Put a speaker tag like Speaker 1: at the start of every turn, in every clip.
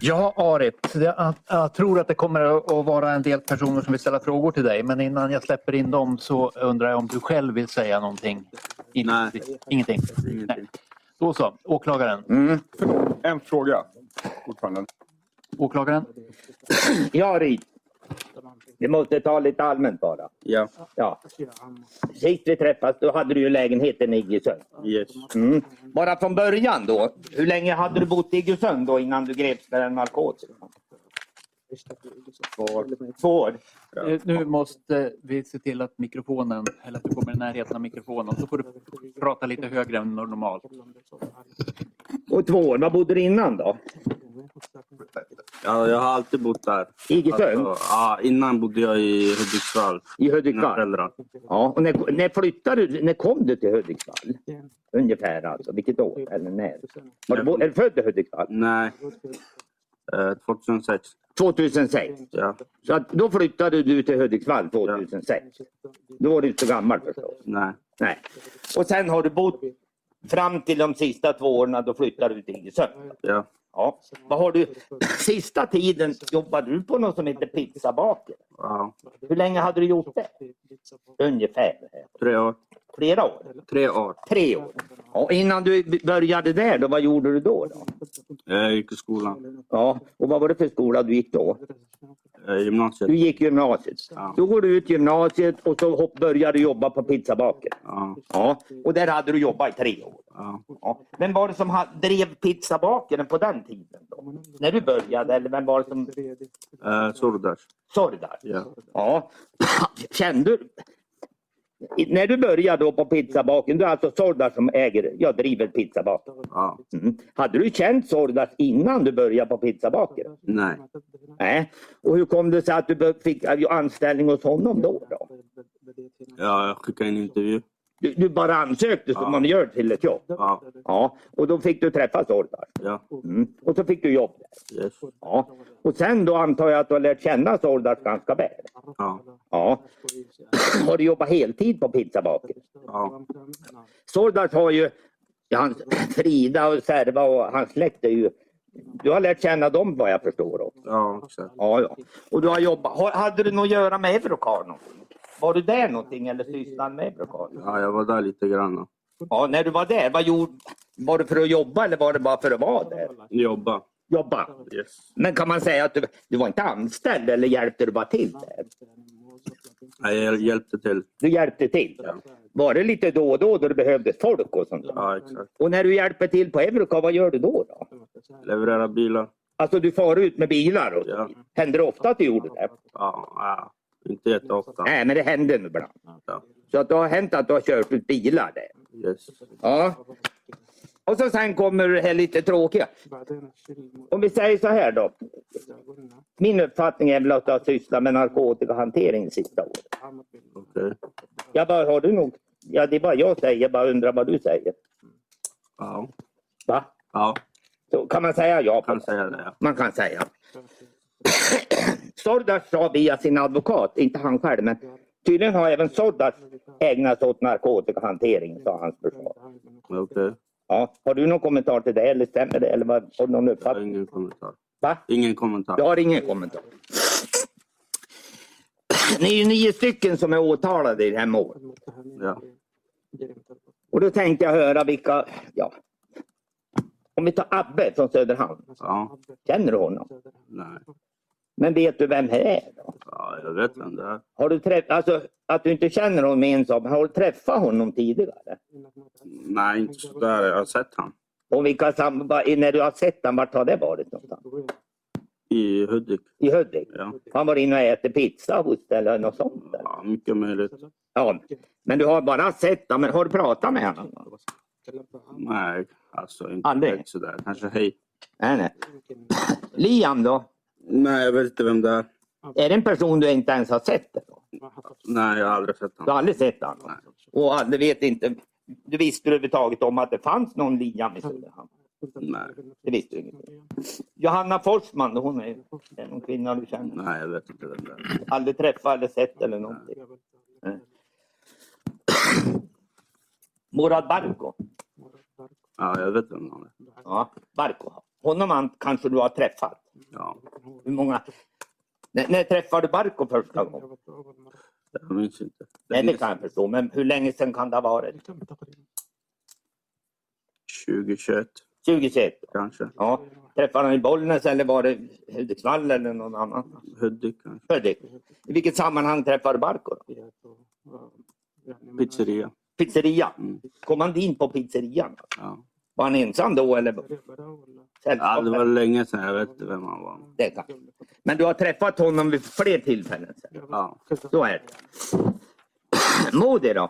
Speaker 1: Ja, Arit, jag, jag tror att det kommer att vara en del personer som vill ställa frågor till dig. Men innan jag släpper in dem så undrar jag om du själv vill säga någonting? In-
Speaker 2: Nej.
Speaker 1: Ingenting? Nej.
Speaker 2: Ingenting.
Speaker 1: Då så, åklagaren.
Speaker 3: Mm. Förlåt, en fråga fortfarande.
Speaker 1: Åklagaren?
Speaker 4: Ja, Rit. Vi måste ta lite allmänt bara.
Speaker 2: Ja,
Speaker 4: Ja. Sist vi träffades då hade du ju lägenheten i Iggesund.
Speaker 2: yes.
Speaker 4: Mm. Bara från början då. Hur länge hade du bott i Iggesund då innan du greps för en narkos? Två år.
Speaker 1: Eh, Nu måste vi se till att mikrofonen, eller att du kommer i närheten av mikrofonen. Så får du prata lite högre än normalt.
Speaker 4: Och två år. Vad bodde du innan då?
Speaker 2: Ja, jag har alltid bott där.
Speaker 4: I Iggesund?
Speaker 2: Alltså, ja, innan bodde jag i Hudiksvall.
Speaker 4: I
Speaker 2: Mina
Speaker 4: Hudiksvall?
Speaker 2: föräldrar.
Speaker 4: Ja. Och när, när flyttade du? När kom du till Hudiksvall? Ungefär alltså. Vilket år? Eller när? Var du, bo- är du född i Hudiksvall?
Speaker 2: Nej. Eh, 2006.
Speaker 4: 2006?
Speaker 2: Ja.
Speaker 4: Så att då flyttade du till Hudiksvall 2006. Då var du inte så gammal förstås.
Speaker 2: Nej.
Speaker 4: Nej. Och sen har du bott fram till de sista två åren då flyttade du till Iggesund.
Speaker 2: Ja.
Speaker 4: Ja. Vad har du, sista tiden jobbade du på något som heter pizzabaker.
Speaker 2: ja.
Speaker 4: Hur länge hade du gjort det? Ungefär
Speaker 2: Tre år.
Speaker 4: flera år?
Speaker 2: Tre år.
Speaker 4: Tre år? Ja, innan du började där, då, vad gjorde du då? då?
Speaker 2: Jag gick i skolan.
Speaker 4: Ja, och vad var det för skola du gick då?
Speaker 2: Eh, gymnasiet.
Speaker 4: Du gick gymnasiet.
Speaker 2: Ja.
Speaker 4: Då går du ut gymnasiet och så hopp- började du jobba på pizzabaker.
Speaker 2: Ja.
Speaker 4: Ja, och där hade du jobbat i tre år.
Speaker 2: ja.
Speaker 4: Ja. Vem var det som ha- drev pizzabakaren på den tiden? Då? När du började eller vem var det som
Speaker 2: liksom, Eh, Sordas.
Speaker 4: såg där?
Speaker 2: Ja.
Speaker 4: Ja. Kände du? I- När du började då på pizzabaken, du är alltså Sordas som äger, jag driver pizzabaken.
Speaker 2: Ja.
Speaker 4: Mm. Hade du känt Sordas innan du började på pizzabaken?
Speaker 2: Nej.
Speaker 4: Nej. Och hur kom det sig att du bör- fick anställning hos honom då? då?
Speaker 2: Ja, jag skickade en intervju.
Speaker 4: Du, du bara ansökte som
Speaker 2: Ja.
Speaker 4: man gör till ett jobb?
Speaker 2: Ja.
Speaker 4: Ja, och då fick du träffa Sordas.
Speaker 2: Ja.
Speaker 4: Mm. Och så fick du jobb där.
Speaker 2: Yes.
Speaker 4: Ja. Och sen då antar jag att du har lärt känna Sordas ganska väl.
Speaker 2: Ja.
Speaker 4: Ja. Har du jobbat heltid på pizzabaken?
Speaker 2: Ja.
Speaker 4: Sordas har ju ja, hans, Frida och Serva och hans släkt är ju... Du har lärt känna dem vad jag förstår. Också.
Speaker 2: Ja, exakt.
Speaker 4: Ja, ja. Och du har jobbat... har- Hade du något att göra med Eurocar någonting? Var du där någonting eller sysslade med Eurocar?
Speaker 2: Ja, jag var där lite grann.
Speaker 4: Ja, när du var där, vad gjorde... Var det för att jobba eller var det bara för att vara där?
Speaker 2: Jobba.
Speaker 4: Jobba.
Speaker 2: Yes.
Speaker 4: Men kan man säga att du, du var inte anställd eller hjälpte du bara till där?
Speaker 2: Ja, jag hjälpte till.
Speaker 4: Du hjälpte till.
Speaker 2: Ja.
Speaker 4: Var det lite då och då då det behövdes folk och sånt? där?
Speaker 2: Ja, exakt.
Speaker 4: Och när du hjälper till på Eurocar, vad gör du då? då?
Speaker 2: Leverera bilar.
Speaker 4: Alltså du far ut med bilar och
Speaker 2: Ja.
Speaker 4: Händer det ofta att du gjorde det?
Speaker 2: Ja, ja. inte jätteofta.
Speaker 4: Nej, men det händer nu ibland.
Speaker 2: Ja.
Speaker 4: Så att det har hänt att du har kört ut bilar där.
Speaker 2: Yes.
Speaker 4: Ja. Och så sen kommer det här lite tråkiga. Om vi säger så här då. Min uppfattning är väl att du har sysslat med narkotikahantering sista året.
Speaker 2: Okej.
Speaker 4: Jag bara, har du nog... Ja, det är bara jag säger. Jag bara undrar vad du säger.
Speaker 2: Ja.
Speaker 4: Va?
Speaker 2: ja,
Speaker 4: Så kan man säga ja på
Speaker 2: kan
Speaker 4: det?
Speaker 2: säga det. Ja.
Speaker 4: man kan säga. Sordas sa via sin advokat, inte han själv, men tydligen har även Sordas ägnat sig åt narkotikahantering, sa hans försvar.
Speaker 2: Men Okej,
Speaker 4: Ja, har du någon kommentar till det eller stämmer det? Eller vad, har du någon
Speaker 2: jag har
Speaker 4: uppfattning?
Speaker 2: ingen kommentar.
Speaker 4: Va?
Speaker 2: Ingen kommentar.
Speaker 4: Jag har ingen kommentar. Ni är ju nio stycken som är åtalade i det här målet.
Speaker 2: Ja.
Speaker 4: Och då tänkte jag höra vilka, ja. Om vi tar Abbe från Söderhamn.
Speaker 2: Ja.
Speaker 4: Känner du honom?
Speaker 2: Nej.
Speaker 4: Men vet du vem det är? Då?
Speaker 2: Ja, jag vet vem det är.
Speaker 4: Har du träff- alltså, att du inte känner honom är en sak, men har du träffat honom tidigare?
Speaker 2: Nej, inte sådär. Jag har sett han.
Speaker 4: Och vilka sam- va- när du har sett honom, vart har det varit någonstans?
Speaker 2: I Hudik.
Speaker 4: I Hudik?
Speaker 2: Ja.
Speaker 4: Han var inne och ätit pizza hos dig eller något sånt? Där.
Speaker 2: ja, mycket möjligt.
Speaker 4: Ja. Men du har bara sett honom, men har du pratat med honom?
Speaker 2: Nej, alltså inte
Speaker 4: Aldrig?
Speaker 2: direkt sådär. Kanske hej.
Speaker 4: Nej, nej. Liam då?
Speaker 2: Nej, jag vet inte vem det är.
Speaker 4: Är det en person du inte ens har sett? Då?
Speaker 2: Nej, jag har aldrig sett
Speaker 4: Du har
Speaker 2: honom.
Speaker 4: aldrig sett honom? Och aldrig vet inte, du visste överhuvudtaget om att det fanns någon Liam i Söderhamn?
Speaker 2: Nej.
Speaker 4: Det visste du inte. Johanna Forsman, hon är är någon kvinna du känner?
Speaker 2: Nej, jag vet inte vem det är.
Speaker 4: Aldrig träffat eller sett eller någonting? Nej. Murad Barko?
Speaker 2: Ja, jag vet vem han är.
Speaker 4: Ja, Barko. Honom han, kanske du har träffat?
Speaker 2: Ja,
Speaker 4: Hur många? När, när träffade du Barko första gången?
Speaker 2: jag minns inte.
Speaker 4: Nej, det kan jag förstå, men hur länge sedan kan det ha varit?
Speaker 2: 2021
Speaker 4: 2021?
Speaker 2: kanske.
Speaker 4: Ja. Träffade han i Bollnäs eller var det Hudiksvall eller någon annan?
Speaker 2: Hudik kanske.
Speaker 4: Hudik. I vilket sammanhang träffade du Barko? Då?
Speaker 2: Pizzeria.
Speaker 4: Pizzeria.
Speaker 2: Mm.
Speaker 4: Kom han in på pizzerian?
Speaker 2: Ja.
Speaker 4: Var han ensam då eller?
Speaker 2: ja, det var länge sedan. Jag vet inte vem han var.
Speaker 4: Det kan. Men du har träffat honom vid fler tillfällen? sen.
Speaker 2: Ja,
Speaker 4: Så är det. Modi då?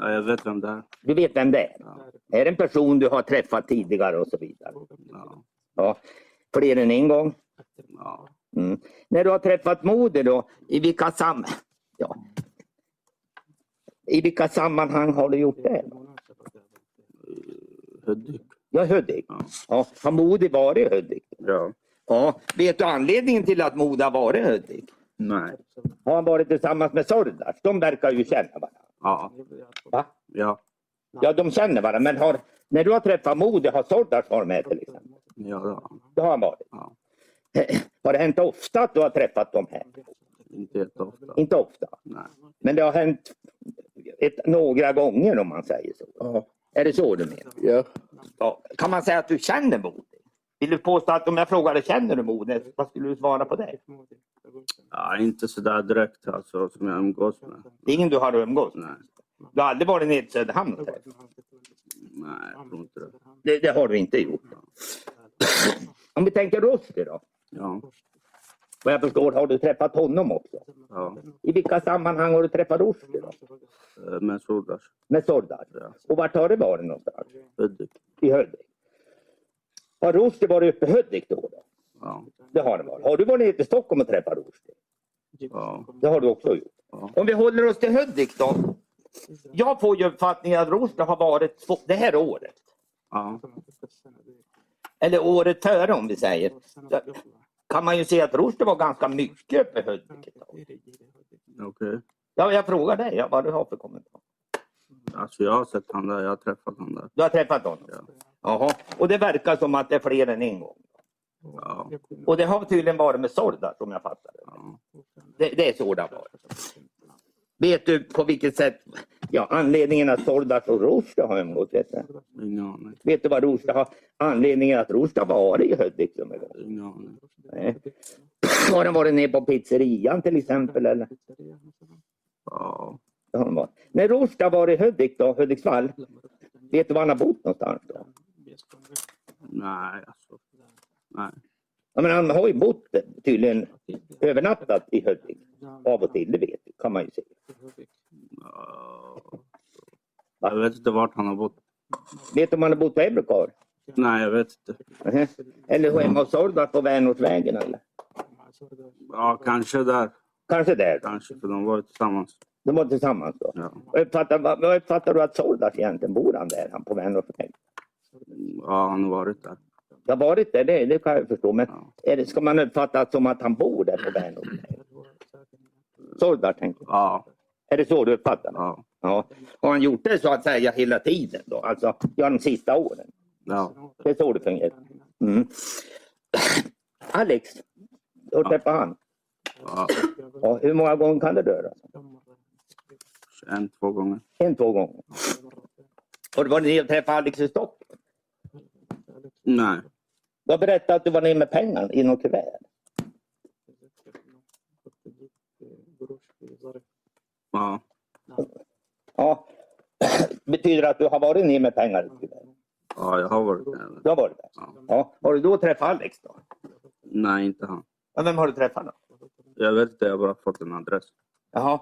Speaker 2: ja jag vet vem det är.
Speaker 4: Du vet vem det är?
Speaker 2: Ja.
Speaker 4: Är det en person du har träffat tidigare och så vidare?
Speaker 2: Ja.
Speaker 4: Ja, fler än en gång.
Speaker 2: Ja.
Speaker 4: Mm. När du har träffat Modi då, i vilka, sam... ja. i vilka sammanhang har du gjort det?
Speaker 2: Hudik.
Speaker 4: Ja, Hudik.
Speaker 2: Ja.
Speaker 4: Ja, har Modi varit i Hudik?
Speaker 2: ja.
Speaker 4: Ja. Vet du anledningen till att Modi har varit i Hudik?
Speaker 2: Nej.
Speaker 4: Har han varit tillsammans med Sordas? De verkar ju känna varandra.
Speaker 2: Ja.
Speaker 4: Va?
Speaker 2: Ja.
Speaker 4: Ja, de känner varandra. Men har, när du har träffat Modi, har Sordas varit med till exempel?
Speaker 2: Ja, då.
Speaker 4: Det har han varit.
Speaker 2: ja.
Speaker 4: Har det hänt ofta att du har träffat de här?
Speaker 2: Inte jätteofta.
Speaker 4: Inte ofta.
Speaker 2: Nej.
Speaker 4: Men det har hänt ett, några gånger om man säger så. Är det så du menar?
Speaker 5: Ja.
Speaker 4: Ja. Kan man säga att du känner Modi? Vill du påstå att om jag frågade känner du Modi, vad skulle du svara på det?
Speaker 2: Ja, inte sådär direkt alltså, som jag umgås med.
Speaker 4: Det är ingen du har umgås med.
Speaker 2: Nej.
Speaker 4: Du har aldrig varit nere i Söderhamn och träffat.
Speaker 2: Nej, jag tror inte det.
Speaker 4: det, det har du inte gjort. Om vi tänker Rushdie då.
Speaker 2: Ja.
Speaker 4: Vad jag förstår har du träffat honom också.
Speaker 2: ja.
Speaker 4: I vilka sammanhang har du träffat Rushdie då?
Speaker 2: Eh, Men Sodas.
Speaker 4: Med Sordar.
Speaker 2: Ja.
Speaker 4: Och vart har det varit någonstans?
Speaker 2: Hudik.
Speaker 4: I Hudik. Har Rushdie varit uppe i Hudik då? då?
Speaker 2: Ja.
Speaker 4: Det har han varit. Har du varit nere till Stockholm och träffat Rushdie?
Speaker 2: Ja.
Speaker 4: Det har du också gjort.
Speaker 2: Ja.
Speaker 4: Om vi håller oss till Hudik då. Jag får ju uppfattningen att Rushdie har varit två, det här året.
Speaker 2: Ja.
Speaker 4: Eller året före om vi säger. Så kan man ju se att Rushdie var ganska mycket uppe i Hudik ett tag.
Speaker 2: Okej.
Speaker 4: Ja, jag frågar dig ja, vad du har för kommentar.
Speaker 2: Alltså jag har sett han där. Jag har träffat han där.
Speaker 4: Du har träffat honom?
Speaker 2: Ja.
Speaker 4: Jaha. Och det verkar som att det är fler än en gång.
Speaker 2: Ja.
Speaker 4: Och det har tydligen varit med Sorda som jag fattar det.
Speaker 2: ja.
Speaker 4: Det, det är så det har varit. Vet du på vilket sätt? Ja, anledningen att Sordas och Rushdie har umgåtts. Vet, du?
Speaker 2: Ingen aning.
Speaker 4: vet du vad Rushdie har? Anledningen att Rushdie har varit i Hudik som en gång?
Speaker 2: Ingen aning.
Speaker 4: Nej. Har den varit nere på pizzerian till exempel? Eller?
Speaker 2: Ja.
Speaker 4: Det har den varit. När Rushdie har varit i Hudik då, Hudiksvall, vet du var han har bott någonstans då?
Speaker 2: Nej, alltså. Nej.
Speaker 4: Ja, men han har ju bott tydligen övernattat i Hudik. Av och till, det vet du, kan man ju se.
Speaker 2: Ja. Jag vet inte vart han har bott.
Speaker 4: Vet du om han har bott på Ebrukar?
Speaker 2: Nej, jag vet inte.
Speaker 4: Mhm. Eller hemma hos Sordas på Vänortsvägen eller?
Speaker 2: Ja, kanske där.
Speaker 4: Kanske där då.
Speaker 2: Kanske, för de var ju tillsammans.
Speaker 4: De var tillsammans då.
Speaker 2: Ja.
Speaker 4: Vad Uppfattar, vad vad uppfattar du att Sordas egentligen bor han där, han på Vänortsvägen?
Speaker 2: Ja, han har varit där.
Speaker 4: Jag har varit där, det, det kan jag förstå. Men
Speaker 2: Ja.
Speaker 4: är det, ska man uppfatta det som att han bor där på Vänortsvägen? Sordas tänkte jag.
Speaker 2: Ja.
Speaker 4: Är det så du uppfattar det?
Speaker 2: Ja.
Speaker 4: Ja. Har han gjort det så att säga hela tiden då? Alltså, ja, de sista åren?
Speaker 2: Ja.
Speaker 4: Det är så det fungerar. Mm. Alex, hur träffade han?
Speaker 2: ja.
Speaker 4: Ja, hur många gånger kan det röra sig?
Speaker 2: En, två gånger.
Speaker 4: En, två gånger. Och det var ni och träffade Alex i Stockholm?
Speaker 2: Nej.
Speaker 4: Du har berättat att du var nere med pengar i något kuvert.
Speaker 2: Ja.
Speaker 4: Ja. Betyder det att du har varit nere med pengar i ett kuvert?
Speaker 2: Ja, jag har varit där.
Speaker 4: Du har varit där?
Speaker 2: Ja.
Speaker 4: Ja. Har du då träffat Alex då?
Speaker 2: Nej, inte han.
Speaker 4: Ja, vem har du träffat då?
Speaker 2: Jag vet inte, jag har bara fått en adress.
Speaker 4: Jaha.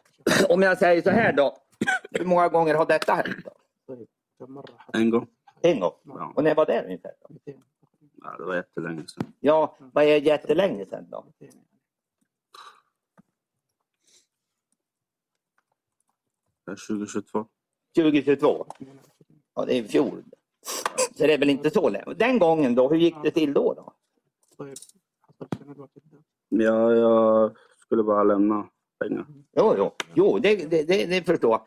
Speaker 4: Om jag säger så här då. Hur många gånger har detta hänt? Då?
Speaker 2: En gång.
Speaker 4: En gång.
Speaker 2: Ja.
Speaker 4: Och när var det ungefär? Då?
Speaker 2: Ja, det var jättelänge sedan.
Speaker 4: Ja, vad är jättelänge sedan då?
Speaker 2: Det är 2022.
Speaker 4: 2022? Ja, det är i fjol. Så det är väl inte så länge. Den gången då, hur gick det till då? då?
Speaker 2: Ja, jag skulle bara lämna pengar.
Speaker 4: Jo, jo, jo det, det, det, det förstår jag.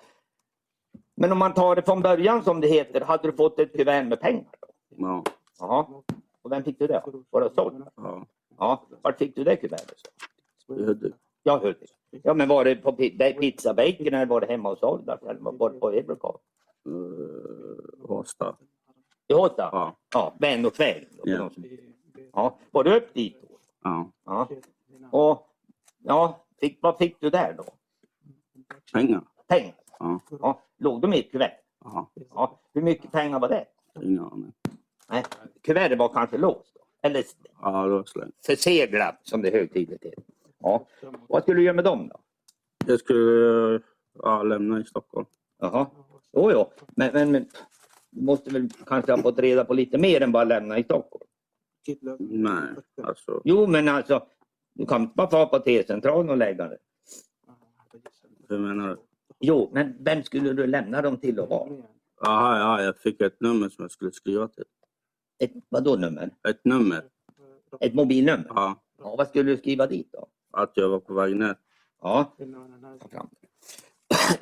Speaker 4: Men om man tar det från början som det heter, hade du fått ett kuvert med pengar? Då?
Speaker 2: Ja,
Speaker 4: Jaha. Och vem fick du det? Var det såld?
Speaker 2: ja.
Speaker 4: Ja, vart fick du det kuvertet?
Speaker 2: I Hudik.
Speaker 4: Jag hörde. Ja, men var det på pi- där pizzabaken eller var det hemma hos Oldart? Eller var det på Ebrokav?
Speaker 2: Eh, Håsta.
Speaker 4: I Håsta?
Speaker 2: Ja,
Speaker 4: Ja, Vänortsvägen. då, för
Speaker 2: Ja.
Speaker 4: de som- Ja, var du upp dit då?
Speaker 2: ja.
Speaker 4: Ja. Och ja, fick, vad fick du där då?
Speaker 2: Pengar.
Speaker 4: Pengar?
Speaker 2: Ja.
Speaker 4: Ja, låg de i ett kuvert?
Speaker 2: Ja,
Speaker 4: Ja, hur mycket pengar var det?
Speaker 2: ingen aning.
Speaker 4: Nej, kuvertet var kanske låst. då. Eller
Speaker 2: Ja, det var slängt.
Speaker 4: förseglat som det högtidligt heter. Ja. Vad skulle du göra med dem då?
Speaker 2: Jag skulle eh, ja, lämna i Stockholm.
Speaker 4: Jaha. Jo, jo. Men, men, men du måste väl kanske ha fått reda på lite mer än bara lämna i Stockholm?
Speaker 2: Nej, alltså.
Speaker 4: Jo, men alltså. Du kan inte bara fara på T-centralen och lägga det.
Speaker 2: Hur menar du?
Speaker 4: Jo, men vem skulle du lämna dem till och var?
Speaker 2: Aha, ja, jag fick ett nummer som jag skulle skriva till.
Speaker 4: Ett, vadå nummer?
Speaker 2: Ett nummer?
Speaker 4: Ett mobilnummer?
Speaker 2: Ja,
Speaker 4: Ja, vad skulle du skriva dit då?
Speaker 2: att jag var på väg ner.
Speaker 4: Ja, ta fram det.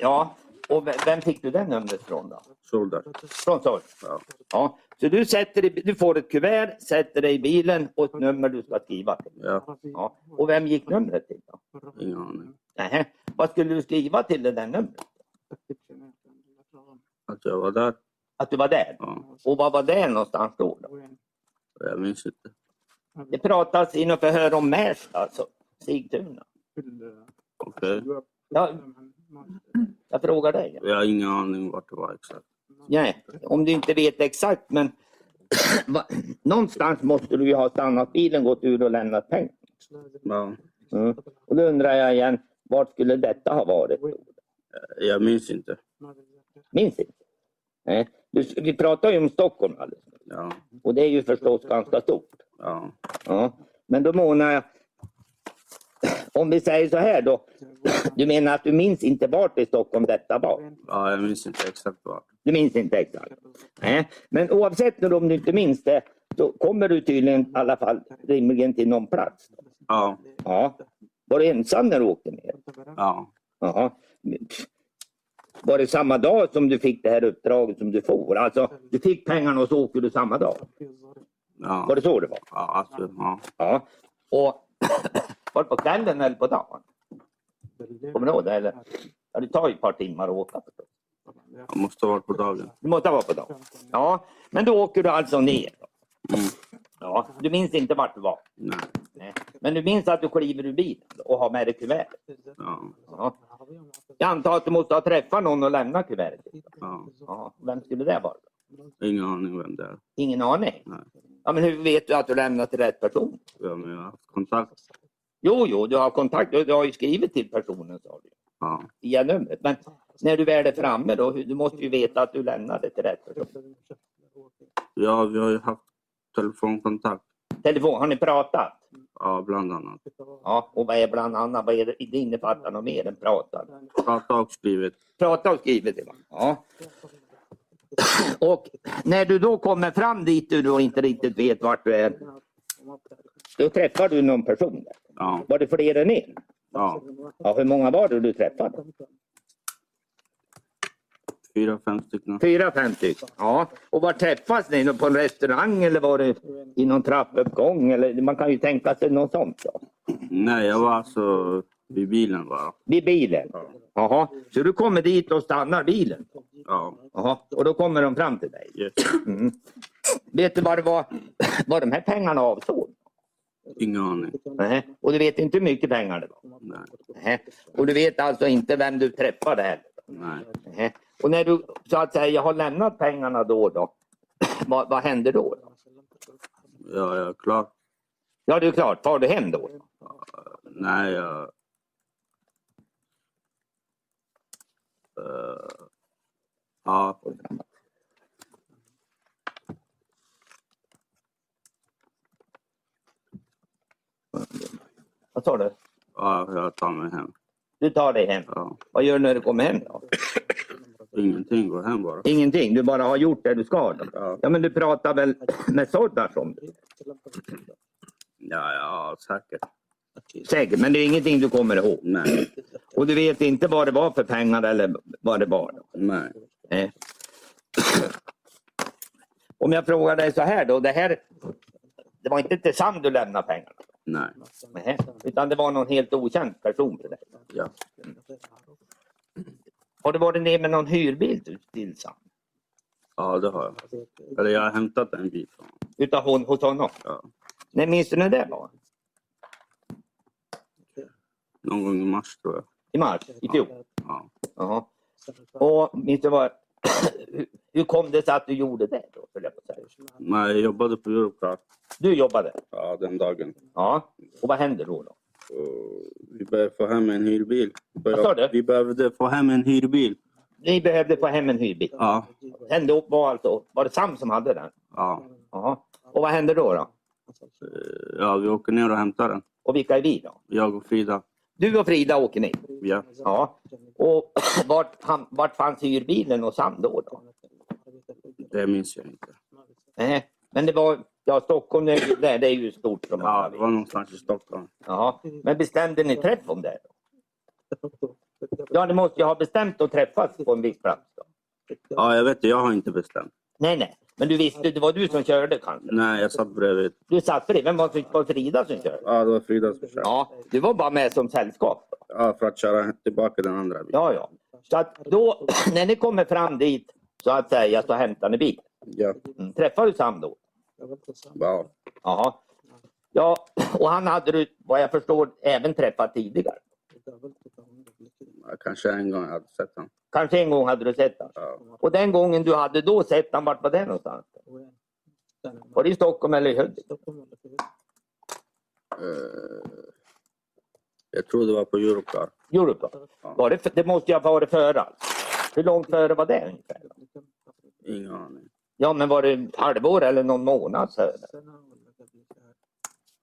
Speaker 4: Ja, och ve- vem fick du det numret från då?
Speaker 2: Soldat.
Speaker 4: Från Sorg?
Speaker 2: Ja.
Speaker 4: Ja, så du, sätter i, du får ett kuvert, sätter dig i bilen och ett nummer du ska skriva till.
Speaker 2: Ja,
Speaker 4: Ja. Och vem gick numret till då?
Speaker 2: ingen aning.
Speaker 4: Nähä. Vad skulle du skriva till det där numret?
Speaker 2: Att jag var där.
Speaker 4: Att du var där?
Speaker 2: Ja,
Speaker 4: Och vad var det någonstans då? då?
Speaker 2: jag minns inte.
Speaker 4: Det pratas i något förhör om Märsta, alltså. Sigtuna.
Speaker 2: Okej.
Speaker 4: Jag, jag frågar dig.
Speaker 2: Jag har ingen aning vart det var exakt.
Speaker 4: Nej, om du inte vet exakt men va- någonstans måste du ju ha stannat bilen, gått ur och lämnat pengar.
Speaker 2: Ja,
Speaker 4: Mm. Och då undrar jag igen, vart skulle detta ha varit? då?
Speaker 2: jag minns inte.
Speaker 4: Minns inte. Nej. Du, vi pratar ju om Stockholm alldeles nyss.
Speaker 2: Ja,
Speaker 4: och det är ju förstås ganska stort.
Speaker 2: ja,
Speaker 4: Ja. Men då menar jag, om vi säger så här då, du menar att du minns inte vart i Stockholm detta var?
Speaker 2: ja jag minns inte exakt vart.
Speaker 4: Du minns inte exakt? Nej. Eh? Men oavsett nu om du inte minns det, så kommer du tydligen i alla fall rimligen till någon plats. Då.
Speaker 2: Ja,
Speaker 4: Ja. Var du ensam när du åkte ner?
Speaker 2: ja,
Speaker 4: Jaha. Var det samma dag som du fick det här uppdraget som du får? Alltså, du fick pengarna och så åker du samma dag? Var
Speaker 2: ja.
Speaker 4: det så det var?
Speaker 2: Ja, alltså, ja.
Speaker 4: Ja. Och var det på kvällen eller på dagen? Kommer du ihåg det? Eller? Ja, det tar ju ett par timmar att åka. förstås.
Speaker 2: Jag måste ha varit på dagen.
Speaker 4: Det måste vara på dagen. Ja, men då åker du alltså ner.
Speaker 2: Mm.
Speaker 4: Ja, du minns inte vart du var.
Speaker 2: Nej,
Speaker 4: Nej. Men du minns att du kliver ur bilen och har med dig kuvertet.
Speaker 2: ja,
Speaker 4: Ja. Jag antar att du måste ha träffat någon och lämnat kuvertet.
Speaker 2: ja.
Speaker 4: Ja. Vem skulle det vara?
Speaker 2: Ingen aning vem det är.
Speaker 4: Ingen aning.
Speaker 2: Nej.
Speaker 4: Ja, men hur vet du att du lämnat till rätt person?
Speaker 2: Ja, men jag har haft kontakt.
Speaker 4: Jo, jo, du har kontakt. Du du har ju skrivit till personen sa du,
Speaker 2: Ja,
Speaker 4: via numret. Men när du väl är framme då, hur- du måste ju veta att du lämnade till rätt person.
Speaker 2: ja vi har ju haft telefonkontakt.
Speaker 4: Telefon, har ni pratat?
Speaker 2: Ja, bland annat.
Speaker 4: Ja, och vad är bland annat, vad är det, det innefattar något mer än pratat?
Speaker 2: Prata och skrivit.
Speaker 4: Prata och skrivit det va? Ja. Och när du då kommer fram dit du då inte riktigt vet vart du är, då träffar du någon person där.
Speaker 2: Ja,
Speaker 4: Var det fler än en?
Speaker 2: ja.
Speaker 4: Ja, hur många var det du träffade?
Speaker 2: Fyra, fem stycken.
Speaker 4: Fyra, fem stycken. Ja. Och var träffas ni? På en restaurang eller var det i någon trappuppgång? Eller, man kan ju tänka sig något sånt. Då.
Speaker 2: Nej, jag var alltså vid bilen bara.
Speaker 4: Vid bilen? Jaha. Så du kommer dit och stannar bilen?
Speaker 2: Ja,
Speaker 4: Jaha. Och då kommer de fram till dig?
Speaker 2: yes.
Speaker 4: Mm. Vet du vad, det var, vad de här pengarna avsåg?
Speaker 2: ingen aning.
Speaker 4: Nej. Och du vet inte hur mycket pengar det var?
Speaker 2: Nej,
Speaker 4: Nej. Och du vet alltså inte vem du träffade heller?
Speaker 2: nej.
Speaker 4: Nej. Och när du så att säga har lämnat pengarna då, och då vad, vad händer då? då?
Speaker 2: Ja, jag är klar.
Speaker 4: Ja, det är klart. Far du hem då?
Speaker 2: Nej, jag... Eh, ja,
Speaker 4: Vad sa du?
Speaker 2: ja, jag tar mig hem.
Speaker 4: Du tar dig hem.
Speaker 2: Ja,
Speaker 4: Vad gör du när du kommer hem då?
Speaker 2: Ingenting, går hem bara.
Speaker 4: Ingenting, du bara har gjort det du ska. Då.
Speaker 2: Ja,
Speaker 4: Ja men du pratar väl med sådana som
Speaker 2: ja, ja säkert.
Speaker 4: säkert, men det är ingenting du kommer ihåg.
Speaker 2: Nej,
Speaker 4: Och du vet inte vad det var för pengar eller vad det var. Då.
Speaker 2: nej.
Speaker 4: Nej. Om jag frågar dig så här då, det här det var inte till Sam du lämnade pengarna?
Speaker 2: nej.
Speaker 4: Nej, utan det var någon helt okänd person för dig?
Speaker 2: Ja.
Speaker 4: Har du varit ner med någon hyrbil till- till Sam?
Speaker 2: ja, det har jag. Eller jag har hämtat en bil från honom.
Speaker 4: Utav hon hos honom?
Speaker 2: Ja.
Speaker 4: Nej, minns du när det var?
Speaker 2: Någon gång i mars tror jag.
Speaker 4: I mars i fjol?
Speaker 2: Ja.
Speaker 4: Jaha. Och minns du vad, hur- hur kom det sig att du gjorde det? Då, höll jag på att säga?
Speaker 2: Men jag jobbade på Europcar
Speaker 4: du jobbade?
Speaker 2: ja, den dagen.
Speaker 4: Ja. Och vad hände då? då?
Speaker 2: Och vi behövde få hem en hyrbil.
Speaker 4: Vad sa du?
Speaker 2: Vi behövde få hem en hyrbil.
Speaker 4: Ni behövde få hem en hyrbil.
Speaker 2: Ja,
Speaker 4: Hände upp var, alltså, var det Sam som hade den?
Speaker 2: ja.
Speaker 4: Jaha. Och vad hände då? då?
Speaker 2: Eh, ja, vi åker ner och hämtar den.
Speaker 4: Och vilka är vi då?
Speaker 2: Jag och Frida.
Speaker 4: Du och Frida åker ni?
Speaker 2: Ja.
Speaker 4: Ja. Och vart, han, vart fanns hyrbilen och Sam då? då?
Speaker 2: Det minns jag inte.
Speaker 4: Nej. Men det var, ja Stockholm det är ju- det är ju stort som
Speaker 2: Ja,
Speaker 4: alla
Speaker 2: det
Speaker 4: vet.
Speaker 2: var någonstans i Stockholm.
Speaker 4: Ja. Men bestämde ni träff om det? Då? Ja, ni måste ju ha bestämt att träffas på en viss plats. Då.
Speaker 2: Ja, jag vet det. Jag har inte bestämt.
Speaker 4: Nej, nej. Men du visste, det var du som körde kanske?
Speaker 2: Nej, jag satt bredvid.
Speaker 4: Du satt bredvid. Vem var det som- var det Frida som körde?
Speaker 2: Ja, det var Frida som körde.
Speaker 4: Ja, du var bara med som sällskap. Då.
Speaker 2: Ja, för att köra tillbaka den andra bilen.
Speaker 4: Ja, ja. Så att då, när ni kommer fram dit så att säga så hämtar ni bilen.
Speaker 2: Ja.
Speaker 4: Mm. Träffar du Sam då?
Speaker 2: ja.
Speaker 4: Jaha. Ja, och han hade du vad jag förstår även träffat tidigare.
Speaker 2: ja kanske en gång jag hade sett den.
Speaker 4: Kanske en gång hade du sett honom.
Speaker 2: Ja.
Speaker 4: Och den gången du hade då sett honom, vart var det någonstans? Var det i Stockholm eller i Hudik?
Speaker 2: Eh, Jag tror det var på Europcar.
Speaker 4: Europa? Var det, f- det måste jag ha varit före alltså. Hur långt före var det ungefär?
Speaker 2: Ingen aning.
Speaker 4: Ja, men var det ett halvår eller någon månad före?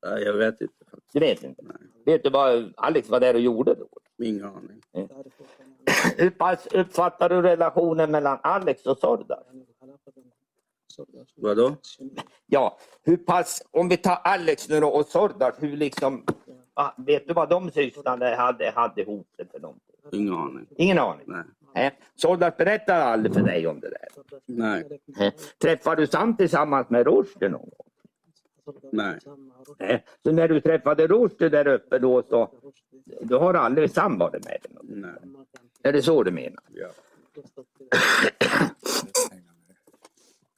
Speaker 2: Nej, jag vet inte. faktiskt.
Speaker 4: Du vet inte? Vet du vad Alex var där och gjorde då?
Speaker 2: Ingen aning.
Speaker 4: Hur pass uppfattar du relationen mellan Alex och Sordar?
Speaker 2: Vadå?
Speaker 4: Ja, hur pass, om vi tar Alex nu då och Sordar, hur liksom, ah, vet du vad de sysslade hade, hade ihop det för någonting?
Speaker 2: Ingen aning.
Speaker 4: Ingen aning.
Speaker 2: Nej.
Speaker 4: Nej. Sordar berättar aldrig för dig om det där.
Speaker 2: Nej.
Speaker 4: Nej. Träffar du Sam tillsammans med Rushdie någon gång?
Speaker 2: Nej.
Speaker 4: Nej. Så när du träffade Rushdie där uppe då så, då har aldrig Sam varit med? i något.
Speaker 2: Nej.
Speaker 4: Är det så du menar?
Speaker 2: Ja.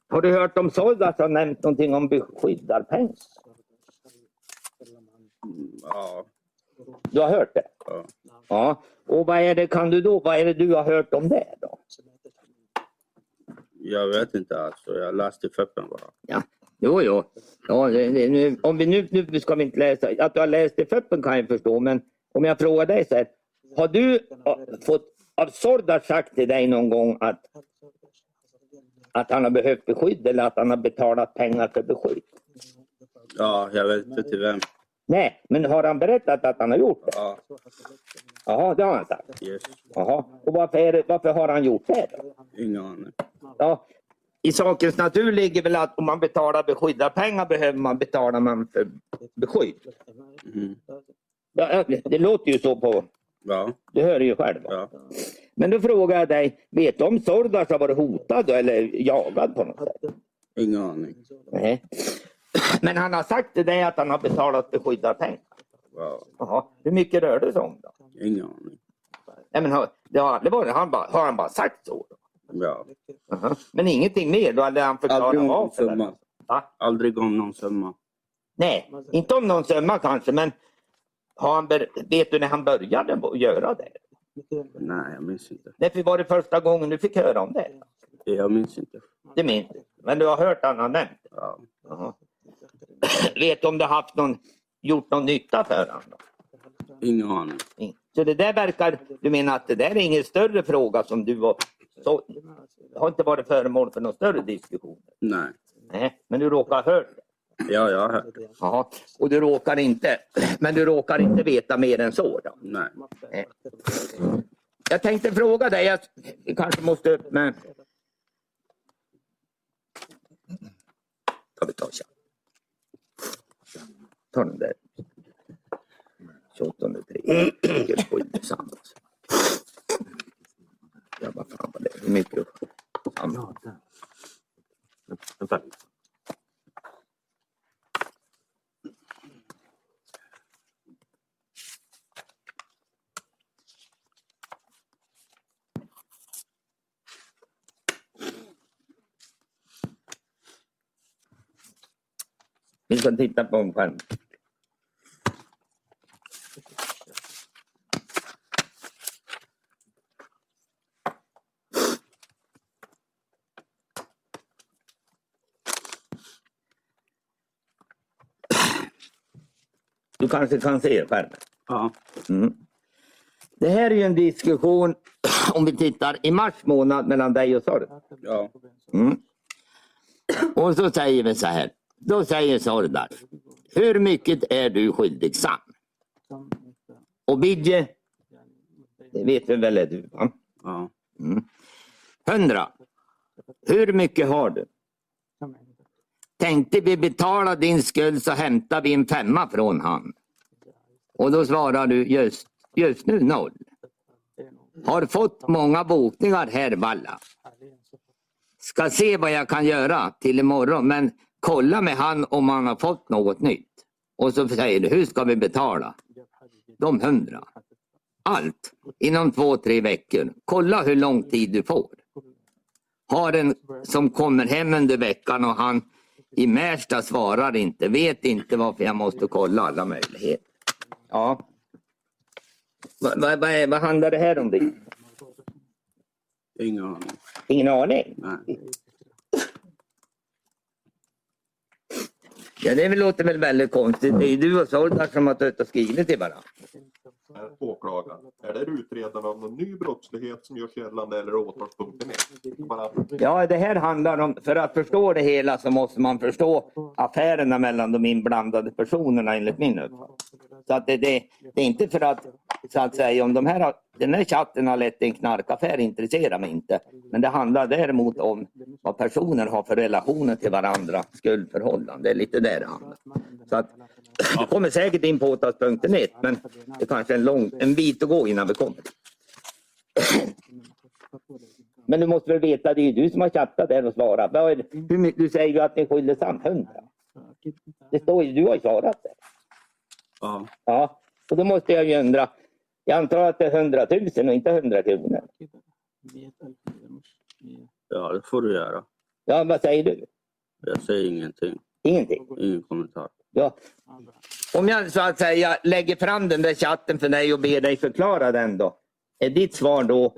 Speaker 4: Har du hört om Sordar som nämnt någonting om beskyddarpengar?
Speaker 2: Mm, Ja.
Speaker 4: Du har hört det?
Speaker 2: ja.
Speaker 4: Ja, och vad är det, kan du då, vad är det du har hört om det då?
Speaker 2: Jag vet inte alltså. Jag läste i FÖPen bara.
Speaker 4: Ja, jo, jo. Ja, det, det, nu, om vi nu, nu ska vi inte läsa, att du har läst i FÖPen kan jag förstå, men om jag frågar dig så här, har du ja, fått av Sordar sagt till dig någon gång att, att han har behövt beskydd eller att han har betalat pengar för beskydd?
Speaker 2: Ja, jag vet inte till vem.
Speaker 4: Nej, men har han berättat att han har gjort det?
Speaker 2: Ja,
Speaker 4: Jaha, det har han sagt.
Speaker 2: yes.
Speaker 4: Jaha. Och varför, är det, varför har han gjort det? Då?
Speaker 2: Ingen aning.
Speaker 4: Ja, I sakens natur ligger väl att om man betalar beskyddarpengar behöver man betala man för beskydd.
Speaker 2: Mm.
Speaker 4: Ja, det låter ju så på...
Speaker 2: Ja,
Speaker 4: Du hör ju själv. va?
Speaker 2: ja.
Speaker 4: Men då frågar jag dig, vet du om Sordar har varit hotad då, eller jagad på något sätt?
Speaker 2: Ingen aning.
Speaker 4: Nej. Men han har sagt till dig att han har betalat beskyddarpengar.
Speaker 2: Ja.
Speaker 4: Jaha. Hur mycket rör det sig om då?
Speaker 2: Ingen aning.
Speaker 4: Nej, men har, det har, aldrig varit, han bara, har han bara sagt så? Då?
Speaker 2: Ja.
Speaker 4: Jaha. Men ingenting mer? Då hade han
Speaker 2: Aldrig
Speaker 4: förklarat
Speaker 2: om någon
Speaker 4: varför? eller?
Speaker 2: summa.
Speaker 4: Va?
Speaker 2: Aldrig om någon summa.
Speaker 4: Nej, inte om någon summa kanske, men har han ber- vet du när han började bo- göra det?
Speaker 2: Nej, jag minns inte.
Speaker 4: Nej, för var det första gången du fick höra om det?
Speaker 2: Jag minns inte.
Speaker 4: Det minns du. Men du har hört han har nämnt det?
Speaker 2: Ja.
Speaker 4: Jaha. Vet du om du har haft någon, gjort någon nytta för honom? Då?
Speaker 2: Ingen aning.
Speaker 4: In- Så det där verkar, du menar att det där är ingen större fråga som du var, så, har inte varit föremål för någon större diskussion?
Speaker 2: Nej.
Speaker 4: Nej, men du råkar ha hört det?
Speaker 2: Ja, jag har hört.
Speaker 4: Jaha. Och du råkar inte, men du råkar inte veta mer än så? Då.
Speaker 2: Nej.
Speaker 4: Nej. Jag tänkte fråga dig, jag kanske måste upp med... Ska vi ta tja. Ta den där. 28.3. Det var intressant. alltså. Ja, vad fan var det? Hur mycket?
Speaker 2: Ja, där. Vänta.
Speaker 4: Vi ska titta på en skärm. Du kanske kan se skärmen?
Speaker 2: Ja.
Speaker 4: Mm. Det här är ju en diskussion, om vi tittar, i mars månad mellan dig och Sorg.
Speaker 2: ja.
Speaker 4: Mm. Och så säger vi så här. Då säger Sordar. Hur mycket är du skyldig Sam? Och Bidje. Det vet vi väl är du va?
Speaker 2: ja.
Speaker 4: Mm. 100. Hur mycket har du? Tänkte vi betala din skuld så hämtar vi en femma från han. Och då svarar du just, just nu noll. Har fått många bokningar här Valla. Ska se vad jag kan göra till imorgon men kolla med han om han har fått något nytt. Och så säger du, hur ska vi betala? De hundra. Allt inom två, tre veckor. Kolla hur lång tid du får. Har en som kommer hem under veckan och han i Märsta svarar inte. Vet inte varför jag måste kolla alla möjligheter. Ja. Vad va, va, vad handlar det här om? Det?
Speaker 2: Ingen aning.
Speaker 4: Ingen aning.
Speaker 2: Nej.
Speaker 4: Ja, det väl- låter väl väldigt konstigt. Det är ju du och Soldar som har suttit och skrivit till varandra.
Speaker 5: är åklagaren? Är det utredaren av någon ny brottslighet som görs gällande eller åtalspunkten är? Bara
Speaker 4: Ja, det här handlar om, för att förstå det hela så måste man förstå affärerna mellan de inblandade personerna enligt min uppfattning. Så att det, det, det är inte för att, så att säga, om de här, har- den här chatten har lett till en knarkaffär intresserar mig inte. Men det handlar däremot om vad personer har för relationer till varandra, skuldförhållanden. Det är lite där det handlar. Så att, vi kommer säkert in på åtalspunkten 1 men det kanske är en, lång, en bit att gå innan vi kommer. Men du måste väl veta, det är ju du som har chattat där och svarat. Vad är det- hur mycket- Du säger ju att ni skyller samhället. Det står ju, du har ju svarat det.
Speaker 2: Ja.
Speaker 4: Ja, och då måste jag ju undra. Jag antar att det är 100 000 och inte 100 kronor.
Speaker 2: ja, det får du göra.
Speaker 4: Ja, vad säger du?
Speaker 2: Jag säger ingenting.
Speaker 4: Ingenting.
Speaker 2: Ingen kommentar.
Speaker 4: Ja. Om jag så att säga lägger fram den där chatten för dig och ber dig förklara den då. Är ditt svar då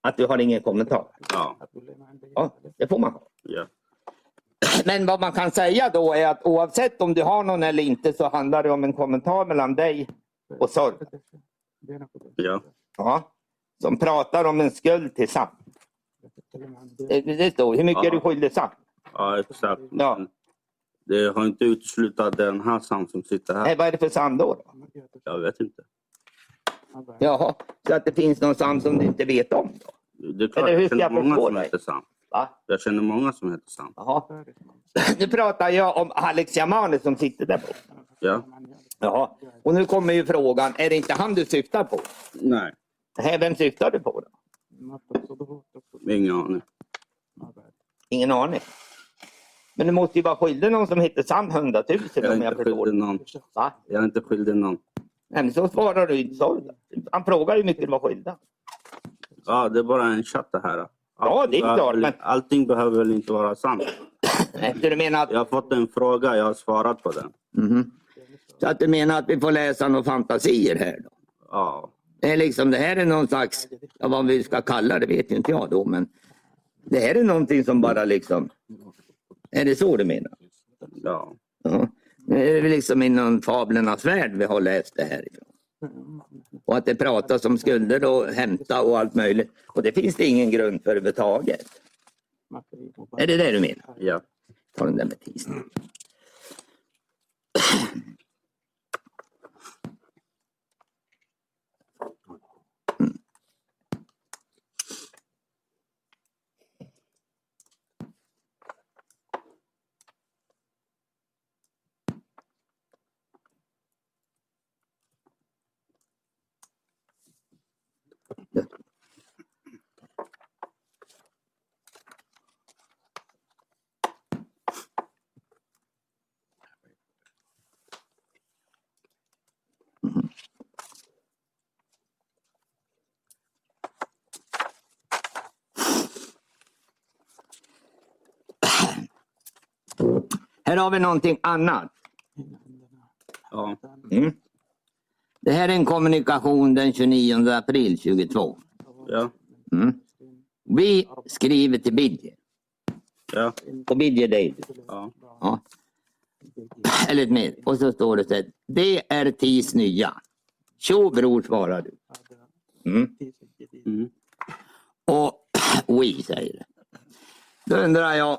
Speaker 4: att du har ingen kommentar?
Speaker 2: Ja.
Speaker 4: Ja, det får man ha.
Speaker 2: ja.
Speaker 4: Men vad man kan säga då är att oavsett om du har någon eller inte så handlar det om en kommentar mellan dig och Sorg.
Speaker 2: ja.
Speaker 4: Ja. Som pratar om en skuld till Sam. Det, det står, hur mycket
Speaker 2: Ja.
Speaker 4: är du skyldig Sam?
Speaker 2: Ja, exakt.
Speaker 4: Ja.
Speaker 2: Men Det har inte uteslutat den här Sam som sitter
Speaker 4: Nej,
Speaker 2: här.
Speaker 4: vad är det för Sam då? då?
Speaker 2: Jag vet inte.
Speaker 4: Jaha, så att det finns någon Sam som du inte vet om? Då.
Speaker 2: Det är klart,
Speaker 4: Eller hur
Speaker 2: jag
Speaker 4: ska
Speaker 2: känner
Speaker 4: jag
Speaker 2: många
Speaker 4: förstå
Speaker 2: som
Speaker 4: dig?
Speaker 2: heter Sam.
Speaker 4: Va?
Speaker 2: Jag känner många som heter Sam.
Speaker 4: Jaha. Nu pratar jag om Alex Yamane som sitter där borta.
Speaker 2: Ja.
Speaker 4: Jaha. Och nu kommer ju frågan, är det inte han du syftar på?
Speaker 2: Nej,
Speaker 4: Nej, vem syftar du på då?
Speaker 2: ingen aning.
Speaker 4: Ingen aning. Men du måste ju vara skyldig någon som heter Sam 100 000
Speaker 2: Jag
Speaker 4: om
Speaker 2: är
Speaker 4: jag
Speaker 2: inte
Speaker 4: förstår.
Speaker 2: skyldig någon.
Speaker 4: Va?
Speaker 2: Jag är inte skyldig någon.
Speaker 4: Nej, men så svarar du inte så. Han frågar hur mycket du var skyldig.
Speaker 2: Ja, det är bara en chatt det här.
Speaker 4: Ja, det
Speaker 2: Allting
Speaker 4: är klart,
Speaker 2: behöver-
Speaker 4: men-
Speaker 2: Allting behöver väl inte vara sant.
Speaker 4: Nej, Så du menar att,
Speaker 2: Jag har fått en fråga, jag har svarat på den.
Speaker 4: Mhm. så att du menar att vi får läsa några fantasier här då?
Speaker 2: Ja,
Speaker 4: Det, är liksom, det här är någon slags, ja, vad vi ska kalla det vet inte jag då, men det här är någonting som bara liksom, är det så du menar?
Speaker 2: ja.
Speaker 4: Ja. Nu är det väl liksom inom fablernas värld vi har läst det här ifrån. Och att det pratas om skulder och hämta och allt möjligt. Och det finns det ingen grund för överhuvudtaget. Är det det du menar?
Speaker 2: ja.
Speaker 4: Ta den där med tisdag. Här har vi någonting annat.
Speaker 2: Ja.
Speaker 4: Mm. Det här är en kommunikation den 29 april 22.
Speaker 2: Ja.
Speaker 4: Mm. Vi skriver till Bidje.
Speaker 2: Ja.
Speaker 4: På Bidje Daily.
Speaker 2: Ja.
Speaker 4: Ja. Eller mer. Och så står det så här. Det är TIS nya. Tjo bror svarar du. Mm.
Speaker 2: Mm.
Speaker 4: Och we säger det. Då undrar jag.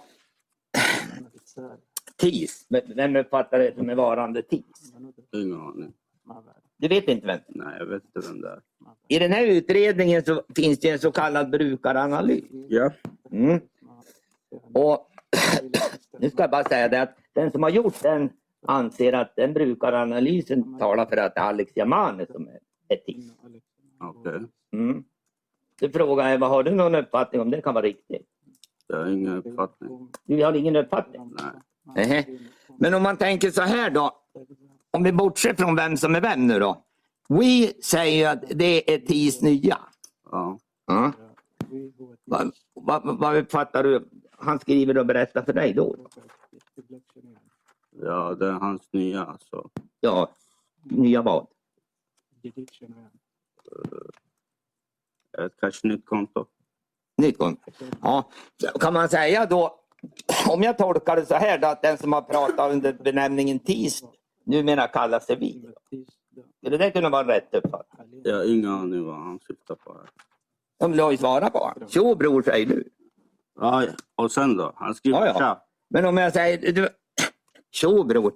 Speaker 4: TIS. v- Vem uppfattar det som är varande TIS?
Speaker 2: Ingen aning.
Speaker 4: Du vet inte vem.
Speaker 2: Nej, jag vet inte vem det är.
Speaker 4: I den här utredningen så finns det en så kallad brukaranalys.
Speaker 2: Ja.
Speaker 4: Mm. Och nu ska jag bara säga det att den som har gjort den anser att den brukaranalysen talar för att det är Alex Yamane som är etik.
Speaker 2: Okej.
Speaker 4: Mm. Du frågar jag, vad har du någon uppfattning om det kan vara riktigt?
Speaker 2: Det har ingen uppfattning.
Speaker 4: Du har ingen uppfattning?
Speaker 2: Nej.
Speaker 4: Nej. Men om man tänker så här då. Om vi bortser från vem som är vem nu då. We säger ju att det är TIS nya.
Speaker 2: Ja.
Speaker 4: Ja. Vad, vad, vad uppfattar du? Han skriver och berättar för dig då?
Speaker 2: ja, det är hans nya alltså.
Speaker 4: Ja, nya vad?
Speaker 2: Ett kanske nytt konto.
Speaker 4: Nytt konto. Ja, så kan man säga då, om jag tolkar det så här då, att den som har pratat under benämningen TIS numera kallas sig vi. Skulle det kunna vara rätt uppfattat?
Speaker 2: Jag har ingen aning vad han syftar på. Här.
Speaker 4: De vill ju svara på honom. Tjo bror säger du.
Speaker 2: Ja, och sen då? Han skriver
Speaker 4: Ja, ja.
Speaker 2: tja.
Speaker 4: Men om jag säger du, tjo bror.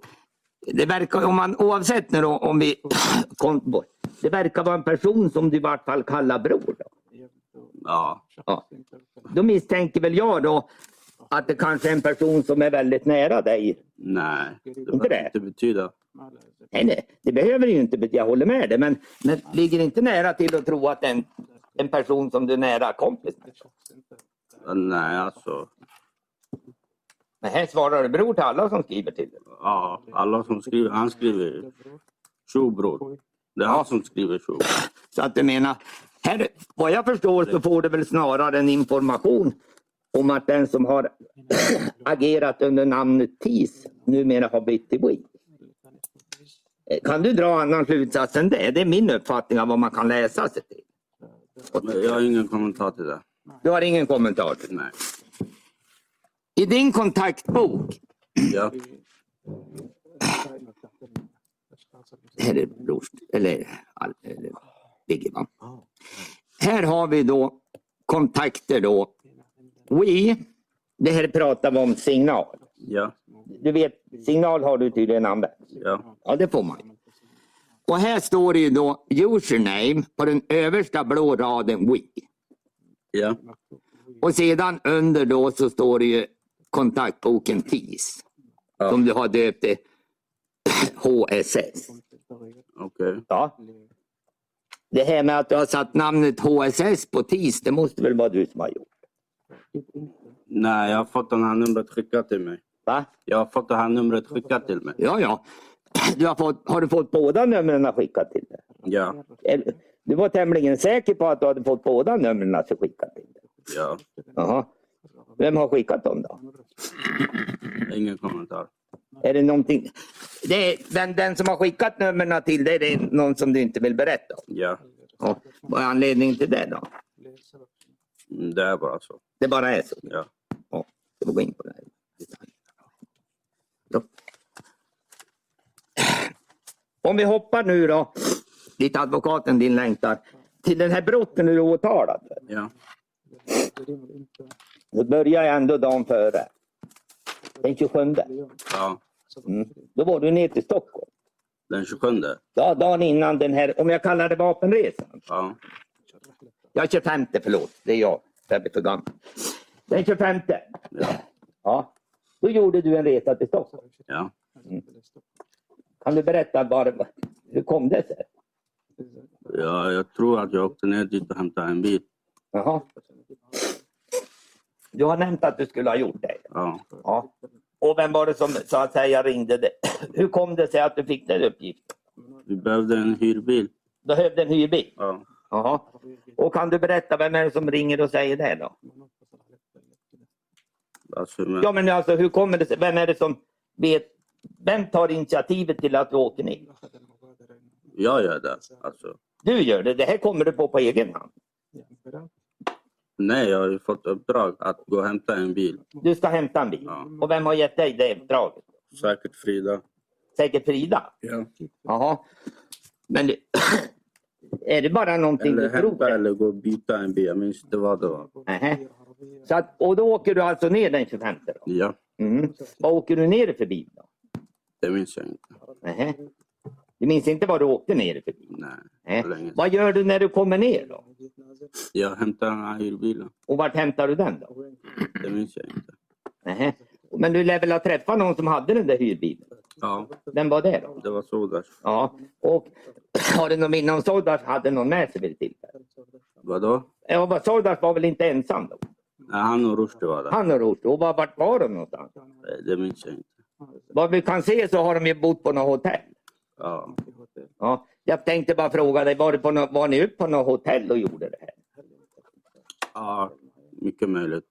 Speaker 4: Det verkar, om man, oavsett nu då, om vi kom bort. Det verkar vara en person som du i vart fall kallar bror. Då.
Speaker 2: Ja.
Speaker 4: Ja. då misstänker väl jag då att det kanske är en person som är väldigt nära dig.
Speaker 2: Nej. Det
Speaker 4: Inte det?
Speaker 2: behöver inte betyda.
Speaker 4: Nej, nej, det behöver ju inte betyda, jag håller med dig, men, men ligger inte nära till att tro att en, en person som du är nära kompis med.
Speaker 2: Nej, alltså.
Speaker 4: Men här svarar du bror till alla som skriver till dig.
Speaker 2: Ja, alla som skriver. Han skriver ju. Tjo bror. Det är han som skriver tjo.
Speaker 4: Så att du menar, här, vad jag förstår så får du väl snarare en information om att den som har agerat under namnet TIS numera har bytt till WE. Eh, Kan du dra annan slutsats än det? Det är min uppfattning av vad man kan läsa sig till.
Speaker 2: Men jag har ingen kommentar till det.
Speaker 4: Du har ingen kommentar?
Speaker 2: Nej.
Speaker 4: I din kontaktbok
Speaker 2: Ja.
Speaker 4: eller brors, eller, all- eller Biggie. Va? Här har vi då kontakter då. We, det här pratar vi om signal.
Speaker 2: Ja.
Speaker 4: Du vet, signal har du tydligen använt.
Speaker 2: Ja.
Speaker 4: Ja, det får man. ju. Och här står det ju då username på den översta blå raden We.
Speaker 2: Ja.
Speaker 4: Och sedan under då så står det ju kontaktboken TIS.
Speaker 2: Ja.
Speaker 4: Som du har döpt till HSS.
Speaker 2: Okej.
Speaker 4: Ja. Det här med att du har satt namnet HSS på TIS, det måste väl vara du som har gjort?
Speaker 2: Nej, jag har fått det här numret skickat till mig.
Speaker 4: Va?
Speaker 2: Jag har fått det här numret skickat till mig.
Speaker 4: Ja, ja. Du har, fått, har du fått båda numren skickat till dig?
Speaker 2: Ja.
Speaker 4: Eller, Eh, Du var tämligen säker på att du hade fått båda numren skickat till dig?
Speaker 2: Ja.
Speaker 4: Jaha. Vem har skickat dem då?
Speaker 2: Ingen kommentar.
Speaker 4: Är det någonting? Det är, den, den som har skickat numren till dig, det är någon som du inte vill berätta om.
Speaker 2: Ja.
Speaker 4: Och, vad är anledningen till det då?
Speaker 2: Mm, Det är bara så.
Speaker 4: Det bara är så.
Speaker 2: Ja.
Speaker 4: Ja, jag får gå in på det här. Då. Om vi hoppar nu då, dit advokaten din längtar, till den här brotten du är åtalad för.
Speaker 2: Ja.
Speaker 4: Då börjar jag ändå dagen före. Den 27.
Speaker 2: ja.
Speaker 4: Mm. Då var du ner till Stockholm.
Speaker 2: Den 27.
Speaker 4: Ja, dagen innan den här, om jag kallar det vapenresan.
Speaker 2: Ja.
Speaker 4: Ja, 25 förlåt. Det är jag. Jag blir för gammal. Den 25.
Speaker 2: Ja.
Speaker 4: Ja. Då gjorde du en resa till Stockholm.
Speaker 2: Ja.
Speaker 4: Kan du berätta bara, hur kom det sig?
Speaker 2: ja. Jag tror att jag åkte ner dit och hämtade en bil.
Speaker 4: Jaha. Du har nämnt att du skulle ha gjort det.
Speaker 2: Ja.
Speaker 4: Ja. Och vem var det som så att säga ringde dig? Hur kom det sig att du fick den uppgiften?
Speaker 2: Vi behövde en hyrbil.
Speaker 4: Du behövde en hyrbil.
Speaker 2: Ja.
Speaker 4: Jaha. Och kan du berätta vem är det som ringer och säger det då?
Speaker 2: Alltså, men,
Speaker 4: alltså, Ja men alltså hur kommer det sig? Vem är det som vet, vem tar initiativet till att vi åker ner?
Speaker 2: Jag gör det. Alltså.
Speaker 4: Du gör det. Det här kommer du på på egen hand.
Speaker 2: Nej, jag har ju fått uppdrag att gå och hämta en bil.
Speaker 4: Du ska hämta en bil.
Speaker 2: Ja.
Speaker 4: Och vem har gett dig det uppdraget?
Speaker 2: Mm. Säkert Frida.
Speaker 4: Säkert Frida?
Speaker 2: Ja.
Speaker 4: Jaha. Men det, är det bara någonting
Speaker 2: Eller
Speaker 4: du tror?
Speaker 2: hämta eller gå och byta en bil. Jag minns inte vad det var.
Speaker 4: Nähä. Så att, och då åker du alltså ner den 25? Då?
Speaker 2: Ja,
Speaker 4: Mm. Vad åker du ner för bil? Då?
Speaker 2: det minns jag inte.
Speaker 4: Nähä. Du minns inte vad du åkte ner för bil?
Speaker 2: Nej,
Speaker 4: Nej.
Speaker 2: för länge sedan.
Speaker 4: Vad gör du när du kommer ner då?
Speaker 2: Jag hämtade den här hyrbilen.
Speaker 4: Och vart hämtar du den då?
Speaker 2: Det minns jag inte.
Speaker 4: Nähä. Men du lär väl ha träffat någon som hade den där hyrbilen?
Speaker 2: Ja,
Speaker 4: Vem var det då?
Speaker 2: det var så där.
Speaker 4: Ja, och har du någon minne om Sordas hade någon med sig vid det tillfället?
Speaker 2: Vadå?
Speaker 4: Ja, vad- Sordas var väl inte ensam då?
Speaker 2: Nej, han och Rushdie var där.
Speaker 4: Han och Rushdie. Och var- vart var de någonstans?
Speaker 2: Nej, Det minns jag inte.
Speaker 4: Vad vi kan se så har de ju bott på något hotell.
Speaker 2: Ja,
Speaker 4: Ja, jag tänkte bara fråga dig, var, du på något, var ni uppe på något hotell och gjorde det här?
Speaker 2: ja mycket möjligt.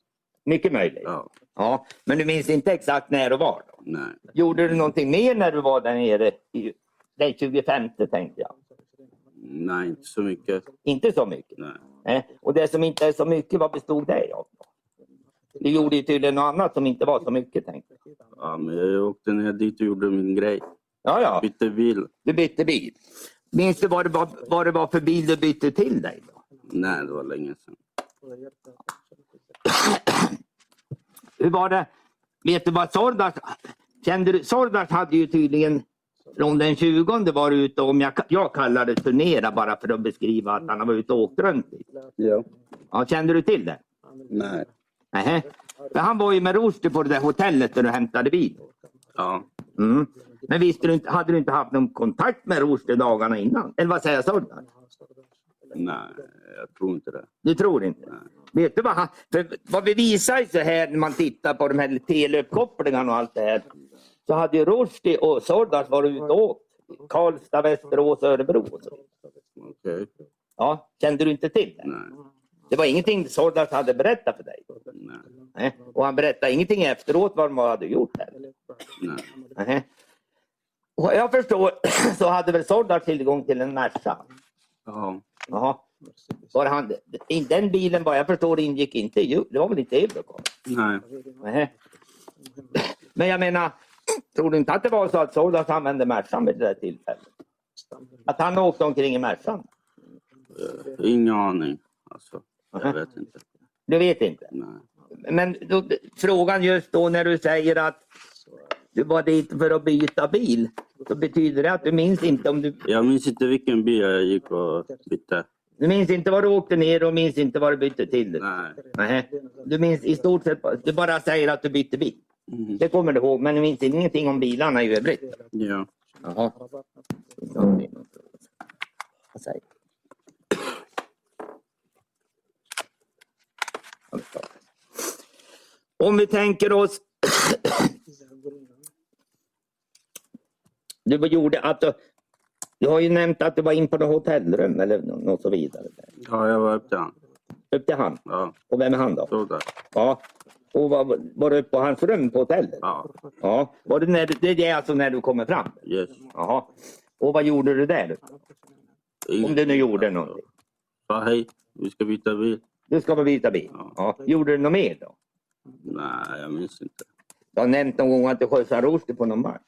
Speaker 4: Mycket möjligt. Ja.
Speaker 2: Ja,
Speaker 4: men du minns inte exakt när och var? Då.
Speaker 2: nej.
Speaker 4: Gjorde du någonting mer när du var där nere? i- Den 25 tänkte jag.
Speaker 2: Nej, inte så mycket.
Speaker 4: Inte så mycket.
Speaker 2: Nej.
Speaker 4: Nej. Och det som inte är så mycket, vad bestod det av? då? Du gjorde ju tydligen något annat som inte var så mycket. Tänkte jag.
Speaker 2: Ja, men jag åkte ner dit och gjorde min grej.
Speaker 4: Ja, ja.
Speaker 2: Bytte bil.
Speaker 4: Du bytte bil. Minns du vad det var, vad det var för bil du bytte till dig? Då?
Speaker 2: Nej, det var länge sedan.
Speaker 4: Hur var det? Vet du vad Sordas... Kände du, Sordas hade ju tydligen från den 20 var ute om jag, jag kallar det turnera bara för att beskriva att han var ute och åkt runt. lite.
Speaker 2: Ja.
Speaker 4: Ja, kände du till det?
Speaker 2: Nej.
Speaker 4: Nähä. För han var ju med Rushdie på det där hotellet där du hämtade bil.
Speaker 2: Ja.
Speaker 4: Mm. Men visste du inte, hade du inte haft någon kontakt med Rushdie dagarna innan? Eller vad säger Sordas?
Speaker 2: Nej, jag tror inte det.
Speaker 4: Du tror inte? Vet du vad, han, för vad vi visar så här när man tittar på de här teleuppkopplingarna och allt det här. Så hade ju Rushdie och Sordas varit ute och åkt. Karlstad, Västerås, Örebro. och så.
Speaker 2: Okej.
Speaker 4: Ja, kände du inte till det?
Speaker 2: Nej.
Speaker 4: Det var ingenting Sordas hade berättat för dig.
Speaker 2: Nej.
Speaker 4: Nej. Och han berättade ingenting efteråt vad de hade gjort. Här.
Speaker 2: Nej.
Speaker 4: Nej. Och vad jag förstår så hade väl Sordas tillgång till en Merca.
Speaker 2: Ja.
Speaker 4: Jaha. Var han, i den bilen vad jag förstår ingick inte i, det var väl inte Eurocar?
Speaker 2: Nej.
Speaker 4: Nej. Men jag menar, tror du inte att det var så att Solas använde Mercan vid det där tillfället? Att han åkte omkring i Mercan?
Speaker 2: eh, Ingen aning. Alltså, jag vet inte.
Speaker 4: Du vet inte.
Speaker 2: Nej.
Speaker 4: Men då, frågan just då när du säger att du var dit för att byta bil. Då betyder det att du minns inte om du...
Speaker 2: Jag minns inte vilken bil jag gick och bytte.
Speaker 4: Du minns inte var du åkte ner och minns inte vad du bytte till. dig.
Speaker 2: Nej.
Speaker 4: Nej. Du minns i stort sett... bara- Du bara säger att du bytte bil.
Speaker 2: Mm.
Speaker 4: Det kommer du ihåg, men du minns ingenting om bilarna i övrigt.
Speaker 2: Ja.
Speaker 4: Jaha. Vad säger du? Om vi tänker oss... Du gjorde att du, du har ju nämnt att du var in på något hotellrum eller nå- något så vidare.
Speaker 2: ja, jag var upp till han.
Speaker 4: Upp till han.
Speaker 2: Ja,
Speaker 4: Och vem är han då?
Speaker 2: så där.
Speaker 4: Ja. Och var, var du uppe på hans rum på hotellet?
Speaker 2: Ja.
Speaker 4: Ja. Var det, när, du- det är alltså när du kommer fram?
Speaker 2: Yes.
Speaker 4: Jaha. Och vad gjorde du där? Om du nu gjorde någonting.
Speaker 2: Sa hej. Vi ska byta bil.
Speaker 4: Du ska på byta bil.
Speaker 2: Ja.
Speaker 4: Ja. Gjorde du något mer då?
Speaker 2: Nej, jag minns inte.
Speaker 4: Du har nämnt någon gång att du skjutsade Rushdie på någon match.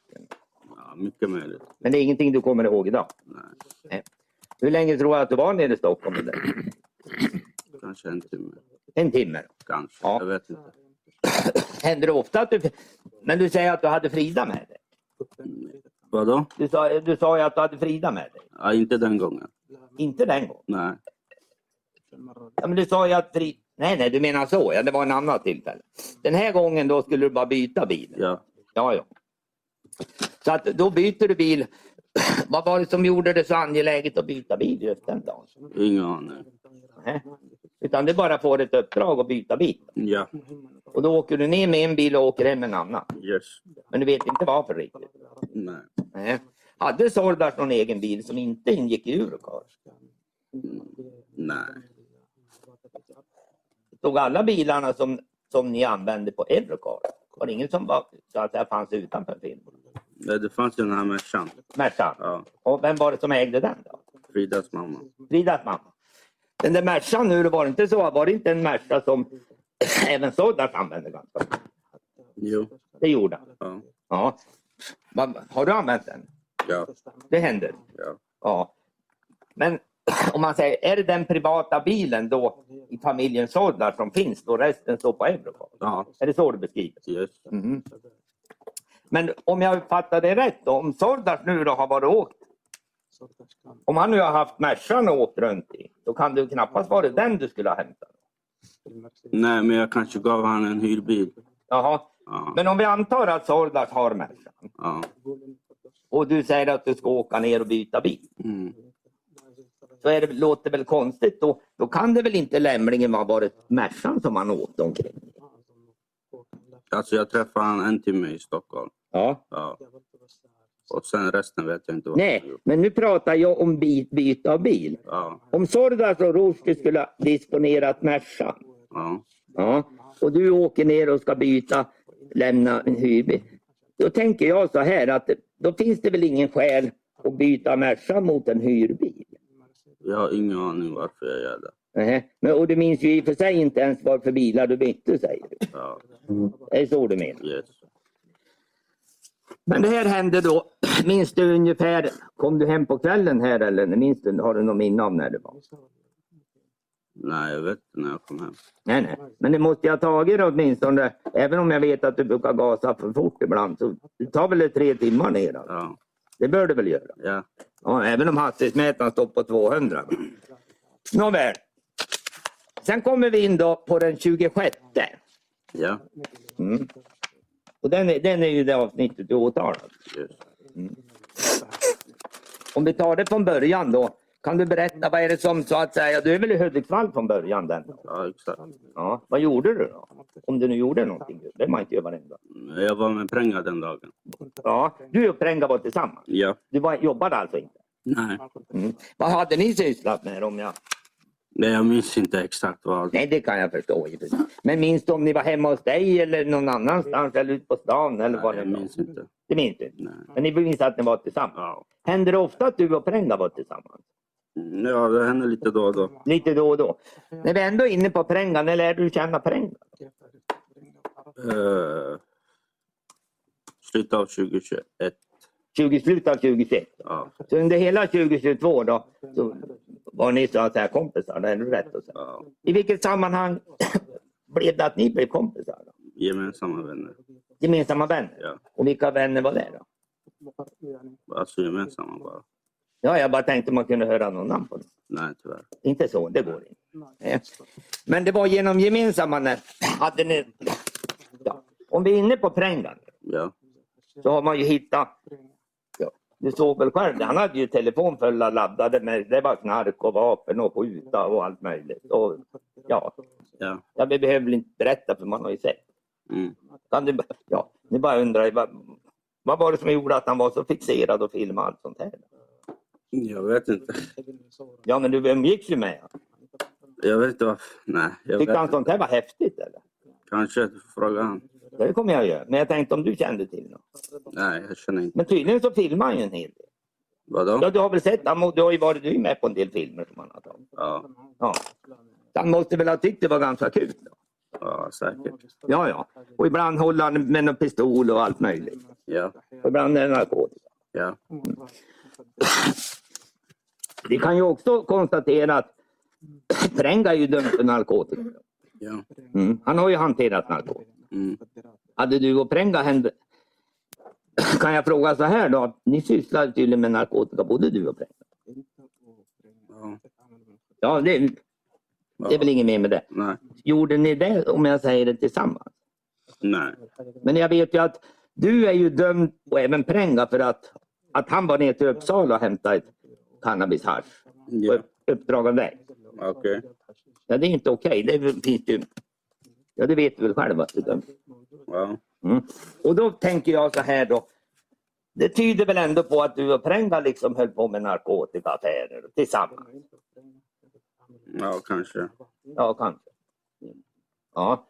Speaker 2: Ja, mycket möjligt.
Speaker 4: Men det är ingenting du kommer ihåg idag.
Speaker 2: Nej,
Speaker 4: Hur länge tror du att du var nere i Stockholm? med dig?
Speaker 2: kanske en timme.
Speaker 4: En timme.
Speaker 2: Kanske.
Speaker 4: Ja.
Speaker 2: Jag vet inte.
Speaker 4: Händer det ofta att du... Men du säger att du hade Frida med dig.
Speaker 2: Vadå?
Speaker 4: Du sa, du sa ju att du hade Frida med dig.
Speaker 2: Ja, inte den gången.
Speaker 4: Inte den gången.
Speaker 2: Nej.
Speaker 4: Ja, men du sa ju att Frida... Nej, nej, du menar så. Ja, det var en annan tillfälle. Den här gången då skulle du bara byta bil.
Speaker 2: Ja.
Speaker 4: Ja, ja. Så att då byter du bil. Vad var det som gjorde det så angeläget att byta bil just den dagen?
Speaker 2: Ingen aning.
Speaker 4: Nej. Utan du bara får ett uppdrag att byta bil.
Speaker 2: Ja.
Speaker 4: Och då åker du ner med en bil och åker hem med en annan.
Speaker 2: Yes.
Speaker 4: Men du vet inte varför riktigt.
Speaker 2: Nej.
Speaker 4: Nej. Hade Sordas någon egen bil som inte ingick i Eurocar?
Speaker 2: Nej.
Speaker 4: Stod alla bilarna som som ni använde på Eurocard? Var det ingen som var, så att det fanns utanför filmen?
Speaker 2: Nej, Det fanns ju den här människan.
Speaker 4: Mercan.
Speaker 2: Ja,
Speaker 4: Och vem var det som ägde den då?
Speaker 2: Fridas mamma.
Speaker 4: Fridas mamma. Den där Mercan nu, var det inte så? Var det inte en Merca som även Sodas använde ganska mycket?
Speaker 2: Jo.
Speaker 4: Det gjorde han.
Speaker 2: Ja.
Speaker 4: Ja. Vad- Har du använt den?
Speaker 2: Ja.
Speaker 4: Det händer.
Speaker 2: Ja.
Speaker 4: Ja. Men om man säger, är det den privata bilen då i familjen Soldar som finns då resten står på Eurocar?
Speaker 2: Ja.
Speaker 4: Är det så du beskriver?
Speaker 2: Yes.
Speaker 4: Mhm. Men om jag uppfattar det rätt då, om Soldars nu då har varit och åkt, om han nu har haft Mercan och åkt runt i, då kan det ju knappast vara den du skulle ha hämtat.
Speaker 2: Nej, men jag kanske gav han en hyrbil.
Speaker 4: Jaha,
Speaker 2: Ja.
Speaker 4: men om vi antar att Soldars har Mercan
Speaker 2: ja.
Speaker 4: och du säger att du ska åka ner och byta bil.
Speaker 2: Mm.
Speaker 4: så är det, låter det väl konstigt. Då, då kan det väl inte lämlingen ha varit Mercan som han åkte omkring i?
Speaker 2: Alltså jag träffade han en timme i Stockholm.
Speaker 4: Ja.
Speaker 2: Ja. Och sen resten vet jag inte vad han
Speaker 4: Nej,
Speaker 2: gjort.
Speaker 4: men nu pratar jag om by, byte av bil.
Speaker 2: Ja.
Speaker 4: Om Sordas och Rushdie skulle ha disponerat Mercan
Speaker 2: Ja.
Speaker 4: ja, och du åker ner och ska byta, lämna en hyrbil. Då tänker jag så här att då finns det väl ingen skäl att byta Mercan mot en hyrbil.
Speaker 2: Jag har ingen aning varför jag gör det.
Speaker 4: Nähä. Men, och du minns ju i och för sig inte ens vad för bilar du bytte säger du.
Speaker 2: Ja.
Speaker 4: Det är så du menar.
Speaker 2: Yes.
Speaker 4: Men det här hände då, minns du ungefär, kom du hem på kvällen här eller minns du, har du någon minne om när det var?
Speaker 2: Nej, jag vet inte när jag kom hem.
Speaker 4: Nej, nej. Men det måste jag ha tagit det åtminstone, även om jag vet att du brukar gasa för fort ibland, så det tar väl det tre timmar ner? då?
Speaker 2: Ja.
Speaker 4: Det bör det väl göra?
Speaker 2: Ja.
Speaker 4: Ja, även om hastighetsmätaren står på 200. Nåväl. Sen kommer vi in då på den 26.
Speaker 2: Ja.
Speaker 4: Mm. Och den är, den är ju det avsnittet du åtalar.
Speaker 2: Yes.
Speaker 4: Om vi tar det från början då. Kan du berätta, vad är det som så att säga, du är väl i Hudiksvall från början? Den.
Speaker 2: Ja, exakt.
Speaker 4: Ja. Vad gjorde du då? Om du nu gjorde någonting, det man inte gör varenda.
Speaker 2: Jag var med Pränga den dagen.
Speaker 4: Ja. Du och Prenga var tillsammans?
Speaker 2: Ja.
Speaker 4: Du var, jobbade alltså inte?
Speaker 2: Nej.
Speaker 4: Mm. Vad hade ni sysslat med? Om jag...
Speaker 2: Nej, jag minns inte exakt vad.
Speaker 4: Nej, det kan jag förstå. i och för sig. Men minns du om ni var hemma hos dig eller någon annanstans eller ute på stan? Eller
Speaker 2: Nej,
Speaker 4: vad det
Speaker 2: jag
Speaker 4: var?
Speaker 2: minns inte.
Speaker 4: Det minns du inte.
Speaker 2: Nej.
Speaker 4: Men ni minns att ni var tillsammans?
Speaker 2: Ja.
Speaker 4: Händer det ofta att du och Prenga var tillsammans?
Speaker 2: ja, det händer lite då och då.
Speaker 4: Lite då och då. När vi ändå är inne på Prenga, när lärde du känna Prenga?
Speaker 2: Uh, slutet av 2021.
Speaker 4: 20, slutet av 2021.
Speaker 2: Ja.
Speaker 4: Så under hela 2022 då, så var ni så att säga kompisar, det är det rätt att säga.
Speaker 2: ja.
Speaker 4: I vilket sammanhang blev det att ni blev kompisar? Då?
Speaker 2: Gemensamma vänner.
Speaker 4: Gemensamma vänner?
Speaker 2: Ja.
Speaker 4: Och vilka vänner var det då?
Speaker 2: Alltså gemensamma bara.
Speaker 4: Ja, jag bara tänkte man kunde höra någon namn på det.
Speaker 2: Nej, tyvärr.
Speaker 4: Inte så, det går inte. Nej. Men det var genom gemensamma när hade ni... Ja. Om vi är inne på Prängan
Speaker 2: Ja.
Speaker 4: så har man ju hittat Du såg väl själv, han hade ju telefon fulla laddade med det var knark och vapen och skjuta och allt möjligt. Och, ja,
Speaker 2: Ja.
Speaker 4: ja, vi behöver väl inte berätta för man har ju sett.
Speaker 2: Mm.
Speaker 4: Kan du, ja, nu bara undrar jag, vad, vad var det som gjorde att han var så fixerad och filma allt sånt här?
Speaker 2: Jag vet inte.
Speaker 4: Ja, men du umgicks ju med honom.
Speaker 2: Jag vet inte varför. Nej, jag
Speaker 4: Tyckte han
Speaker 2: vet
Speaker 4: sånt här var häftigt eller?
Speaker 2: Kanske fråga han.
Speaker 4: Ja, det kommer jag att göra. Men jag tänkte om du kände till något.
Speaker 2: Nej, jag känner inte.
Speaker 4: Men tydligen så filmar han ju en hel del. Ja,
Speaker 2: Vadå?
Speaker 4: du har väl sett, han må- du har ju varit du är med på en del filmer som han har tagit.
Speaker 2: Ja,
Speaker 4: Ja. Han måste väl ha tyckt det var ganska kul. Då.
Speaker 2: ja säkert.
Speaker 4: Ja, ja. Och ibland håller han med en pistol och allt möjligt.
Speaker 2: Ja,
Speaker 4: Och ibland är det narkotika.
Speaker 2: ja,
Speaker 4: Vi kan ju också konstatera att Prenga är ju dömd för narkotika.
Speaker 2: ja.
Speaker 4: Mm. Han har ju hanterat narkotika.
Speaker 2: Mm.
Speaker 4: Hade du och Prenga hänt... Kan jag fråga så här då? Ni sysslar tydligen med narkotika, både du och Prenga.
Speaker 2: Ja.
Speaker 4: Ja, det, det är väl
Speaker 2: ja.
Speaker 4: inget mer med det.
Speaker 2: Nej,
Speaker 4: Gjorde ni det, om jag säger det tillsammans?
Speaker 2: nej.
Speaker 4: Men jag vet ju att du är ju dömd och även Prenga för att, att han var ner till Uppsala och hämtade ett cannabishasch på
Speaker 2: Ja,
Speaker 4: upp- uppdrag av dig.
Speaker 2: Mm. okej.
Speaker 4: Ja, det är inte okej. Det finns ju... Ja, det vet du väl själv att du är dömd.
Speaker 2: Ja,
Speaker 4: Mm. Och då tänker jag så här då. Det tyder väl ändå på att du och Prenga liksom höll på med narkotikaaffärer tillsammans.
Speaker 2: ja, kanske.
Speaker 4: Ja, kanske. Ja.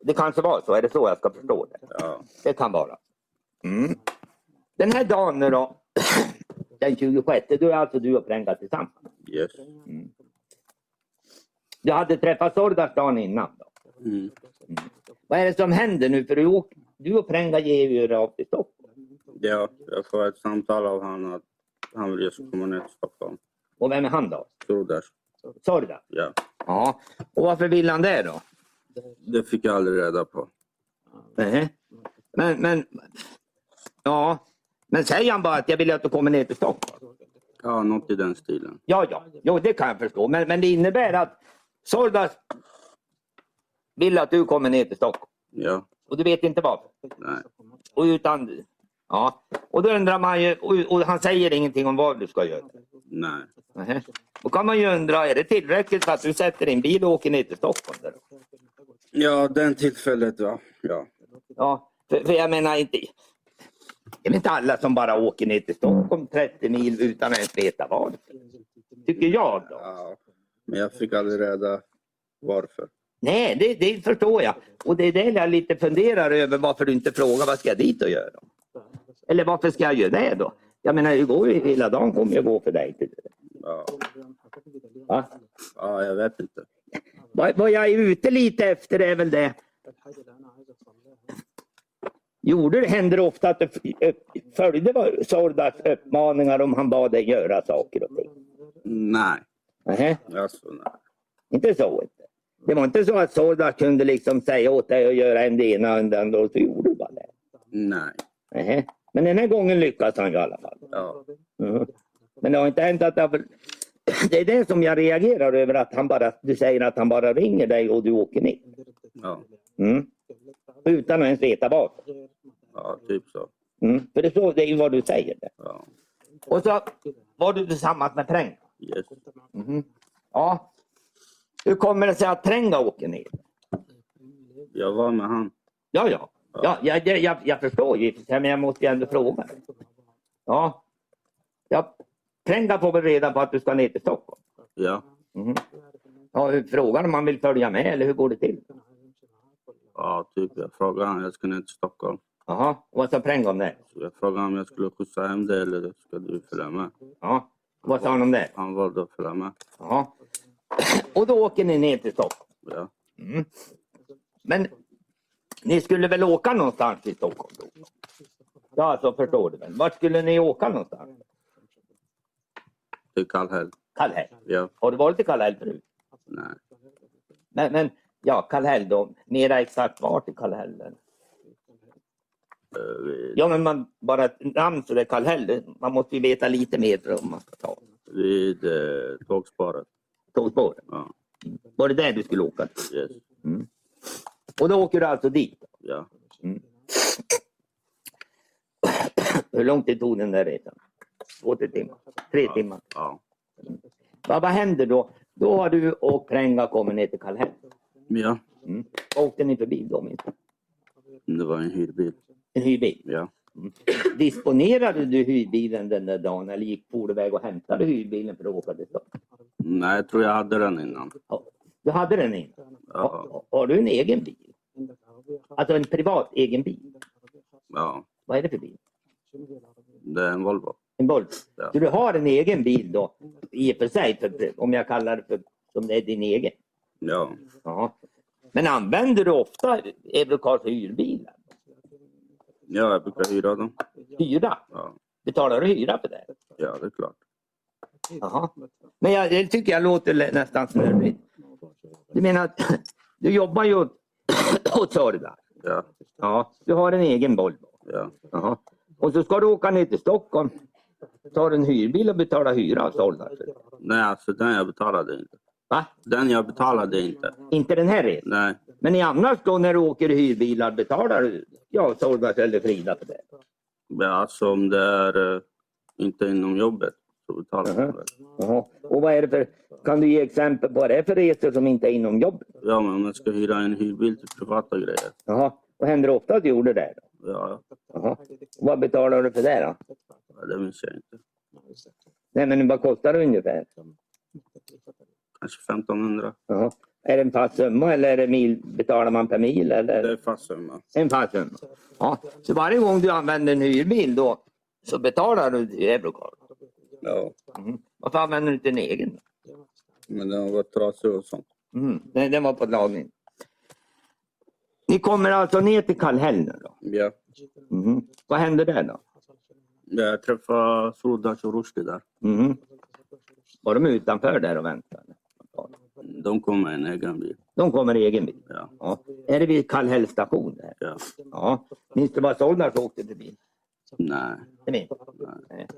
Speaker 4: Det kanske var så. Är det så jag ska förstå det?
Speaker 2: Ja.
Speaker 4: Det kan vara.
Speaker 6: Mm.
Speaker 4: Den här dagen nu då, den 26, då är alltså du och Prenga tillsammans.
Speaker 2: Yes.
Speaker 4: Du hade träffat Sordas dagen innan. Då.
Speaker 2: Mm.
Speaker 4: Vad är det som händer nu? För du, åk- du och Prenga ger ju er av till Stockholm.
Speaker 2: Ja, jag får ett samtal av honom att han vill jag ska komma ner till Stockholm.
Speaker 4: Och vem är han då?
Speaker 2: Sordar.
Speaker 4: Sorda?
Speaker 2: Ja.
Speaker 4: Ja. Och varför vill han det då?
Speaker 2: Det fick jag aldrig reda på.
Speaker 4: Nej. Men, men, ja. Men säger han bara att jag vill att du kommer ner till Stockholm?
Speaker 2: Ja, något i den stilen.
Speaker 4: Ja, ja. Jo, det kan jag förstå. Men, men det innebär att Sordas vill att du kommer ner till Stockholm.
Speaker 2: Ja,
Speaker 4: Och du vet inte varför?
Speaker 2: nej.
Speaker 4: Och utan... Ja. Och då undrar man ju, och, och han säger ingenting om vad du ska göra.
Speaker 2: Nej.
Speaker 4: Nähä. Då kan man ju undra, är det tillräckligt för att du sätter din bil och åker ner till Stockholm? Där?
Speaker 2: Ja, den tillfället ja. ja.
Speaker 4: Ja, för, för jag menar inte... Det är väl inte alla som bara åker ner till Stockholm 30 mil utan att ens veta vad. Tycker jag då.
Speaker 2: ja. Men jag fick aldrig reda varför.
Speaker 4: Nej, det, det förstår jag. Och det är det jag lite funderar över varför du inte frågar vad ska jag dit och göra? Eller varför ska jag göra det då? Jag menar, det går ju, hela dagen kommer jag gå för dig. till-
Speaker 2: Ja,
Speaker 4: Va?
Speaker 2: ja jag vet inte.
Speaker 4: Vad, vad jag är ute lite efter är väl det. Gjorde det, händer det ofta att du f- ö- följde vad- Sordas uppmaningar om han bad dig göra saker och ting?
Speaker 2: Nej,
Speaker 4: Nähä,
Speaker 2: alltså nej.
Speaker 4: inte så. Inte. Det var inte så att Sordas kunde liksom säga åt dig att göra en det ena och en det andra och så gjorde du bara det.
Speaker 2: Nej.
Speaker 4: Nähä. Men den här gången lyckas han ju i alla fall.
Speaker 2: Ja.
Speaker 4: Mhm. Men det har inte hänt att det har... Det är det som jag reagerar över att han bara, du säger att han bara ringer dig och du åker ner.
Speaker 2: Ja.
Speaker 4: Mm. Utan att ens veta varför.
Speaker 2: ja, typ så.
Speaker 4: Mm. För det, är så, det är ju vad du säger. där.
Speaker 2: Ja.
Speaker 4: Och så Mhm. var du tillsammans med Pränga.
Speaker 2: Yes.
Speaker 4: Ja. Hur kommer det sig att Pränga åker ner?
Speaker 2: Jag var med han.
Speaker 4: Ja, ja. ja jag, jag, jag, jag förstår ju, i och för sig, men jag måste ju ändå fråga. Ja. ja. Pränga får väl reda på att du ska ner till Stockholm.
Speaker 2: Ja.
Speaker 4: Mhm. Ja, hur- frågan om han vill följa med eller hur går det till?
Speaker 2: ja, typ. Jag frågade han. Jag ska ner till Stockholm.
Speaker 4: Jaha, och vad sa Pränga om det?
Speaker 2: Så jag frågade om jag skulle skjutsa hem dig eller ska du följa med?
Speaker 4: Ja. Vad sa han om det?
Speaker 2: Han valde att följa med.
Speaker 4: Jaha. Och då åker ni ner till Stockholm.
Speaker 2: Ja.
Speaker 4: Mm. Men ni skulle väl åka någonstans i Stockholm? Då? Ja, alltså förstår du väl. Vart skulle ni åka någonstans?
Speaker 2: Till Kallhäll.
Speaker 4: Kallhäll.
Speaker 2: Ja.
Speaker 4: Har du varit i Kallhäll förut?
Speaker 2: Nej.
Speaker 4: Men, men ja, Kallhäll då. Mera exakt vart i Kallhäll? eller?
Speaker 2: Eh, Vi,
Speaker 4: Ja, men man, bara ett namn så det är Kallhäll. det- Man måste ju veta lite mer för om man ska ta
Speaker 2: vid eh, tågsparet.
Speaker 4: tågspåren.
Speaker 2: Ja.
Speaker 4: Var det där du skulle åka? Mm.
Speaker 2: Yes.
Speaker 4: Och då åker du alltså dit.
Speaker 2: Ja.
Speaker 4: Mm. Hur lång tid tog den där resan? Två, tre timmar? Tre timmar?
Speaker 2: ja.
Speaker 4: Va, vad händer då? Då har du och Pränga kommit ner till Kallhäll.
Speaker 2: Ja.
Speaker 4: Vad åkte ni förbi då minst?
Speaker 2: Mm. Det var en hyrbil.
Speaker 4: En hyrbil. Mm.
Speaker 2: Ja.
Speaker 4: Disponerade du hyrbilen den där dagen eller gick for du iväg och hämtade hyrbilen för att åka till stan?
Speaker 2: Nej, jag tror jag hade den innan.
Speaker 4: Ja. Du hade den innan.
Speaker 2: Ja.
Speaker 4: Har, har du en egen bil? Alltså en privat egen bil?
Speaker 2: ja.
Speaker 4: Vad är det för bil?
Speaker 2: Det är en Volvo.
Speaker 4: En Volvo.
Speaker 2: Ja.
Speaker 4: Så du har en egen bil då i och för sig, för, om jag kallar det för som det är din egen.
Speaker 2: Ja.
Speaker 4: Ja. Men använder du ofta Eurocars hyrbilar?
Speaker 2: Ja, jag brukar hyra dem.
Speaker 4: Hyra?
Speaker 2: Ja.
Speaker 4: Betalar du hyra för det?
Speaker 2: Ja, det är klart.
Speaker 4: Jaha. Men jag, det tycker jag låter lä- nästan snurrigt. Du menar att du jobbar ju åt, åt Sörda.
Speaker 2: Ja.
Speaker 4: Ja. Du har en egen Volvo.
Speaker 2: Ja.
Speaker 4: Jaha. Och så ska du åka ner till Stockholm. Tar en hyrbil och betalar hyra av Sörda.
Speaker 2: Nej, alltså den jag betalade inte.
Speaker 4: Va?
Speaker 2: Den jag betalade inte.
Speaker 4: Inte den här resan.
Speaker 2: Nej.
Speaker 4: Men i annars då när du åker i hyrbilar betalar du ja, Sörda eller Frida för det?
Speaker 2: Men alltså om det är eh, inte inom jobbet så betalar
Speaker 4: Mhm.
Speaker 2: man väl.
Speaker 4: Jaha. Och vad är det för, kan du ge exempel på vad det är för resor som inte är inom jobbet?
Speaker 2: Ja, men om jag ska hyra en hyrbil till privata grejer.
Speaker 4: Jaha. Och händer det ofta att du gjorde det? Då?
Speaker 2: Ja,
Speaker 4: Jaha. Och vad betalar du för det då?
Speaker 2: det minns jag inte.
Speaker 4: Nej men vad kostar det ungefär?
Speaker 2: Kanske 1500.
Speaker 4: Jaha. Är det en fast summa eller är det mil, betalar man per mil? Eller?
Speaker 2: Det är fast summa.
Speaker 4: En fast summa. Ja. Så varje gång du använder en hyrbil då så betalar du Eurocard.
Speaker 2: Ja,
Speaker 4: Varför använder du inte en egen?
Speaker 2: men den har varit trasig och sånt.
Speaker 4: Mm. Den, den var på lagning. Ni kommer alltså ner till Kallhäll nu då?
Speaker 2: Ja.
Speaker 4: Mhm. Vad händer där då?
Speaker 2: Jag träffade Sodac och Rushdie där.
Speaker 4: Mhm. Var de utanför där och väntade?
Speaker 2: De kom med en egen bil.
Speaker 4: De kommer i egen bil?
Speaker 2: Ja.
Speaker 4: Ja. Är det vid Kallhäll station? Där?
Speaker 2: ja.
Speaker 4: Ja. Minns du vad Soldat åkte förbi?
Speaker 2: Nej.
Speaker 4: Det minns du? Nej.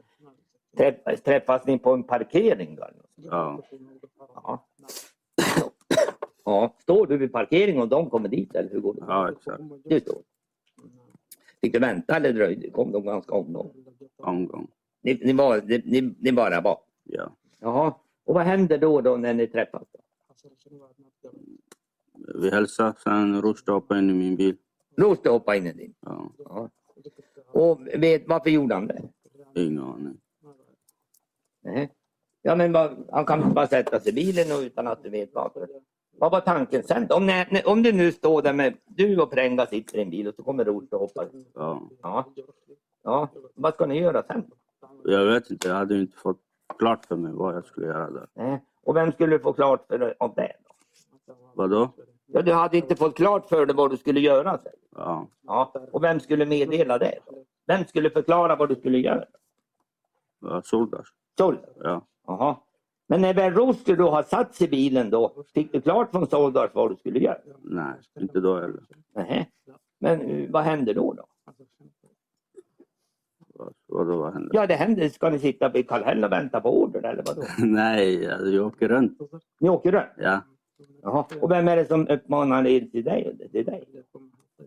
Speaker 4: Träff- Träffas ni på en parkering? Då? eller något?
Speaker 2: Ja.
Speaker 4: Ja. ja. Står du vid parkeringen och de kommer dit eller hur går det?
Speaker 2: ja, exakt.
Speaker 4: Du står. Fick du vänta eller dröjde? Kom de ganska omgång?
Speaker 2: Omgång.
Speaker 4: Ni, ni, var, ni- ni, ni bara var?
Speaker 2: Ja.
Speaker 4: Jaha. Och vad händer då, då när ni träffas? Då?
Speaker 2: Vi hälsade, sen Rushdie hoppade in i min bil.
Speaker 4: Roste hoppade in i din.
Speaker 2: Ja.
Speaker 4: Ja. Och vet, varför gjorde han det?
Speaker 2: Ingen aning.
Speaker 4: Nej. Ja, men vad- han kan bara sätta sig i bilen och utan att du vet varför. Vad var tanken sen? Om, ni, om du nu står där med du och Prenga sitter i en bil och så kommer Roth och hoppar.
Speaker 2: Ja.
Speaker 4: Ja. ja. Vad ska ni göra sen?
Speaker 2: Jag vet inte, jag hade inte fått klart för mig vad jag skulle göra där.
Speaker 4: Nej. Och vem skulle du få klart för dig av det? Då?
Speaker 2: Vadå?
Speaker 4: Ja, du hade inte fått klart för dig vad du skulle göra. Sen.
Speaker 2: Ja.
Speaker 4: Ja. Och vem skulle meddela det? Då? Vem skulle förklara vad du skulle göra?
Speaker 2: ja Sodac.
Speaker 4: Soldat?
Speaker 2: Ja.
Speaker 4: Jaha. Men när väl Roster då har satt sig i bilen då, fick du klart från Soldat vad du skulle göra?
Speaker 2: Nej, inte då heller.
Speaker 4: Nähä. Men eh, vad händer då? då?
Speaker 2: Vad- Vadå, vad hände?
Speaker 4: Ja, det händer. Ska ni sitta vid Kallhäll och vänta på order eller vadå?
Speaker 2: Nej, alltså, jag åker runt.
Speaker 4: Ni åker runt?
Speaker 2: Ja.
Speaker 4: Jaha. Och vem är det som uppmanar er till dig? Till dig?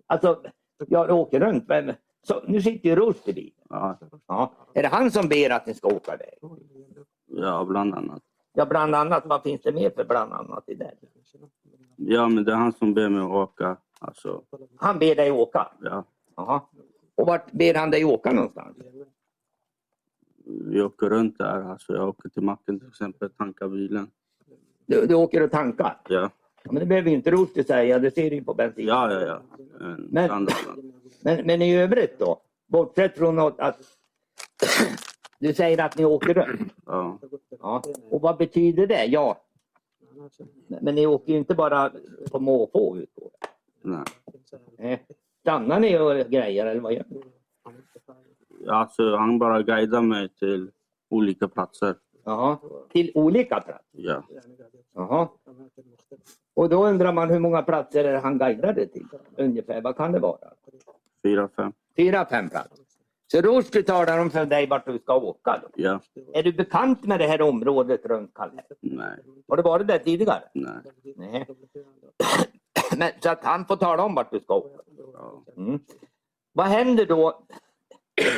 Speaker 4: Alltså, jag åker runt. Men, så, nu sitter ju Rost i bilen.
Speaker 2: Ja.
Speaker 4: Ja. Är det han som ber att ni ska åka iväg?
Speaker 2: ja, bland annat.
Speaker 4: Ja, bland annat. Vad finns det mer för bland annat i det?
Speaker 2: Ja, men det är han som ber mig att åka. Alltså,
Speaker 4: Han ber dig åka?
Speaker 2: ja.
Speaker 4: Jaha. Och vart ber han dig åka någonstans?
Speaker 2: Vi åker runt där. Alltså, jag åker till macken till exempel, tankar bilen.
Speaker 4: Du, du åker och tankar?
Speaker 2: Ja,
Speaker 4: Ja, Men det behöver ju inte Roster säga, det ser du ju på bensin.
Speaker 2: ja, ja. ja. En
Speaker 4: Men-
Speaker 2: standard.
Speaker 4: Men, men i övrigt då? Bortsett från att, att du säger att ni åker runt.
Speaker 2: Ja.
Speaker 4: Ja. Och vad betyder det? Ja, men ni åker ju inte bara på måfå ut då?
Speaker 2: Nej.
Speaker 4: Eh, Stannar ni och grejer eller vad gör ni?
Speaker 2: Alltså, han bara guidar mig till olika platser.
Speaker 4: Jaha. Till olika platser?
Speaker 2: Ja.
Speaker 4: Jaha. Och då undrar man hur många platser är det han guidade till? Ungefär, vad kan det vara?
Speaker 2: Fyra, fem.
Speaker 4: Fyra, fem platser. Så Roster talar om för dig vart du ska åka då?
Speaker 2: Ja.
Speaker 4: Är du bekant med det här området runt Kallhäll?
Speaker 2: Nej.
Speaker 4: Har du varit där tidigare?
Speaker 2: Nej.
Speaker 4: Nej. Men, så att han får tala om vart du ska åka.
Speaker 2: Ja.
Speaker 4: Mm. Vad händer då?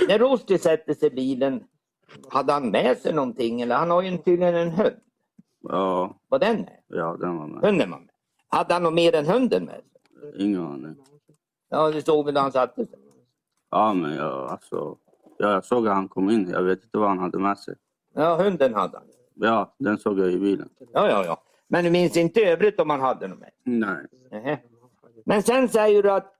Speaker 4: När Rosti sätter sig i bilen, hade han med sig någonting? Eller han har ju tydligen en hund.
Speaker 2: Ja.
Speaker 4: Vad den är?
Speaker 2: Ja, den var med.
Speaker 4: Hunden var med. Hade han något mer än hunden med sig?
Speaker 2: Ingen aning.
Speaker 4: Ja, du såg väl när han satte sig?
Speaker 2: Ja, men jag, alltså, ja, jag såg att han kom in. Jag vet inte vad han hade med sig.
Speaker 4: Ja, hunden hade han.
Speaker 2: Ja, den såg jag i bilen.
Speaker 4: Ja, ja, ja. Men du minns inte i övrigt om han hade något med?
Speaker 2: Nej.
Speaker 4: Nähä. Men sen säger du att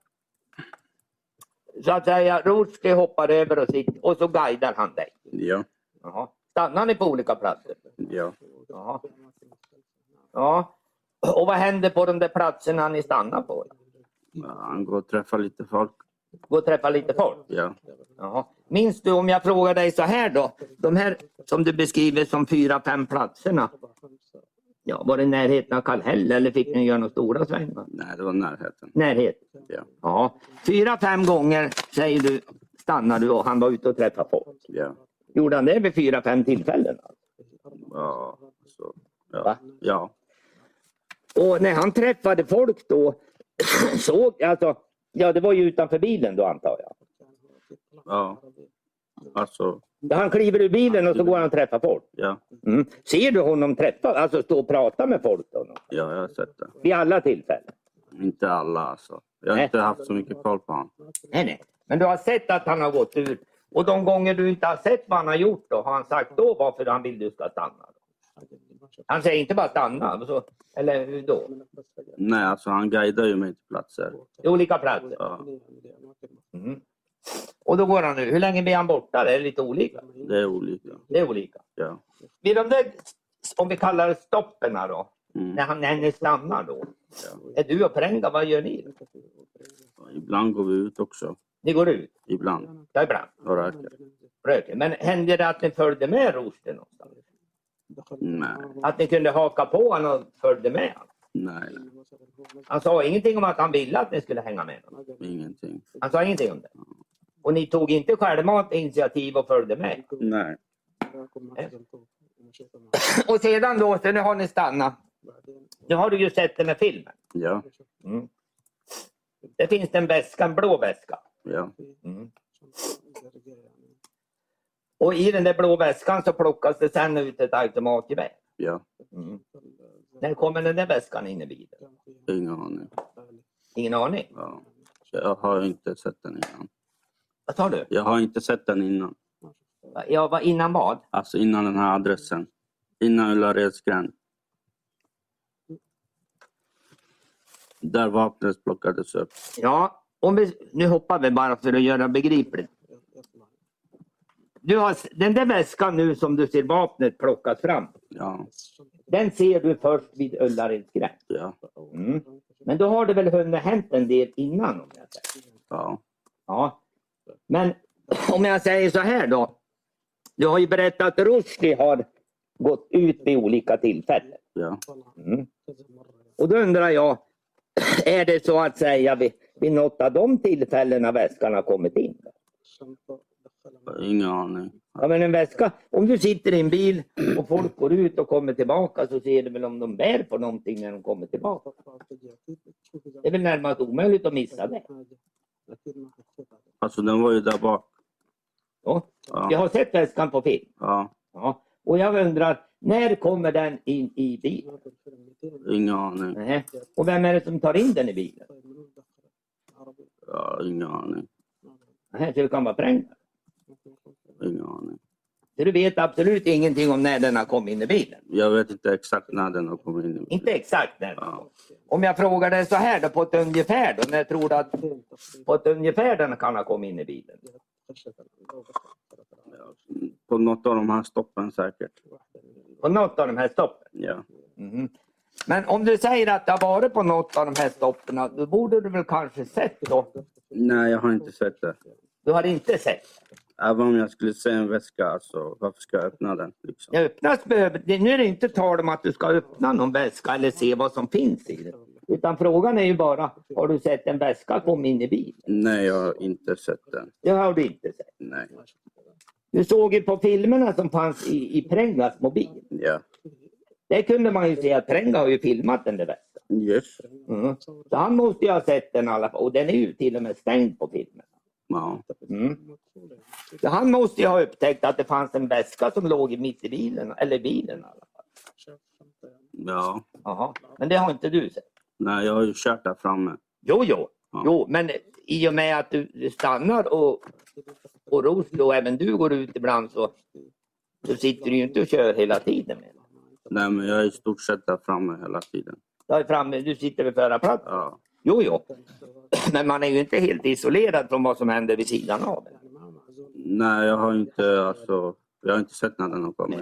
Speaker 4: så att säga, Rosti hoppar över och sitter och så guidar han dig.
Speaker 2: Ja.
Speaker 4: Jaha. Stannar ni på olika platser?
Speaker 2: Ja.
Speaker 4: Jaha. Ja. Och vad händer på de där platserna ni stannar på?
Speaker 2: Ja, Han går och träffar lite folk.
Speaker 4: Gå och träffa lite folk?
Speaker 2: Ja.
Speaker 4: Jaha. Minns du om jag frågar dig så här då? De här som du beskriver som fyra, fem platserna. Ja, var det närheten av Kallhäll eller fick ni göra några stora svängar?
Speaker 2: Nej, det var närheten.
Speaker 4: Närhet.
Speaker 2: Ja.
Speaker 4: Ja. Fyra, fem gånger säger du stannar du och han var ute och träffade folk.
Speaker 2: Ja.
Speaker 4: Gjorde han det vid fyra, fem tillfällen?
Speaker 2: Ja. Så.
Speaker 4: Va?
Speaker 2: Alltså, Ja. ja.
Speaker 4: Och när han träffade folk då såg, alltså, ja det var ju utanför bilen då antar jag.
Speaker 2: Ja. Alltså,
Speaker 4: Ja, Han kliver ur bilen och så går han och träffar folk.
Speaker 2: ja.
Speaker 4: Mm. Ser du honom träffa, alltså stå och prata med folk då? nå?
Speaker 2: Ja, jag har sett det.
Speaker 4: Vid alla tillfällen?
Speaker 2: Inte alla alltså. Jag har
Speaker 4: Nej.
Speaker 2: inte haft så mycket koll på honom.
Speaker 4: Nej, nej. Men du har sett att han har gått ur. Och de gånger du inte har sett vad han har gjort då, har han sagt då varför han vill du ska stanna? Han säger inte bara stanna. Så, eller hur då?
Speaker 2: Nej, alltså han guidar ju mig till platser.
Speaker 4: Det är olika platser.
Speaker 2: Ja,
Speaker 4: Mm. Och då går han nu. Hur länge blir han borta? Det är lite olika.
Speaker 2: det är olika.
Speaker 4: Det är olika.
Speaker 2: Ja.
Speaker 4: Vid de där, om vi kallar det stoppen här då.
Speaker 2: Mm.
Speaker 4: När, han, när ni stannar då.
Speaker 2: Ja.
Speaker 4: Är du och Prenga, vad gör ni?
Speaker 2: Ibland går vi ut också.
Speaker 4: Ni går ut?
Speaker 2: Ibland.
Speaker 4: Ja, ibland.
Speaker 2: Och röker.
Speaker 4: Röker. Men hände det att ni följde med Rosten någonstans?
Speaker 2: Nej.
Speaker 4: Att ni kunde haka på honom och följde med honom?
Speaker 2: Nej,
Speaker 4: Han sa ingenting om att han ville att ni skulle hänga med honom.
Speaker 2: ingenting.
Speaker 4: Han sa ingenting om det. Och ni tog inte självmant initiativ och följde med.
Speaker 2: Nej.
Speaker 4: Och sedan då, så nu har ni stannat. Nu har du ju sett det med filmen. Mm.
Speaker 2: Ja,
Speaker 4: Det finns en väska, en blå väska. Mm.
Speaker 2: ja,
Speaker 4: Och i den där blå väskan så plockas det sen ut ett automatgevär. Mm.
Speaker 2: ja.
Speaker 4: När kommer den där väskan in i bilen?
Speaker 2: Ingen aning.
Speaker 4: Ingen aning.
Speaker 2: Ja. Jag har inte sett den innan.
Speaker 4: Vad sa du?
Speaker 2: Jag har inte sett den innan.
Speaker 4: Ja, vad innan vad?
Speaker 2: Alltså innan den här adressen. Innan Ullareds gränd. Där vapnet plockades upp.
Speaker 4: Ja, om vi, nu hoppar vi bara för att göra begripligt. Du har, s- den där väskan nu som du ser vapnet plockas fram.
Speaker 2: Ja,
Speaker 4: Den ser du först vid Ullareds gräns.
Speaker 2: ja,
Speaker 4: Mm. Men då har det väl hunnit hänt en del innan? Om jag säger.
Speaker 2: ja,
Speaker 4: Ja. Men om jag säger så här då. Du har ju berättat att Rushdie har gått ut vid olika tillfällen.
Speaker 2: ja.
Speaker 4: Mm. Och då undrar jag, är det så att säga vid, vid något av de tillfällena väskan har kommit in?
Speaker 2: Ingen aning.
Speaker 4: Ja, men en väska, om du sitter i en bil och folk går ut och kommer tillbaka så ser du väl om de bär på någonting när de kommer tillbaka. Det är väl närmast omöjligt att missa det.
Speaker 2: Alltså den var ju där bak.
Speaker 4: Ja. Jag
Speaker 2: Ja,
Speaker 4: har sett väskan på film.
Speaker 2: ja.
Speaker 4: Ja. Och jag undrar, när kommer den in i bilen?
Speaker 2: ingen aning.
Speaker 4: Nähä. Och vem är det som tar in den i bilen?
Speaker 2: Ja, ingen aning.
Speaker 4: Nähä, så det kan vara pengar.
Speaker 2: Ingen aning.
Speaker 4: Så du vet absolut ingenting om när den har kommit in i bilen.
Speaker 2: Jag vet inte exakt när den har kommit in. i bilden.
Speaker 4: Inte exakt när.
Speaker 2: Ja.
Speaker 4: Om jag frågar dig så här då på ett ungefär då, när tror du att på ett ungefär den kan ha kommit in i bilen?
Speaker 2: På något av de här stoppen säkert.
Speaker 4: På något av de här stoppen?
Speaker 2: Ja,
Speaker 4: Mhm. Men om du säger att det har varit på något av de här stoppen, då borde du väl kanske sett då?
Speaker 2: nej jag har inte sett det.
Speaker 4: Du har inte sett?
Speaker 2: Även om jag skulle se en väska, alltså, varför ska jag öppna den? Liksom?
Speaker 4: Det öppnas behöver, det- nu är det inte tal om att du ska öppna någon väska eller se vad som finns i den. Utan frågan är ju bara, har du sett en väska komma in i bilen?
Speaker 2: Nej, jag har inte sett den.
Speaker 4: Det har du inte sett.
Speaker 2: Nej.
Speaker 4: Du såg ju på filmerna som fanns i, i Prengas mobil.
Speaker 2: Ja.
Speaker 4: Där kunde man ju se att Prenga har ju filmat den där väskan.
Speaker 2: Yes.
Speaker 4: Mm. Så han måste ju ha sett den i alla fall. Och den är ju till och med stängd på filmen.
Speaker 2: Ja.
Speaker 4: Mm. Så han måste ju ha upptäckt att det fanns en väska som låg i mitt i bilen, eller i bilen i alla fall.
Speaker 2: ja.
Speaker 4: Jaha. Men det har inte du sett?
Speaker 2: Nej, jag har ju kört där framme.
Speaker 4: Jo, jo.
Speaker 2: Ja.
Speaker 4: Jo, men i och med att du du stannar och, och Roslo och även du går ut ibland så, så sitter du ju inte och kör hela tiden. Med. den.
Speaker 2: Nej, men jag är i stort sett där framme hela tiden.
Speaker 4: Du, är framme, du sitter vid förarplatsen.
Speaker 2: Ja.
Speaker 4: Jo, jo. Men man är ju inte helt isolerad från vad som händer vid sidan av. en.
Speaker 2: Nej, jag har inte, alltså, jag har inte sett när den har kommit.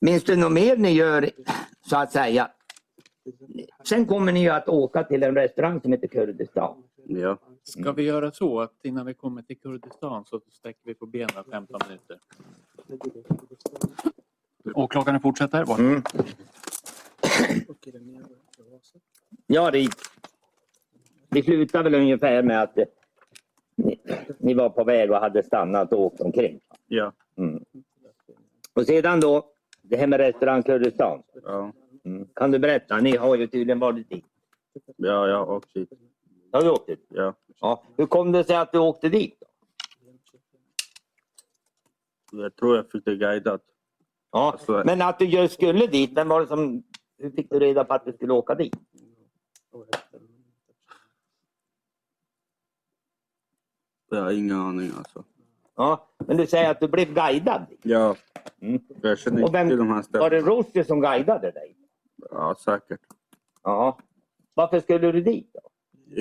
Speaker 4: Minns du något mer ni gör, så att säga? Sen kommer ni ju att åka till en restaurang som heter Kurdistan.
Speaker 2: Ja.
Speaker 1: Ska vi göra så att innan vi kommer till Kurdistan så sträcker vi på benen 15 minuter? Åklagaren fortsätter. Var-
Speaker 4: Mm. Ja, det Vi slutade väl ungefär med att eh, ni, ni var på väg och hade stannat och åkt omkring.
Speaker 2: Ja.
Speaker 4: Mm. Och sedan då, det här med restaurang Kurdistan.
Speaker 2: Ja.
Speaker 4: Mm. Kan du berätta? Ni har ju tydligen varit dit.
Speaker 2: Ja, jag har åkt dit.
Speaker 4: Har du åkt dit?
Speaker 2: Ja.
Speaker 4: Ja. Hur kom det sig att du åkte dit? Då?
Speaker 2: Jag tror jag fick det guidat.
Speaker 4: Ja.
Speaker 2: Alltså,
Speaker 4: Men att du just skulle dit, vem var det som... Hur fick du reda på att du skulle åka dit?
Speaker 2: jag har ingen aning alltså.
Speaker 4: Ja. Men du säger att du blev guidad. dit.
Speaker 2: Ja.
Speaker 4: Mm.
Speaker 2: Jag känner
Speaker 4: Och vem-
Speaker 2: inte till de här
Speaker 4: Var
Speaker 2: ställena.
Speaker 4: det Rushdie som guidade dig?
Speaker 2: Ja, säkert.
Speaker 4: Ja. Varför skulle du dit? Då?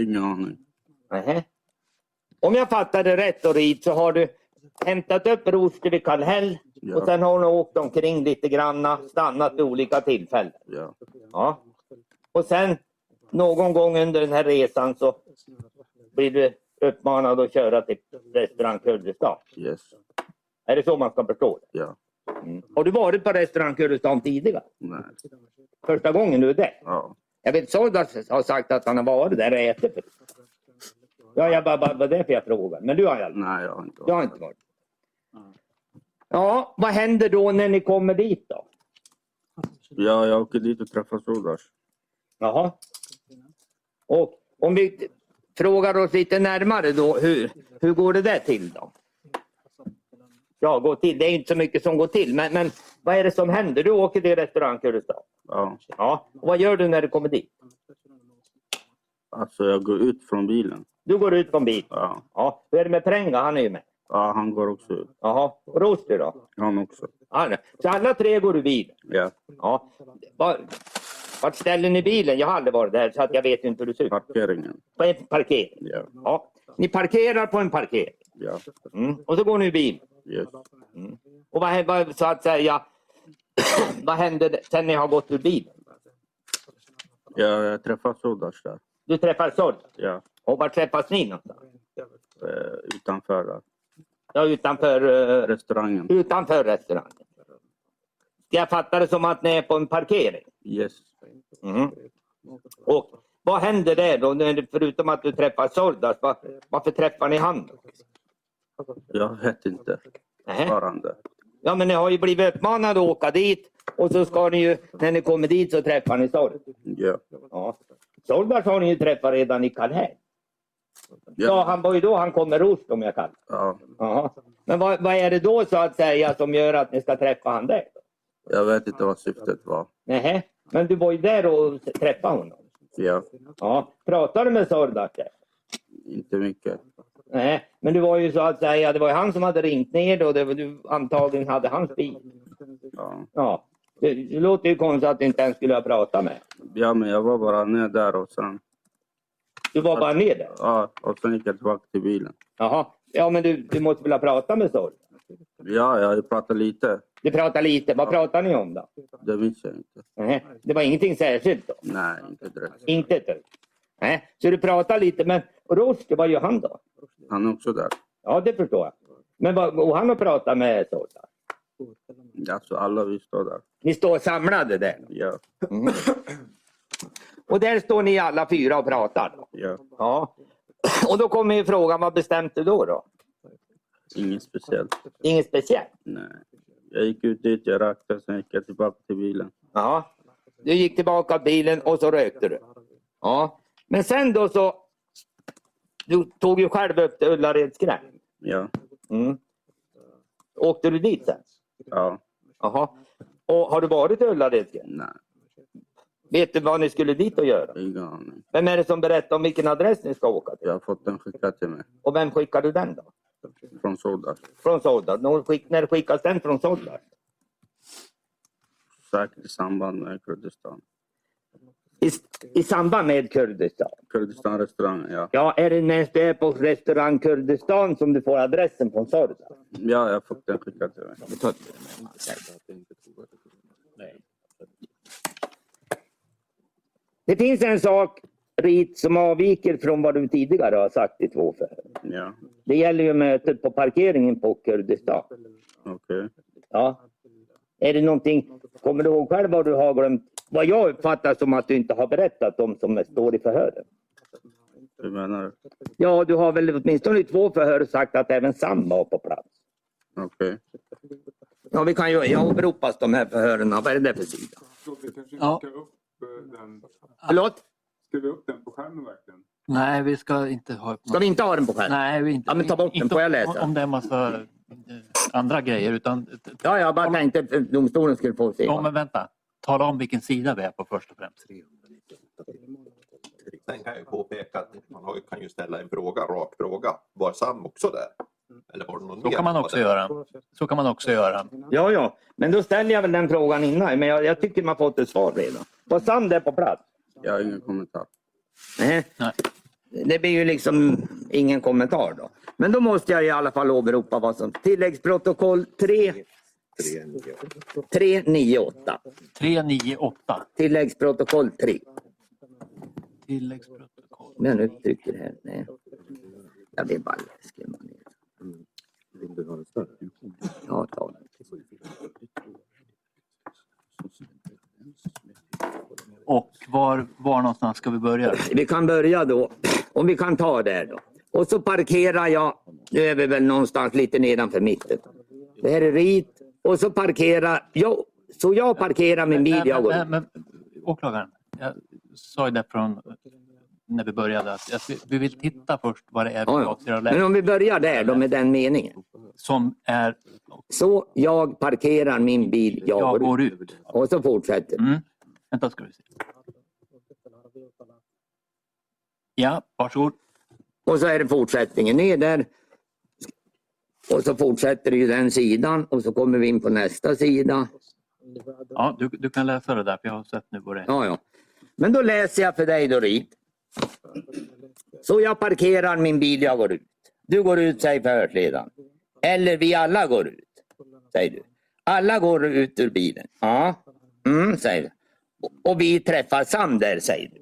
Speaker 2: Ingen aning.
Speaker 4: Nähä. Om jag fattade rätt och rit så har du hämtat upp Rushdie vid Kallhäll
Speaker 2: Ja.
Speaker 4: och sen har hon åkt omkring lite granna, stannat vid olika tillfällen.
Speaker 2: Ja.
Speaker 4: Ja. Och sen någon gång under den här resan så blir du uppmanad att köra till restaurang Kurdistan.
Speaker 2: Yes.
Speaker 4: Är det så man ska förstå det?
Speaker 2: Ja.
Speaker 4: Mm. Har du varit på restaurang Kurdistan tidigare?
Speaker 2: Nej.
Speaker 4: Första gången du är där?
Speaker 2: Ja.
Speaker 4: Jag vet Sordas har sagt att han har varit där och ätit förut. Ja, jag bara, bara, det var därför jag frågade. Men du har, jag,
Speaker 2: Nej, jag har inte
Speaker 4: du har inte varit Ja, vad händer då när ni kommer dit då?
Speaker 2: Ja, jag åker dit och träffar Sodas.
Speaker 4: Jaha. Och om vi frågar oss lite närmare då, hur, hur går det där till då? Ja, går till. Det är inte så mycket som går till, men, men vad är det som händer? Du åker till restaurang Kurdistan.
Speaker 2: Ja.
Speaker 4: Ja, och vad gör du när du kommer dit?
Speaker 2: Alltså, jag går ut från bilen.
Speaker 4: Du går ut från bilen.
Speaker 2: Ja.
Speaker 4: Ja, hur är det med Prenga? Han är ju med.
Speaker 2: Ja, han går också ut.
Speaker 4: Jaha, och Rosti då?
Speaker 2: Han också.
Speaker 4: Han, så alla tre går du bil?
Speaker 2: Ja.
Speaker 4: Ja. Var, vart ställer ni bilen? Jag har aldrig varit där så att jag vet inte hur det ser ut.
Speaker 2: Parkeringen.
Speaker 4: På en parkering?
Speaker 2: Ja.
Speaker 4: Ja. Ni parkerar på en parkering?
Speaker 2: Ja.
Speaker 4: Mm. Och så går ni i bil. Mm.
Speaker 2: Yes.
Speaker 4: Och vad, hä- vad, så att säga, vad händer sen ni har gått ur bilen?
Speaker 2: Ja, jag träffar Sodas där.
Speaker 4: Du träffar Sol.
Speaker 2: Ja.
Speaker 4: Och var träffas ni någonstans?
Speaker 2: Eh, utanför där.
Speaker 4: Ja, utanför, eh,
Speaker 2: Restaurangen.
Speaker 4: utanför restaurangen. Ska jag fatta det som att ni är på en parkering?
Speaker 2: Yes.
Speaker 4: Mm. Och vad händer där då? när du- Förutom att du träffar Soldas, var, varför träffar ni han? då?
Speaker 2: Jag vet inte.
Speaker 4: Nähä.
Speaker 2: Fortfarande.
Speaker 4: Ja, men ni har ju blivit uppmanade att åka dit och så ska ni ju, när ni kommer dit så träffar ni Soldas.
Speaker 2: Ja.
Speaker 4: Ja. Solberg har ni ju träffat redan i Kallhäll. Ja.
Speaker 2: Ja.
Speaker 4: han var ju då han kom med rost om jag kan.
Speaker 2: ja.
Speaker 4: Jaha. Men vad, vad är det då så att säga som gör att ni ska träffa han där?
Speaker 2: Jag vet inte vad syftet var.
Speaker 4: Nähä. Men du var ju där och träffade honom.
Speaker 2: Ja.
Speaker 4: Ja. Pratade du med Sordas där?
Speaker 2: Inte mycket.
Speaker 4: Nej, men det var ju så att säga, det var ju han som hade ringt ner då. Det var, du antagligen hade hans bil.
Speaker 2: Ja.
Speaker 4: Ja. Det, det låter ju konstigt att du inte ens skulle ha pratat med.
Speaker 2: ja, men jag var bara ner där och sen...
Speaker 4: Du var bara med där.
Speaker 2: Ja, och sen gick jag tillbaka till bilen.
Speaker 4: Jaha. Ja, men du, du måste väl ha pratat med Sordas?
Speaker 2: Ja, jag har ju pratat lite.
Speaker 4: Du pratar lite. Vad pratar ni om då?
Speaker 2: Det minns jag inte.
Speaker 4: Nej, det var ingenting särskilt då?
Speaker 2: Nej, inte direkt.
Speaker 4: Inte ett dugg? Nej, så du pratar lite. Men Rost, det var ju han då?
Speaker 2: Han är också där.
Speaker 4: Ja, det förstår jag. Men vad, och han har pratat med Sorda?
Speaker 2: Alltså, alla vi står där.
Speaker 4: Ni står samlade där? Mm.
Speaker 2: Ja,
Speaker 4: Och där står ni alla fyra och pratar? då?
Speaker 2: ja.
Speaker 4: Ja. Och då kommer ju frågan, vad bestämde du då? då?
Speaker 2: Inget speciellt.
Speaker 4: Inget speciellt?
Speaker 2: Nej. Jag gick ut dit, jag rökte, sen gick jag tillbaka till bilen.
Speaker 4: Ja. Du gick tillbaka till bilen och så rökte du? Ja. Men sen då så... Du tog ju själv upp till Ullareds gränd.
Speaker 2: Ja,
Speaker 4: Mm. Åkte du dit sen?
Speaker 2: ja,
Speaker 4: Jaha. Och har du varit i Ullared?
Speaker 2: nej,
Speaker 4: Vet du vad ni skulle dit och göra?
Speaker 2: ingen aning.
Speaker 4: Vem är det som berättar om vilken adress ni ska åka till?
Speaker 2: Jag har fått den skickad till mig
Speaker 4: Och vem skickade den då?
Speaker 2: från Sodas.
Speaker 4: Från Soldar? När skick- När skickas den från Soldar?
Speaker 2: Säkert i samband med Kurdistan.
Speaker 4: I, I samband med Kurdistan?
Speaker 2: Kurdistan restaurang, ja.
Speaker 4: Ja, är det när du är på restaurang Kurdistan som du får adressen från Soldar?
Speaker 2: Ja, jag har fått den skickad till mig.
Speaker 4: Det finns en sak, Rit, som avviker från vad du tidigare har sagt i två förhör.
Speaker 2: Ja,
Speaker 4: Det gäller ju mötet på parkeringen på Kurdistan.
Speaker 2: okej.
Speaker 4: Ja. Är det någonting, kommer du ihåg själv vad du har glömt? Vad jag uppfattar som att du inte har berättat om som står i förhören.
Speaker 2: Hur menar du?
Speaker 4: Ja, du har väl åtminstone i två förhör sagt att även Sam var på plats.
Speaker 2: Okej.
Speaker 4: Ja, vi kan ju, jag åberopas de här förhören. Vad är det där för sida?
Speaker 3: Förlåt, vi kanske
Speaker 1: Ja.
Speaker 3: inte ska upp eh, den.
Speaker 4: Förlåt?
Speaker 3: Ska vi upp den på skärmen verkligen?
Speaker 1: Nej, vi ska inte ha upp
Speaker 4: Ska vi inte ha den på skärmen?
Speaker 1: Nej, vi inte.
Speaker 4: Ja, men ta bort den,
Speaker 1: inte
Speaker 4: får jag
Speaker 1: om-
Speaker 4: läsa?
Speaker 1: Om det är en massa eh, andra grejer. Utan,
Speaker 4: Ja, jag bara tänkte att domstolen skulle få se.
Speaker 1: ja, men vänta. Tala om vilken sida vi är på först och främst.
Speaker 5: Sen kan jag ju påpeka att man har ju- kan ju ställa en fråga, rak fråga. Var Sam också där? Eller var det någon
Speaker 1: Så
Speaker 5: mer
Speaker 1: kan man
Speaker 5: som var
Speaker 1: också
Speaker 5: där?
Speaker 1: göra. Så kan man också göra.
Speaker 4: Ja, ja. Men då ställer jag väl den frågan innan. Men jag, jag tycker man fått ett svar redan. Var Sand är på plats?
Speaker 2: Jag har ingen kommentar.
Speaker 4: Nej.
Speaker 1: Nej.
Speaker 4: Det blir ju liksom ingen kommentar då. Men då måste jag i alla fall åberopa vad som tilläggsprotokoll 3 398.
Speaker 1: 398.
Speaker 4: Tilläggsprotokoll 3.
Speaker 1: Tilläggsprotokoll.
Speaker 4: Om jag nu trycker här. Nej. Ja, det är bara läskigt. man. Ja, ta det.
Speaker 1: Och var, var någonstans ska vi börja?
Speaker 4: Vi kan börja då. Om vi kan ta det då. Och så parkerar jag. Nu är vi väl någonstans lite nedanför mitten. Det här är rit. Och så parkerar jag. Så jag parkerar min bil. Jag går.
Speaker 1: men, men, men, åklagaren, jag sa ju det från när vi började att jag, vi vill titta först vad det är vi
Speaker 4: Ja,
Speaker 1: avser
Speaker 4: ja.
Speaker 1: att
Speaker 4: Men
Speaker 1: läsa
Speaker 4: om vi börjar där då med den meningen.
Speaker 1: som är
Speaker 4: Så jag parkerar min bil.
Speaker 1: jag
Speaker 4: Jag går
Speaker 1: går
Speaker 4: ut.
Speaker 1: ut.
Speaker 4: Och så fortsätter
Speaker 1: Mm. Vänta ska vi se. Ja, varsågod.
Speaker 4: Och så är det fortsättningen ner där. Och så fortsätter det ju den sidan och så kommer vi in på nästa sida.
Speaker 1: Ja, du, du kan läsa det där för jag har sett nu vad det är.
Speaker 4: Ja, ja. Men då läser jag för dig då Rit. Så jag parkerar min bil, jag går ut. Du går ut, säger förhörsledaren. Eller vi alla går ut, säger du. Alla går ut ur bilen. Ja, mm, säger du. Och- Och vi träffar Sam där, säger du.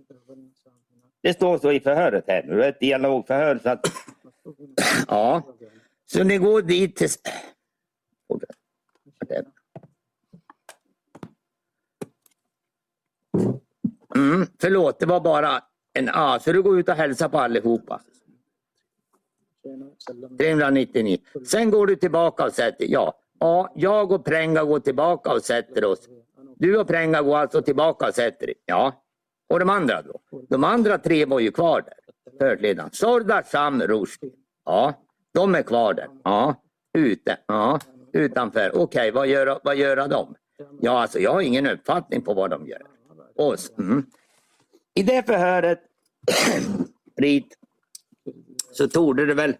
Speaker 4: Det står så i förhöret här nu. Det är ett dialogförhör. Så att... ja. Så ni går dit till... Mm, förlåt, det var bara en A. Så du går ut och hälsar på allihopa. 399. Sen går du tillbaka och sätter ja. ja jag och Prenga går tillbaka och sätter oss. Du och Prenga går alltså tillbaka och sätter er. Ja. Och de andra då? De andra tre var ju kvar där. Förhörsledaren. Sordar, Sam, Rushdie. Ja. De är kvar där. Ja. Ute. Ja. Utanför. Okej, vad gör, vad gör de? Ja, alltså jag har ingen uppfattning på vad de gör. Oss. Mm. I det förhöret, Rit, så torde det väl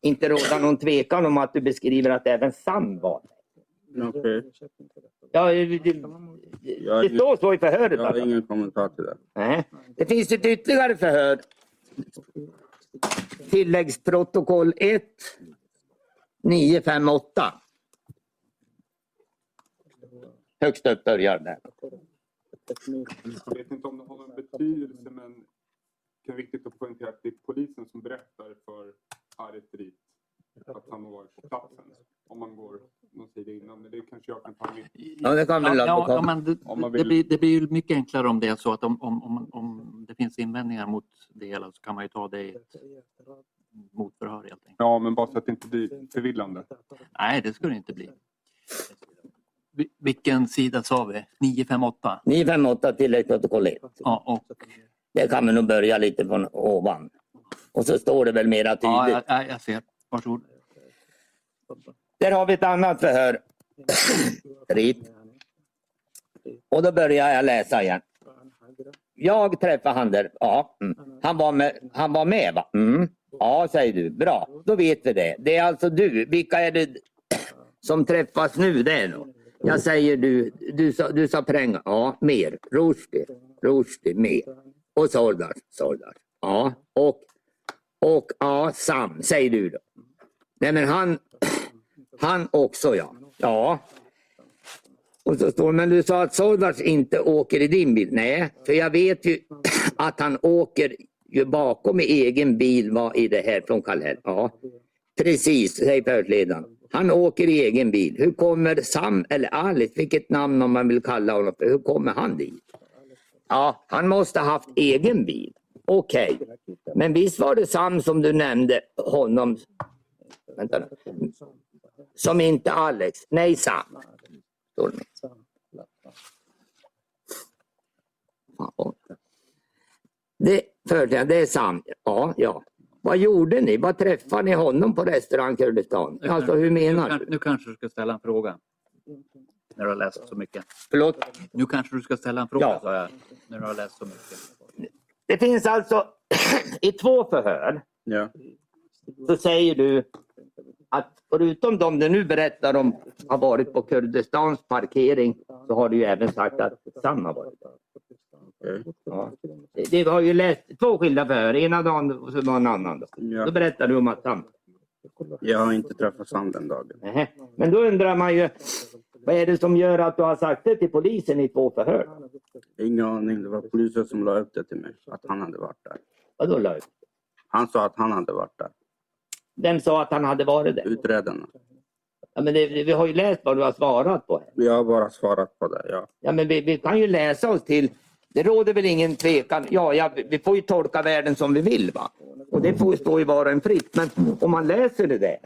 Speaker 4: inte råda någon tvekan om att du beskriver att även Sam var där.
Speaker 2: Okej.
Speaker 4: Ja, det, det,
Speaker 2: Jag-
Speaker 4: det står så i förhöret.
Speaker 2: Jag har
Speaker 4: Alltså.
Speaker 2: ingen kommentar till det.
Speaker 4: Nej. Det finns ett ytterligare förhör. Tilläggsprotokoll 1 958. Högst upp börjar där.
Speaker 3: Jag vet inte om det har någon betydelse men det är viktigt att poängtera att det är polisen som berättar för Aritrit att han har varit på platsen. Om man går någon sida innan. Men det kanske jag kan ta med.
Speaker 4: Ja, det kan väl
Speaker 1: Ja, ja,
Speaker 4: advokaten-
Speaker 1: ja, men det,
Speaker 3: Om man
Speaker 1: det,
Speaker 3: vill.
Speaker 1: blir, det blir ju mycket enklare om det är så att om, om, om, om det finns invändningar mot det hela så kan man ju ta det i ett motförhör helt enkelt.
Speaker 3: Ja, men bara så att det inte blir förvillande.
Speaker 1: Nej, det skulle det inte bli. Vi- Vilken sida sa vi? 958?
Speaker 4: 958 tilläggsprotokoll 1.
Speaker 1: Ja, och,
Speaker 4: Det kan vi nog börja lite från ovan. Och så står det väl mera tydligt.
Speaker 1: ja jag, jag- jag ser. Varsågod.
Speaker 4: Där har vi ett annat förhör. Rit. Och då börjar jag läsa igen. Jag träffade han där. Ja, mm. han, var med, han var med va? Mm. Ja, säger du. Bra, då vet vi det. Det är alltså du. Vilka är det som träffas nu? Det är nog. Jag säger du. Du sa, du sa Pränga. Ja, mer. Rushdie. Rushdie, mer. Och Sordar. Sordar. Ja, och, och ja, Sam, säger du då. Nej, men han, han också ja. Ja. Och så står det, men du sa att Sordars inte åker i din bil. Nej, för jag vet ju att han åker ju bakom i egen bil var i det här från Kallhäll. Ja, precis, säger förhörsledaren. Han åker i egen bil. Hur kommer Sam eller Alice, vilket namn om man vill kalla honom, för, hur kommer han dit? Ja, han måste ha haft egen bil. Okej, men visst var det Sam som du nämnde honom? Vänta nu. Som inte Alex. Nej, Sam. Står det. Fan, vad- Det, förhörde, det är sant. Ja, ja. Vad gjorde ni? Vad träffade ni honom på restaurang Kurdistan? Alltså hur menar
Speaker 1: Nu,
Speaker 4: du?
Speaker 1: nu kanske du ska ställa en fråga. När du har läst så mycket.
Speaker 4: Förlåt?
Speaker 1: Nu kanske du ska ställa en fråga,
Speaker 4: Ja.
Speaker 1: sa jag. När du har läst så mycket.
Speaker 4: Det finns alltså i två förhör
Speaker 2: Ja.
Speaker 4: så säger du att förutom de du nu berättar om har varit på Kurdistans parkering så har du ju även sagt att Sam har varit där.
Speaker 3: Mm.
Speaker 4: Ja. Det, det har ju läst två skilda förhör, ena dagen och så var en annan. Då.
Speaker 2: Ja.
Speaker 4: då berättar du om att Sam
Speaker 2: Jag har inte träffat Sam den dagen.
Speaker 4: Nähä. Men då undrar man ju, vad är det som gör att du har sagt det till polisen i två förhör?
Speaker 2: Ingen aning. Det var polisen som la upp det till mig. Att han hade varit där.
Speaker 4: Vadå lögn?
Speaker 2: Han sa att han hade varit där.
Speaker 4: Vem sa att han hade varit det?
Speaker 2: Utredarna.
Speaker 4: Ja, men det vi har ju läst vad du har svarat på. Här.
Speaker 2: Jag har bara svarat på det. Ja.
Speaker 4: Ja, men vi, vi kan ju läsa oss till, det råder väl ingen tvekan. Ja, ja, vi- vi får ju tolka världen som vi vill. va? Och det får ju stå i var och en fritt. Men om man läser det där,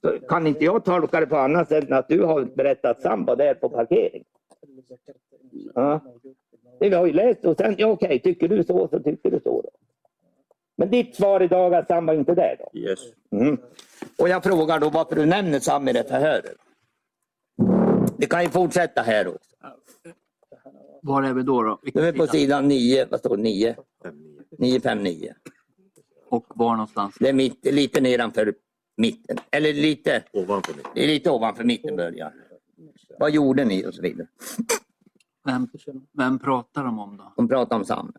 Speaker 4: så kan inte jag tolka det på annat sätt än att du har berättat samba där på parkering. Ja. Det vi har ju läst och sen, ja okej, tycker du så så tycker du så. Då. Men ditt svar idag är att Sam var inte där då?
Speaker 2: Yes.
Speaker 4: Mm. Och jag frågar då varför du nämner Sam i det förhöret. Vi kan ju fortsätta här också.
Speaker 1: Var är vi då? då?
Speaker 4: Nu är vi på sidan 9, vad står det? 9? 959.
Speaker 1: Och var någonstans?
Speaker 4: Det är mitt, lite nedanför mitten. Eller lite,
Speaker 6: Ovanför mig.
Speaker 4: det är lite ovanför mitten början. Vad gjorde ni och så vidare.
Speaker 1: Vem, vem pratar de om då?
Speaker 4: Hon pratar om Sam.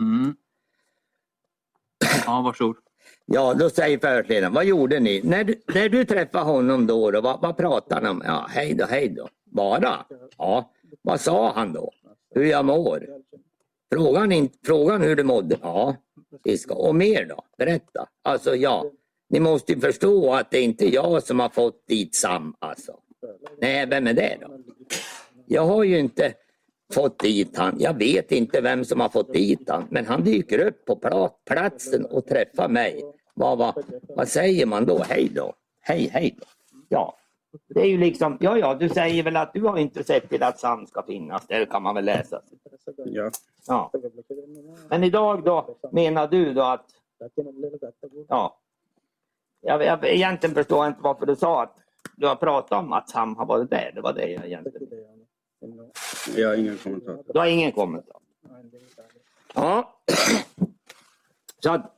Speaker 1: Mm. Ja, varsågod.
Speaker 4: Ja, då säger förhörsledaren, vad gjorde ni? När du, när du träffade honom då, då vad, vad pratade han om? Ja, hej då, hej då. Bara? Ja. Vad sa han då? Hur jag mår? Frågan, in, frågan hur du mådde? Ja. Fiska. Och mer då? Berätta. Alltså ja, ni måste ju förstå att det är inte jag som har fått dit Sam alltså. Nej, vem är det då? Jag har ju inte fått dit han. Jag vet inte vem som har fått dit han. Men han dyker upp på pla- platsen och träffar mig. Vad, vad, vad säger man då? Hej då. Hej, hej då. Ja, det är ju liksom, ja, ja, du säger väl att du har inte sett till att Sam ska finnas. Det kan man väl läsa.
Speaker 2: Ja.
Speaker 4: Ja. Men idag då, menar du då att, ja. Jag, jag, egentligen förstår jag inte varför du sa att du har pratat om att Sam har varit där. Det var det jag egentligen
Speaker 2: Jag har ingen kommentar.
Speaker 4: Du har ingen kommentar? Ja. Så att,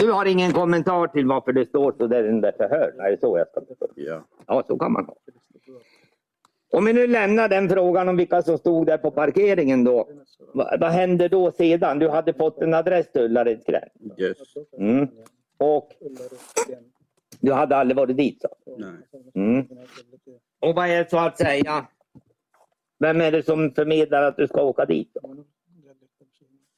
Speaker 4: du har ingen kommentar till varför det står så där i den där förhör? Nej, det är så jag ska förstå.
Speaker 2: Ja.
Speaker 4: Ja, så kan man ha. Om vi nu lämnar den frågan om vilka som stod där på parkeringen då. Va, vad hände då sedan? Du hade fått en adress till Ullared
Speaker 2: Yes.
Speaker 4: mm. Och du hade aldrig varit dit? Så.
Speaker 2: Nej.
Speaker 4: Mm. Och vad är det så att säga? Vem är det som förmedlar att du ska åka dit? Då?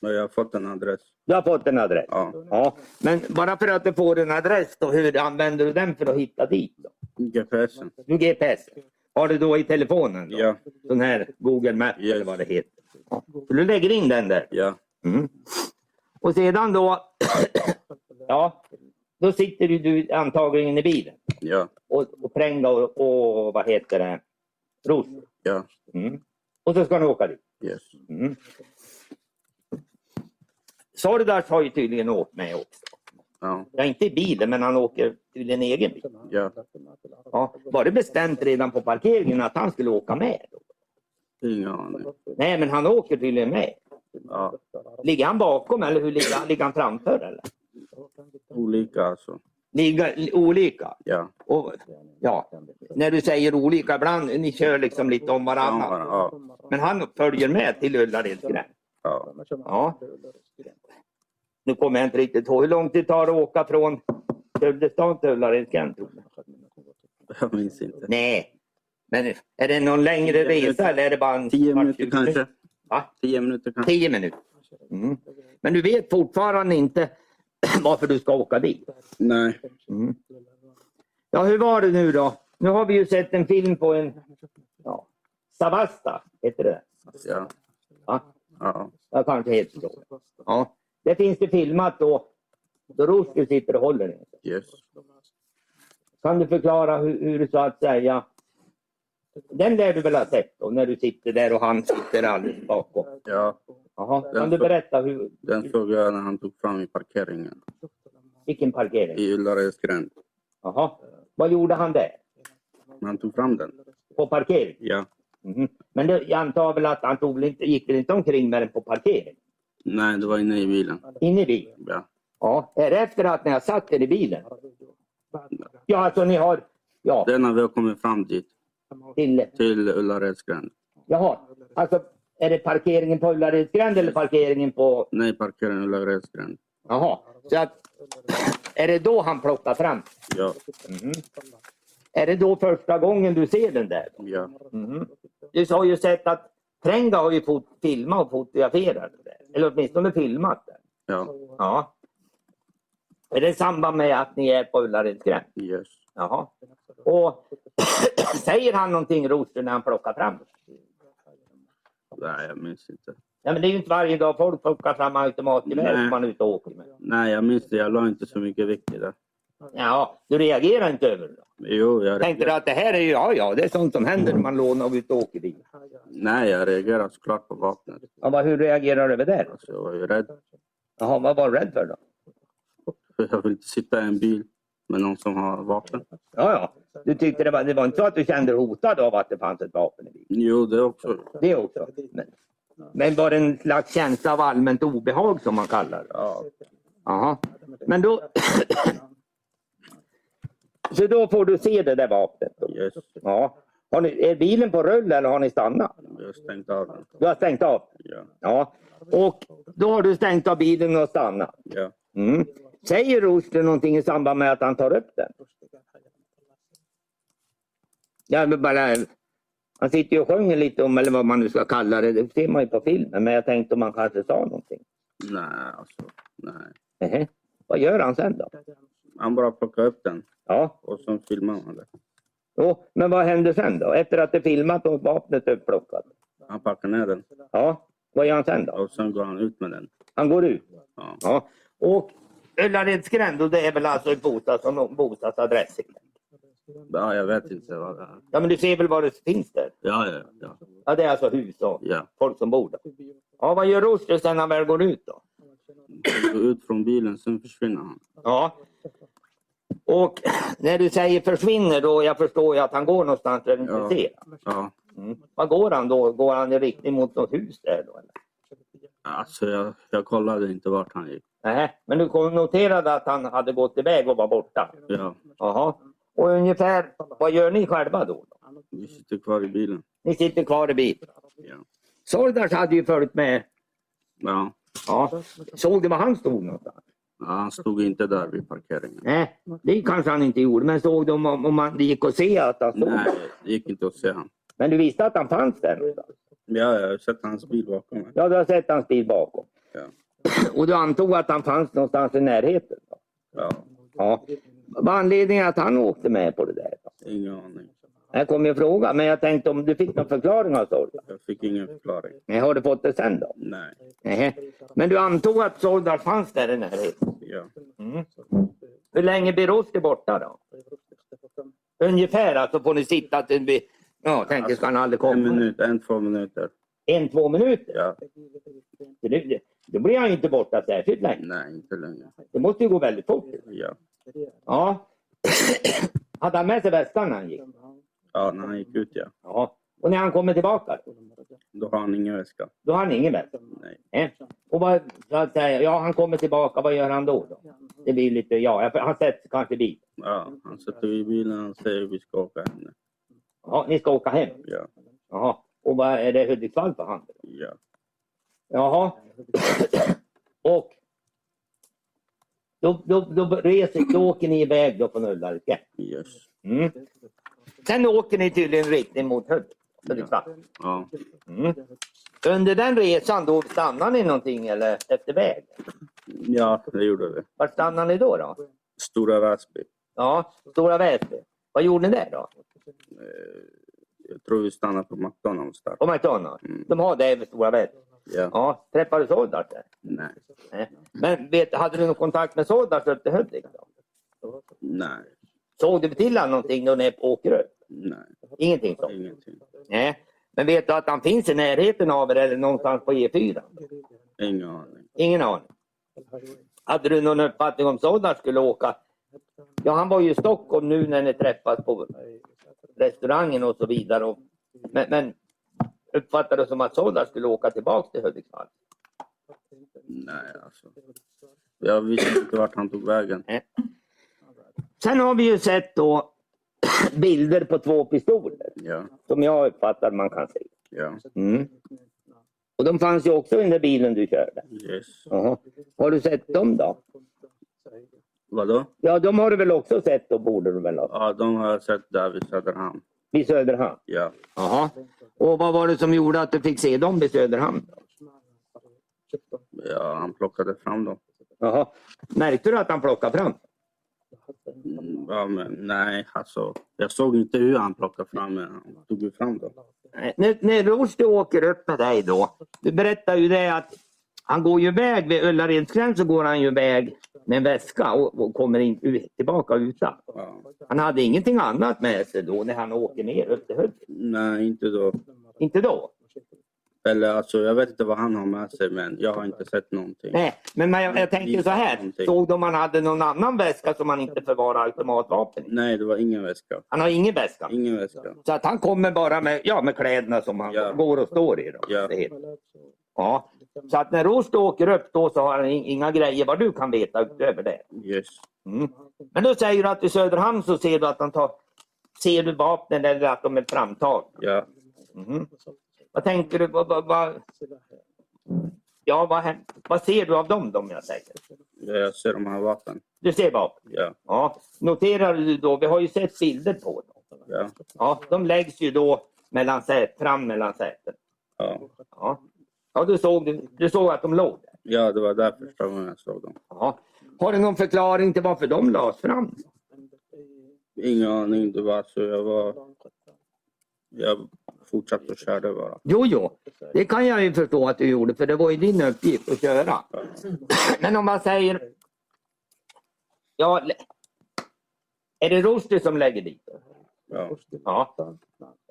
Speaker 2: Men jag har fått en adress.
Speaker 4: Du har fått en adress?
Speaker 2: Ja.
Speaker 4: Ja, men bara för att du får en adress då, hur använder du den för att hitta dit? Då?
Speaker 2: GPSen.
Speaker 4: Du GPS. Har du då i telefonen? Då?
Speaker 2: Ja.
Speaker 4: Sån här Google Maps
Speaker 2: Yes.
Speaker 4: eller vad det heter. Ja. Så du lägger in den där.
Speaker 2: Ja.
Speaker 4: Mm. Och sedan då, ja, då sitter ju du antagligen i bilen
Speaker 2: Ja.
Speaker 4: och, och pränga och, och vad heter det, ros.
Speaker 2: Ja.
Speaker 4: Mm. Och så ska ni åka dit.
Speaker 2: Yes.
Speaker 4: Mm. Sardars har ju tydligen åkt med också.
Speaker 2: Ja.
Speaker 4: Ja, inte i bilen, men han åker tydligen egen bil.
Speaker 2: Ja.
Speaker 4: Ja. Var det bestämt redan på parkeringen att han skulle åka med? Då?
Speaker 2: Ingen aning.
Speaker 4: Nej, men han åker tydligen med.
Speaker 2: Ja.
Speaker 4: Ligger han bakom eller hur ligger han? Ligger han framför? Eller?
Speaker 2: Olika alltså.
Speaker 4: Ligger olika?
Speaker 2: Ja.
Speaker 4: Och, ja. När du säger olika, ibland ni kör liksom lite om
Speaker 2: Ja.
Speaker 4: varandra.
Speaker 2: Ja.
Speaker 4: Men han följer med till Ullareds gräns.
Speaker 2: ja.
Speaker 4: Ja. Nu kommer jag inte riktigt ihåg hur långt det tar att åka från Kurdistan till Ullareds gräns. tror jag.
Speaker 2: Jag minns inte.
Speaker 4: Nej, men är det någon längre resa eller är det bara en...
Speaker 2: Tio
Speaker 4: kvart,
Speaker 2: minuter
Speaker 4: tjugo
Speaker 2: kanske.
Speaker 4: Va?
Speaker 2: Tio minuter kanske.
Speaker 4: Tio minuter. Mm. Men du vet fortfarande inte varför du ska åka dit.
Speaker 2: Nej.
Speaker 4: Mm. Ja, hur var det nu då? Nu har vi ju sett en film på en... Ja, Savasta heter det.
Speaker 2: Ja.
Speaker 4: Va?
Speaker 2: Ja.
Speaker 4: Jag kanske heter så. Ja. Det finns det filmat då. Då Rushdie sitter och håller i.
Speaker 2: Yes.
Speaker 4: Kan du förklara hur, hur du så att säga... Den lär du väl ha sett då, när du sitter där och han sitter alldeles bakom.
Speaker 2: Ja.
Speaker 4: Jaha. Kan
Speaker 2: Den
Speaker 4: du
Speaker 2: så-
Speaker 4: berätta hur,
Speaker 2: Den såg jag när han tog fram i parkeringen.
Speaker 4: vilken parkering?
Speaker 2: I Ullareds gränd.
Speaker 4: Jaha. Vad gjorde han där?
Speaker 2: Han tog fram den.
Speaker 4: På parkering?
Speaker 2: Ja.
Speaker 4: Mhm. Men det, jag antar väl att han tog, väl inte- gick väl inte omkring med den på parkering?
Speaker 2: Nej, det var inne i bilen.
Speaker 4: Inne i bilen?
Speaker 2: Ja.
Speaker 4: Ja, är det efter att ni har satt er i bilen? Ja, alltså ni har... Ja,
Speaker 2: Det är när vi har kommit fram dit,
Speaker 4: till...
Speaker 2: till Ullareds gränd.
Speaker 4: Jaha, alltså är det parkeringen på Ullaredsgränd eller parkeringen på...
Speaker 2: Nej, parkeringen Ullareds gränd.
Speaker 4: Jaha, så att... Är det då han plockar fram?
Speaker 2: Ja,
Speaker 4: Mhm. Är det då första gången du ser den där?
Speaker 2: ja.
Speaker 4: Mhm. Du har ju sett att Prenga har ju fot, filmat och fotograferat det där. Eller åtminstone filmat det.
Speaker 2: Ja,
Speaker 4: Ja. Är det i samband med att ni är på Ullaredsgränd?
Speaker 2: yes.
Speaker 4: Jaha. Och säger han någonting Roster när han plockar fram det?
Speaker 2: Nej, jag minns inte.
Speaker 4: Ja, men det är ju inte varje dag folk plockar fram automatgevär
Speaker 2: Nej.
Speaker 4: som man är ute och åker med.
Speaker 2: Nej, jag minns det. Jag la inte så mycket vikt i det.
Speaker 4: Ja, du reagerar inte över det?
Speaker 2: Jo, jag
Speaker 4: Tänkte du
Speaker 2: reagerar.
Speaker 4: att det här är ju, ja ja, det är sånt som händer när man lånar och är ute och åker bil.
Speaker 2: Nej, jag reagerar såklart på vapnet.
Speaker 4: Ja, vad- hur reagerar du över det? då?
Speaker 2: Alltså, jag var ju rädd.
Speaker 4: Jaha, vad var du rädd för då?
Speaker 2: Jag vill inte sitta i en bil med någon som har vapen.
Speaker 4: Ja, ja. Du tyckte det var, det var inte så att du kände dig hotad av att det fanns ett vapen i bilen?
Speaker 2: Jo, det också.
Speaker 4: Det också. Men, men var det en slags känsla av allmänt obehag som man kallar det? Ja. Jaha. Men då... så då får du se det där vapnet? Då.
Speaker 2: Yes,
Speaker 4: Ja. Har ni, är bilen på rull eller har ni stannat?
Speaker 2: jag stängde av den.
Speaker 4: Du har stängt av?
Speaker 2: Ja,
Speaker 4: Ja. Och då har du stängt av bilen och stannat?
Speaker 2: ja.
Speaker 4: Mm. Säger Roster någonting i samband med att han tar upp den? Ja, men bara, han sitter ju och sjunger lite om, eller vad man nu ska kalla det, det ser man ju på filmen. Men jag tänkte om han kanske sa någonting.
Speaker 2: Nej, alltså. Nej.
Speaker 4: Nähä. Vad gör han sen då?
Speaker 2: Han bara plockade upp den
Speaker 4: Ja,
Speaker 2: och sen filmade han det.
Speaker 4: jo, men vad händer sen då? Efter att det filmat och vapnet upplockat?
Speaker 2: Han packade ner den
Speaker 4: Ja, vad gör han sen då?
Speaker 2: och sen går han ut med den.
Speaker 4: Han går ut.
Speaker 2: Ja,
Speaker 4: Ja. Och Ullareds gränd, och det är väl alltså i Bostads, som bostadsadress?
Speaker 2: ja jag vet inte vad det är.
Speaker 4: Ja, men du ser väl vad det finns där?
Speaker 2: Ja, ja, ja.
Speaker 4: Ja, det är alltså hus och
Speaker 2: ja.
Speaker 4: folk som bor där. Ja, vad gör Rushdie sen när han väl går ut då?
Speaker 2: Han går ut från bilen, sen försvinner han.
Speaker 4: Ja. Och när du säger försvinner då, jag förstår ju att han går någonstans där du inte
Speaker 2: Ja.
Speaker 4: ser.
Speaker 2: Ja,
Speaker 4: Mm. Var går han då? Går han i riktning mot något hus där då? Eller?
Speaker 2: alltså jag, jag kollade inte vart han gick.
Speaker 4: Nej, men du kom- noterade att han hade gått iväg och var borta?
Speaker 2: Ja,
Speaker 4: Jaha. Och ungefär, vad gör ni själva då?
Speaker 2: vi sitter kvar i bilen.
Speaker 4: Ni sitter kvar i bilen.
Speaker 2: Ja,
Speaker 4: Sordas hade ju följt med.
Speaker 2: ja.
Speaker 4: Ja. Såg du var han stod någonstans?
Speaker 2: ja han stod inte där vid parkeringen.
Speaker 4: Nej, det kanske han inte gjorde. Men såg du om, om man, det gick att se att han stod där?
Speaker 2: Nej, det gick inte att se han.
Speaker 4: Men du visste att han fanns där någonstans?
Speaker 2: Ja, jag har sett hans bil bakom mig.
Speaker 4: Ja, du har sett hans bil bakom.
Speaker 2: Ja.
Speaker 4: Och du antog att han fanns någonstans i närheten? då?
Speaker 2: Ja,
Speaker 4: Ja. Vad var anledningen att han åkte med på det där? då?
Speaker 2: ingen aning.
Speaker 4: Jag kommer ju fråga, men jag tänkte om du fick någon förklaring av Sordas?
Speaker 2: Jag fick ingen förklaring.
Speaker 4: Nej, har du fått det sen då?
Speaker 2: Nej,
Speaker 4: Nej. Men du antog att Sordas fanns där i närheten?
Speaker 2: ja.
Speaker 4: Mm. Hur länge blir Rosti borta då? Ungefär, alltså får ni sitta till... vi- Ja, tänker ska han aldrig
Speaker 2: En
Speaker 4: komma?
Speaker 2: minut, en två minuter.
Speaker 4: En, två minuter?
Speaker 2: Ja,
Speaker 4: Så det- Då blir han ju inte borta särskilt länge.
Speaker 2: nej, inte längre.
Speaker 4: Det måste ju gå väldigt fort.
Speaker 2: Ja,
Speaker 4: Ja. Hade han med sig väskan när han gick?
Speaker 2: ja när han gick ut ja.
Speaker 4: Ja. Och när han kommer tillbaka?
Speaker 2: Då har han ingen väska.
Speaker 4: Då har han ingen väska?
Speaker 2: Nej.
Speaker 4: Nej. Och vad, så att säga, ja han kommer tillbaka, vad gör han då? då? Det blir lite, ja, jag- han sätts kanske dit.
Speaker 2: Ja, han sätter i bilen och säger vi ska åka hem nu.
Speaker 4: Ja, ni ska åka hem?
Speaker 2: Ja,
Speaker 4: Jaha. Och vad är det Hudiksvall för handel?
Speaker 2: ja.
Speaker 4: Jaha. Och då, då, då, reser, då åker ni iväg då från Ullared.
Speaker 2: Yes.
Speaker 4: Mm. Sen åker ni tydligen riktning mot Hud- Hudiksvall.
Speaker 2: Ja,
Speaker 4: Mm. Under den resan då stannar ni någonting eller efter väg?
Speaker 2: ja det gjorde vi.
Speaker 4: Var stannar ni då? då?
Speaker 2: Stora Väsby.
Speaker 4: Ja, Stora Väsby. Vad gjorde ni där då?
Speaker 2: Eh, Jag tror vi stannar på McDonalds där.
Speaker 4: På McDonalds?
Speaker 2: Mm.
Speaker 4: De har det i Stora Väsby?
Speaker 2: Ja,
Speaker 4: Ja, träffade du Soldars där?
Speaker 2: nej,
Speaker 4: Nej. Men vet, hade du någon kontakt med Soldars upp till Hudik? Då?
Speaker 2: nej,
Speaker 4: Såg du till honom någonting då ni åker upp?
Speaker 2: nej,
Speaker 4: Ingenting sånt?
Speaker 2: ingenting.
Speaker 4: Nej. Men vet du att han finns i närheten av er eller någonstans på E4?
Speaker 2: Ingen aning.
Speaker 4: Ingen aning. Hade du någon uppfattning om Soldars skulle åka? Ja, han var ju i Stockholm nu när ni träffas på restaurangen och så vidare. Och, men, men uppfattade du som att Soldars skulle åka tillbaka till Hudiksvall?
Speaker 2: Nej, alltså. Jag visste inte vart han tog vägen.
Speaker 4: Sen har vi ju sett då bilder på två pistoler
Speaker 2: Ja,
Speaker 4: som jag uppfattar man kan se.
Speaker 2: ja.
Speaker 4: Mm. Och de fanns ju också i den där bilen du körde.
Speaker 2: Yes. Mm,
Speaker 4: Jaha. Har du sett dem då?
Speaker 2: Vadå?
Speaker 4: Ja, de har du väl också sett då borde du väl ha.
Speaker 2: Ja, de har jag sett där vid Söderhamn.
Speaker 4: Vid Söderhamn.
Speaker 2: Ja.
Speaker 4: Jaha. Och vad var det som gjorde att du fick se dem vid Söderhamn? då?
Speaker 2: ja, han plockade fram dem.
Speaker 4: Jaha. Märkte du att han plockade fram?
Speaker 2: Mm, Ja, men nej, alltså. Jag såg inte hur han plockade fram men Han tog ju fram dem.
Speaker 4: Nej, När, när Rushdie åker upp med dig då. Du berättar ju det att han går ju iväg vid Ullaredsgräns så går han ju iväg med en väska och, och kommer in, ut- tillbaka utan.
Speaker 2: Ja.
Speaker 4: Han hade ingenting annat med sig då när han åker ner upp till Hudik.
Speaker 2: Nej, inte då.
Speaker 4: Inte då.
Speaker 2: Eller alltså, jag vet inte vad han har med sig, men jag har inte sett någonting.
Speaker 4: Nej, men man, jag, jag tänker så här. Såg de om han hade någon annan väska som han inte förvarar automatvapen i?
Speaker 2: Nej, det var ingen väska.
Speaker 4: Han har ingen väska.
Speaker 2: Ingen väska.
Speaker 4: Så att han kommer bara med, ja, med kläderna som han
Speaker 2: Ja.
Speaker 4: går och står i. Då,
Speaker 2: Ja.
Speaker 4: Det heter. ja. Så att när Rost åker upp då så har han in- inga grejer vad du kan veta utöver det.
Speaker 2: Yes.
Speaker 4: Mm. Men då säger du att i Söderhamn så ser du att han tar, ser du vapnen eller att de är framtagna.
Speaker 2: Ja.
Speaker 4: Mhm. Vad tänker du? Vad, vad, vad, ja, vad, hän- vad ser du av dem då om jag säger?
Speaker 2: Ja, Jag ser de här vapen.
Speaker 4: Du ser vapen?
Speaker 2: Ja.
Speaker 4: Ja. Noterar du då, vi har ju sett bilder på dem.
Speaker 2: Ja.
Speaker 4: Ja, de läggs ju då mellan sät, fram mellan säten.
Speaker 2: Ja.
Speaker 4: Ja, ja du, såg, du såg att de låg där.
Speaker 2: ja, det var där första gången jag såg dem.
Speaker 4: Ja. Har du någon förklaring till varför de lades fram?
Speaker 2: Ingen aning. Det var så jag var... Jag fortsatte att köra bara.
Speaker 4: Jo, jo, det kan jag ju förstå att du gjorde för det var ju din uppgift att köra. Men om man säger... Ja, lä- är det Rushdie som lägger dit? dem?
Speaker 2: Ja.
Speaker 4: Ja.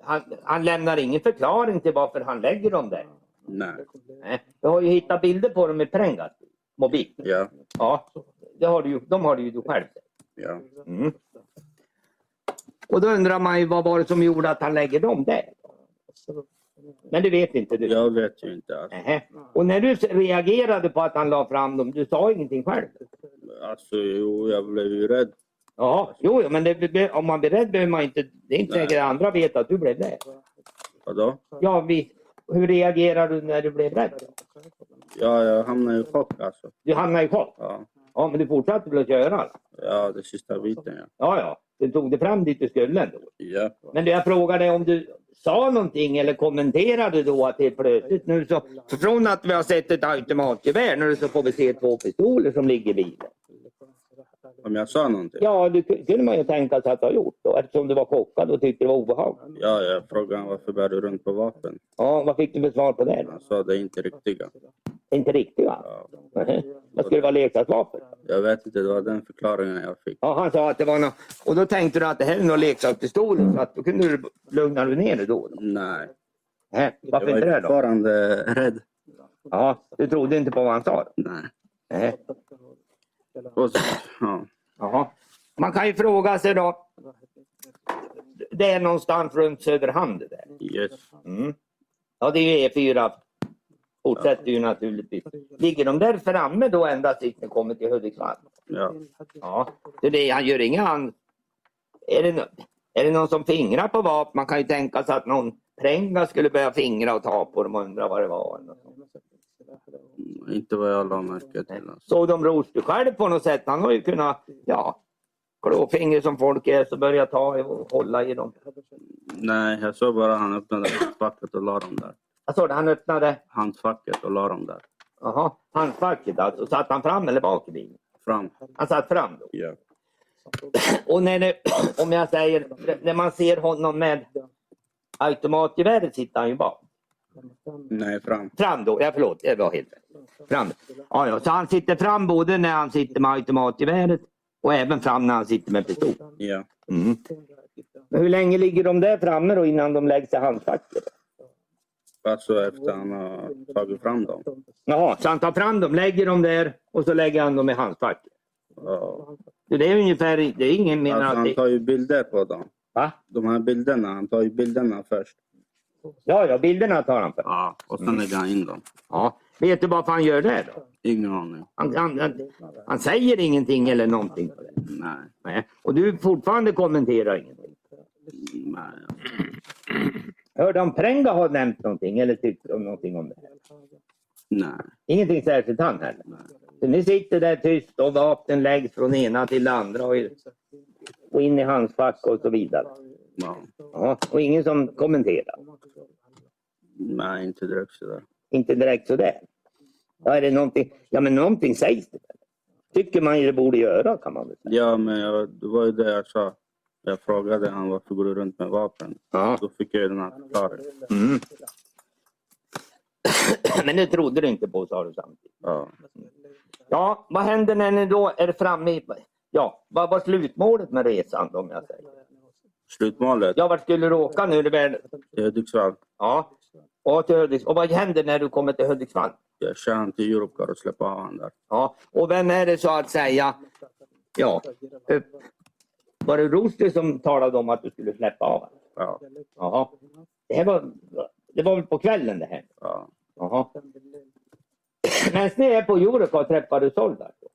Speaker 4: Han, han lämnar ingen förklaring till varför han lägger dem där.
Speaker 2: Nej.
Speaker 4: Nej. Jag har ju hittat bilder på dem i Prengas mobil.
Speaker 2: Ja.
Speaker 4: Ja, det har du, ju- de har du ju du själv sett.
Speaker 2: Ja.
Speaker 4: Mm. Och då undrar man ju vad var det som gjorde att han lägger dem där? Men det vet inte du.
Speaker 2: Jag vet ju inte. Alltså,
Speaker 4: Nähä. Och när du reagerade på att han la fram dem, du sa ingenting själv?
Speaker 2: alltså jo, jag blev ju rädd.
Speaker 4: Ja, jo, jo, men det, det- om man blir rädd behöver man inte, det är inte
Speaker 2: Nej.
Speaker 4: säkert att andra vet att du blev det.
Speaker 2: Vadå?
Speaker 4: Ja, vi, hur reagerar du när du blev rädd? då?
Speaker 2: Ja, jag hamnade i chock alltså.
Speaker 4: Du hamnade i chock?
Speaker 2: Ja.
Speaker 4: Ja, men du fortsatte väl att köra?
Speaker 2: Ja, det sista biten ja.
Speaker 4: Ja, ja, du tog det fram dit du skulle ändå.
Speaker 2: Ja.
Speaker 4: Men det jag frågade om du sa någonting eller kommenterade då att helt plötsligt nu så från att vi har sett ett automatgevär nu så får vi se två pistoler som ligger i bilen.
Speaker 2: Om jag sa någonting?
Speaker 4: Ja, det ku- kunde man ju tänka sig att ha gjort då eftersom du var chockad och tyckte det var obehagligt.
Speaker 2: Ja, jag frågade honom varför bär du runt på vapen.
Speaker 4: Ja, vad fick du för svar på det? då?
Speaker 2: Han sa det är inte riktiga.
Speaker 4: Inte riktigt va?
Speaker 2: Ja.
Speaker 4: Nähä. Vad skulle det vara leksaksvapen?
Speaker 2: Jag vet inte, det var den förklaringen jag fick.
Speaker 4: Ja, han sa att det var något. Och då tänkte du att det här är någon leksakspistol så att då kunde du lugna dig ner dig då. då.
Speaker 2: Nej,
Speaker 4: Nähä.
Speaker 2: jag
Speaker 4: Varför
Speaker 2: var
Speaker 4: inte
Speaker 2: ju
Speaker 4: det då?
Speaker 2: fortfarande rädd.
Speaker 4: Ja, du trodde inte på vad han sa? Då.
Speaker 2: Nej.
Speaker 4: Nähä.
Speaker 2: Och så, ja.
Speaker 4: Jaha. Man kan ju fråga sig då. Det är någonstans runt Söderhamn det där.
Speaker 2: Yes.
Speaker 4: Mm. Ja, det är ju E4. Fortsätter ju naturligtvis. Ligger de där framme då ända tills de kommer till Hudiksvall?
Speaker 2: Ja.
Speaker 4: Ja, det är det. Han gör inga an... Är det, nå- är det någon som fingrar på vapen? Man kan ju tänka sig att någon pränga skulle börja fingra och ta på dem och undra vad det var. eller något sånt.
Speaker 2: Mm, Inte vad jag la märke till. Alltså.
Speaker 4: Såg de Rosby själv på något sätt? Han har ju kunnat, ja, klåfingrig som folk är, så börja ta i och hålla i dem.
Speaker 2: Nej, jag såg bara han öppnade handfacket och la dem där.
Speaker 4: Jag såg det, han öppnade
Speaker 2: Handfacket och la dem där.
Speaker 4: aha, handfacket alltså. Satt han fram eller bak i bilen?
Speaker 2: Fram.
Speaker 4: Han satt fram då.
Speaker 2: Ja.
Speaker 4: Och när det, om jag säger, när man ser honom med automatgeväret sitter han ju bak.
Speaker 2: Nej, fram.
Speaker 4: Fram då, ja förlåt, det var helt rätt. Fram. Ja, ja, så han sitter fram både när han sitter med automatgeväret och även fram när han sitter med pistol.
Speaker 2: Ja.
Speaker 4: Mm. Men hur länge ligger de där framme då innan de läggs i handfacket?
Speaker 2: Alltså efter han har tagit fram dem.
Speaker 4: Jaha, så han tar fram dem, lägger dem där och så lägger han dem i handfacket.
Speaker 2: Ja.
Speaker 4: Så det är ungefär, det är ingen menar
Speaker 2: Alltså,
Speaker 4: att
Speaker 2: han
Speaker 4: det...
Speaker 2: tar ju bilder på dem.
Speaker 4: Va?
Speaker 2: De här bilderna, han tar ju bilderna först.
Speaker 4: Ja, ja, bilderna tar han för.
Speaker 2: Ja, och sen lägger han in dem.
Speaker 4: Ja. Vet du varför han gör det då?
Speaker 2: Ingen aning.
Speaker 4: Han, han, han, han säger ingenting eller någonting. på det.
Speaker 2: Nej.
Speaker 4: Nej. Och du fortfarande kommenterar ingenting.
Speaker 2: Nej.
Speaker 4: Hörde om Prenga har nämnt någonting eller tyckt om någonting om det?
Speaker 2: Nej.
Speaker 4: Ingenting särskilt han heller. Så ni sitter där tyst och vapnen läggs från ena till det andra och, och in i hans fack och så vidare.
Speaker 2: Ja.
Speaker 4: Ja, och ingen som kommenterar.
Speaker 2: Nej, inte direkt sådär.
Speaker 4: Inte direkt sådär. Ja, är det någonting? Ja, men någonting sägs det. väl. Tycker man ju det borde göra kan man väl säga.
Speaker 2: Ja, men jag, det var ju det jag sa. Jag frågade han varför går du runt med vapen?
Speaker 4: Ja.
Speaker 2: Då fick jag ju den här förklaringen.
Speaker 4: Mm. Men det trodde du inte på sa du samtidigt.
Speaker 2: Ja.
Speaker 4: Ja, vad händer när ni då är framme i... Ja, vad var slutmålet med resan då, om jag säger?
Speaker 2: Slutmålet? liksom
Speaker 4: Ja, vart skulle du åka nu? när du väl-
Speaker 2: I Hudiksvall.
Speaker 4: Ja, och till Hudiksvall. Och vad händer när du kommer till Hudiksvall?
Speaker 2: Jag kör han till Europcar och släpper av han där.
Speaker 4: Ja, och vem är det så att säga? Ja, eh, var det Roster som talade om att du skulle släppa av?
Speaker 2: Ja.
Speaker 4: Jaha. Det, här var, det var väl på kvällen det här?
Speaker 2: ja.
Speaker 4: Jaha. Men ni är på Eurocar träffar du Soldart? då?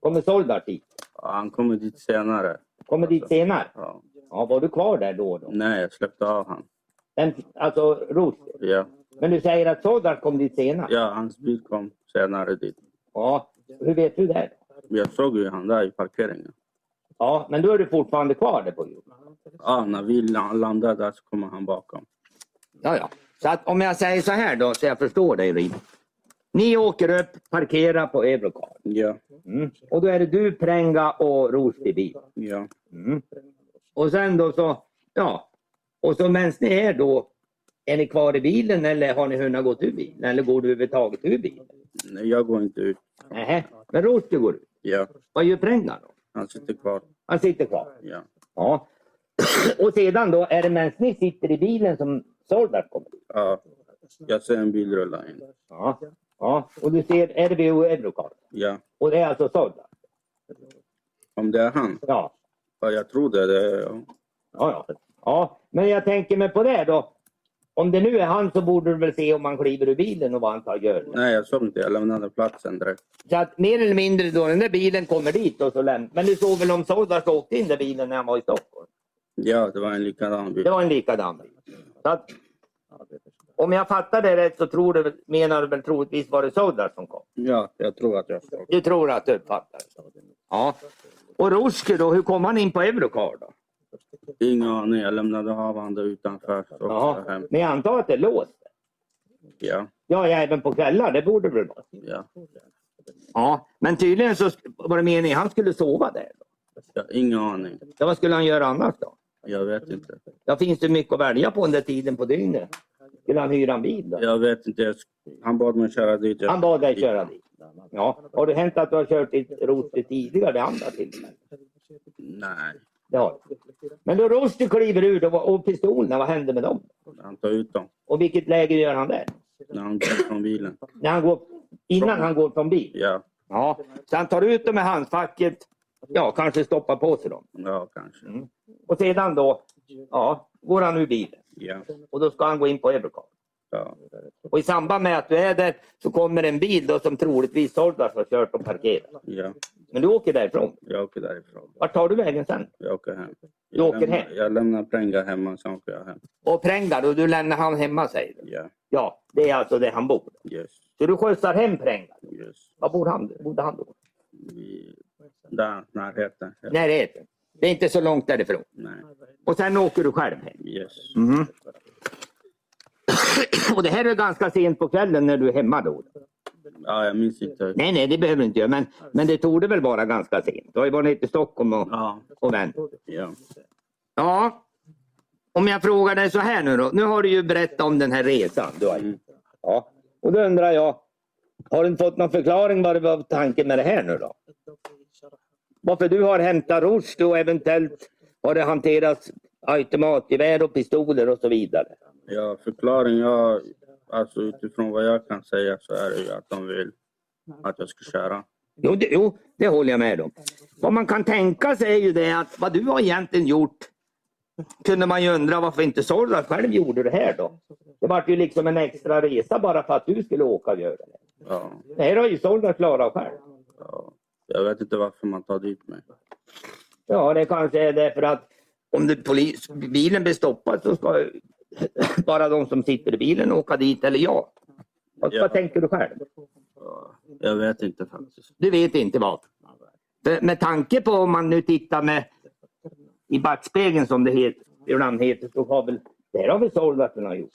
Speaker 4: Kommer Soldart dit?
Speaker 2: Han kommer dit senare.
Speaker 4: Kommer dit senare?
Speaker 2: Ja.
Speaker 4: Ja, var du kvar där då? då?
Speaker 2: Nej, jag släppte av han.
Speaker 4: Den, alltså Roster.
Speaker 2: Ja.
Speaker 4: Men du säger att Soldart kom dit senare?
Speaker 2: ja, hans bil kom senare dit.
Speaker 4: Ja. Hur vet du det?
Speaker 2: Jag såg ju han där i parkeringen.
Speaker 4: Ja, men då är du fortfarande kvar där på Eurocar?
Speaker 2: Ja, när vi la- landade där så kommer han bakom.
Speaker 4: Ja, ja. Så att om jag säger så här då, så jag förstår dig Rin. Ni åker upp, parkerar på Eurocar.
Speaker 2: Ja,
Speaker 4: Mm. Och då är det du, Prenga och Rost i bil.
Speaker 2: ja,
Speaker 4: Mm. Och sen då så, ja. Och så medan ni är då, är ni kvar i bilen eller har ni hunnit gått ur bilen? Eller går du överhuvudtaget ur bilen?
Speaker 2: Nej, jag går inte ut.
Speaker 4: Nähä. Men Rost du går ut.
Speaker 2: Ja,
Speaker 4: Vad gör Prenga då?
Speaker 2: han sitter kvar.
Speaker 4: Han sitter kvar.
Speaker 2: Ja,
Speaker 4: Ja. Och sedan då är det medan ni sitter i bilen som Soldar kommer.
Speaker 2: ja. jag ser en bil rulla in.
Speaker 4: Ja. ja. Och du ser, är det vid Eurocar?
Speaker 2: Ja,
Speaker 4: Och det är alltså Soldar?
Speaker 2: om det är han.
Speaker 4: Ja.
Speaker 2: Ja, jag tror det. det är,
Speaker 4: Ja, ja. ja, men jag tänker mig på det då. Om det nu är han så borde du väl se om han kliver ur bilen och vad han tar och gör.
Speaker 2: Nej, jag såg inte. Jag lämnade platsen direkt.
Speaker 4: Så att mer eller mindre då den där bilen kommer dit och så lämnar. Men du såg väl om Soldars åkte in den bilen när han var i Stockholm?
Speaker 2: Ja, det var en likadan bil.
Speaker 4: Det var en likadan bil. Så att, om jag fattar det rätt så tror du, väl- menar du väl troligtvis var det Soldars som kom?
Speaker 2: Ja, jag tror att jag såg.
Speaker 4: Du tror att du uppfattar det? Ja. Och Roske då, hur kom han in på Eurocar då?
Speaker 2: Ingen aning. Jag lämnade av han där utanför. Så åkte jag
Speaker 4: Jaha.
Speaker 2: hem.
Speaker 4: Men jag antar att det är låst?
Speaker 2: Ja,
Speaker 4: Ja, ja, även på kvällar, det borde det väl vara?
Speaker 2: ja.
Speaker 4: Ja, men tydligen så sk- var det meningen han skulle sova där. då.
Speaker 2: ja. Ingen aning.
Speaker 4: Ja, vad skulle han göra annars då?
Speaker 2: Jag vet inte.
Speaker 4: Ja, finns det mycket att välja på den där tiden på dygnet? Skulle han hyra en bil då?
Speaker 2: Jag vet inte. Jag sk- Han bad mig köra dit. Jag-
Speaker 4: Han bad dig köra dit. Ja, har det hänt att du har kört ditt Rosti tidigare vid andra tillfällen?
Speaker 2: Nej,
Speaker 4: Det har det. Men då Rosti kliver ur då, vad- och pistolerna, vad händer med dem?
Speaker 2: han tar ut dem
Speaker 4: Och vilket läge gör han där?
Speaker 2: när han går från bilen.
Speaker 4: När han går, innan han går från bil?
Speaker 2: Ja,
Speaker 4: Ja, så han tar ut dem i handfacket. Ja, kanske stoppar på sig dem.
Speaker 2: ja kanske.
Speaker 4: Och sedan då, ja, går han ur bilen.
Speaker 2: Ja,
Speaker 4: Och då ska han gå in på Eurocar.
Speaker 2: ja,
Speaker 4: Och i samband med att du är där så kommer en bil då som troligtvis Soldars har kört och parkerat.
Speaker 2: ja.
Speaker 4: Men du åker därifrån.
Speaker 2: Jag åker därifrån.
Speaker 4: Vart tar du vägen sen?
Speaker 2: Jag åker hem.
Speaker 4: Du
Speaker 2: jag
Speaker 4: åker
Speaker 2: lämnar,
Speaker 4: hem?
Speaker 2: Jag lämnar Prenga hemma, sen åker jag hem.
Speaker 4: Och Prengar och du lämnar han hemma säger du?
Speaker 2: Ja,
Speaker 4: Ja, det är alltså där han bor.
Speaker 2: yes,
Speaker 4: Så du skjutsar hem Prengar.
Speaker 2: yes.
Speaker 4: Var bor han, bodde han då?
Speaker 2: I, där, närheten. Ja.
Speaker 4: Närheten. Det är inte så långt därifrån.
Speaker 2: Nej,
Speaker 4: Och sen åker du själv hem.
Speaker 2: yes.
Speaker 4: Mm-hmm. Och det här är ganska sent på kvällen när du är hemma då.
Speaker 2: Ja, jag minns inte.
Speaker 4: Nej, nej, det behöver du inte göra. Men, men det torde väl vara ganska sent. Du har ju varit nere i Stockholm och,
Speaker 2: Ja,
Speaker 4: och vänt.
Speaker 2: ja,
Speaker 4: Ja. Om jag frågar dig så här nu då. Nu har du ju berättat om den här resan du har gjort.
Speaker 2: Mm.
Speaker 4: Ja. Och då undrar jag. Har du inte fått någon förklaring vad det var tanken med det här nu då? Varför du har hämtat rost och eventuellt har det hanterats automatgevär och pistoler och så vidare.
Speaker 2: ja. Förklaring, ja, alltså utifrån vad jag kan säga så är det ju att de vill att jag ska köra.
Speaker 4: Jo det, jo, det håller jag med om. Vad man kan tänka sig är ju det att vad du har egentligen gjort kunde man ju undra varför inte Sorda själv gjorde det här då. Det var ju liksom en extra resa bara för att du skulle åka och göra det.
Speaker 2: Ja,
Speaker 4: Det här har ju Sorda klarat själv.
Speaker 2: ja. Jag vet inte varför man tar dit mig.
Speaker 4: Ja, det kanske är därför att om det polis, bilen blir stoppad så ska bara de som sitter i bilen åka dit eller jag. Vad,
Speaker 2: Ja.
Speaker 4: vad tänker du själv?
Speaker 2: Ja, jag vet inte faktiskt.
Speaker 4: Du vet inte vad. För Med tanke på om man nu tittar med i backspegeln som det heter, ibland heter så har väl, det här har väl Sorda kunnat gjort.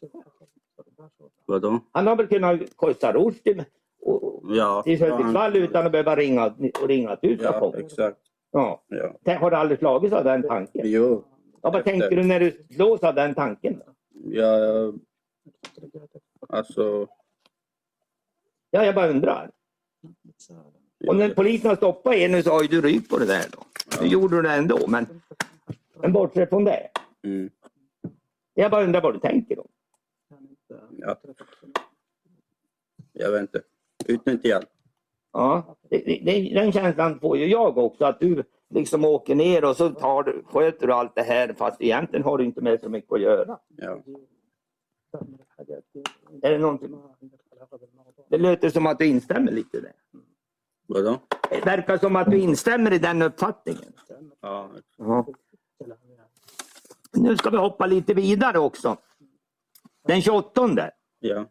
Speaker 2: Vadå?
Speaker 4: Han har väl kunnat korsa Rushdie och, och,
Speaker 2: Ja.
Speaker 4: till Hudiksvall utan att behöva ringa, och ringa till
Speaker 2: Ja,
Speaker 4: Utslagsholm.
Speaker 2: exakt.
Speaker 4: Ja.
Speaker 2: Ja.
Speaker 4: Tänk, Har du aldrig slagits av den tanken?
Speaker 2: Jo.
Speaker 4: Ja, vad tänker du när du slås av den tanken? då?
Speaker 2: Ja, jag- alltså...
Speaker 4: Ja, jag bara undrar. Och när polisen har stoppat er nu så har ju du rykt på det där då. Nu gjorde du det ändå, men, men bortsett från det.
Speaker 2: Mm.
Speaker 4: Jag bara undrar vad du tänker då.
Speaker 2: Ja. Jag vet inte. Utnyttjad.
Speaker 4: Ja, det, det- det, den känslan får ju jag också att du liksom åker ner och så tar du, sköter du allt det här fast egentligen har du inte med så mycket att göra.
Speaker 2: Ja.
Speaker 4: Är det någonting? Det låter som att du instämmer lite i det.
Speaker 2: Vadå?
Speaker 4: Det verkar som att du instämmer i den uppfattningen.
Speaker 2: Ja.
Speaker 4: Ja. Nu ska vi hoppa lite vidare också. Den 28.
Speaker 2: Ja.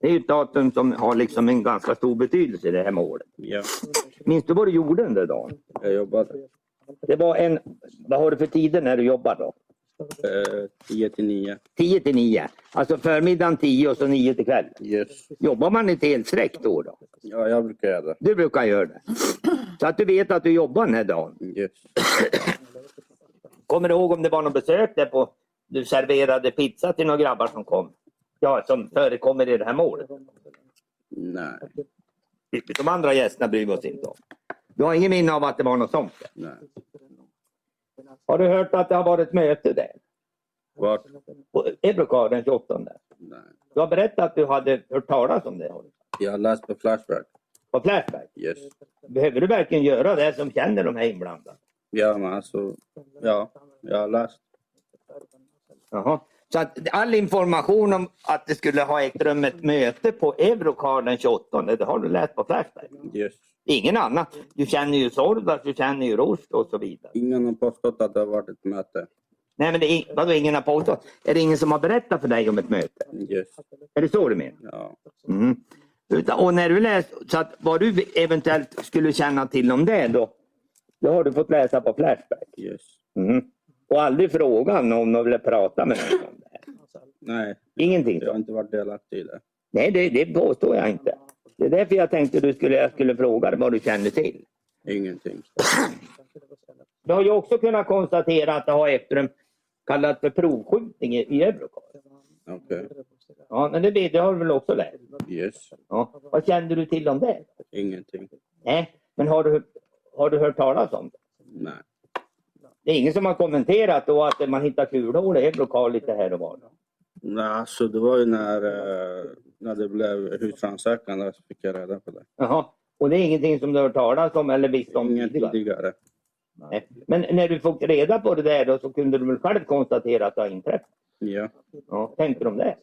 Speaker 4: Det är ju ett datum som har liksom en ganska stor betydelse i det här målet.
Speaker 2: ja.
Speaker 4: Minns du vad du gjorde under dagen?
Speaker 2: Jag jobbade.
Speaker 4: Det var en, vad har du för tider när du jobbar då?
Speaker 2: Eh, 10 till 9.
Speaker 4: 10 till 9. Alltså förmiddagen 10 och så 9 till kvällen.
Speaker 2: Yes.
Speaker 4: Jobbar man ett helt streck då, då?
Speaker 2: Ja, jag brukar göra det.
Speaker 4: Du brukar göra det. Så att du vet att du jobbar den här dagen.
Speaker 2: Yes.
Speaker 4: Kommer du ihåg om det var något besök där på du serverade pizza till några grabbar som kom? Ja, som förekommer i det här målet.
Speaker 2: Nej.
Speaker 4: De andra gästerna bryr vi oss inte om. Du har ingen minne av att det var något sånt?
Speaker 2: Nej.
Speaker 4: Har du hört att det har varit möte där?
Speaker 2: Vart?
Speaker 4: På Ebrokar den 28?
Speaker 2: Nej.
Speaker 4: Du har berättat att du hade hört talas om det.
Speaker 2: Jag har läst på Flashback.
Speaker 4: På Flashback.
Speaker 2: Yes.
Speaker 4: Behöver du verkligen göra det som känner de här inblandade?
Speaker 2: Ja, men alltså. Ja, jag har läst.
Speaker 4: Jaha. Så att all information om att det skulle ha ägt rum ett möte på Eurocar den 28, det har du läst på Flashback.
Speaker 2: Yes.
Speaker 4: Ingen annan. Du känner ju Sordas, du känner ju Rost och så vidare.
Speaker 2: Ingen har påstått att det har varit ett möte.
Speaker 4: Nej men det är, vadå ingen har påstått? Är det ingen som har berättat för dig om ett möte?
Speaker 2: Yes.
Speaker 4: Är det så du menar?
Speaker 2: Ja.
Speaker 4: Mm. Utan- Och när du läst, så att vad du eventuellt skulle känna till om det då, det har du fått läsa på Flashback.
Speaker 2: Yes.
Speaker 4: Mm. Och aldrig frågan om de ville prata med någon om det. här.
Speaker 2: Nej,
Speaker 4: Ingenting
Speaker 2: jag har
Speaker 4: så.
Speaker 2: inte varit delaktig i det.
Speaker 4: Nej, det, det påstår jag inte. Det är därför jag tänkte du skulle, jag skulle fråga dig vad du känner till.
Speaker 2: Ingenting.
Speaker 4: Du har ju också kunnat konstatera att det har ägt rum kallat för provskjutning i, i Eurocar.
Speaker 2: Okej.
Speaker 4: Ja, men det, vet- det har du väl också läst?
Speaker 2: Yes.
Speaker 4: Ja. Vad kände du till om det?
Speaker 2: Ingenting.
Speaker 4: Nej, men har du, har du hört talas om det?
Speaker 2: Nej.
Speaker 4: Det är ingen som har kommenterat då att man hittar kulhål i lokal lite här och var.
Speaker 2: Nej, alltså det var ju när, eh, när det blev husrannsakan där så fick jag reda på det.
Speaker 4: Jaha. Och det är ingenting som du har hört talas om eller visst om
Speaker 2: Inget
Speaker 4: tidigare?
Speaker 2: tidigare.
Speaker 4: Nej. Men när du fick reda på det där då så kunde du väl själv konstatera att det har inträffat?
Speaker 2: Ja.
Speaker 4: Ja. Tänkte du om det?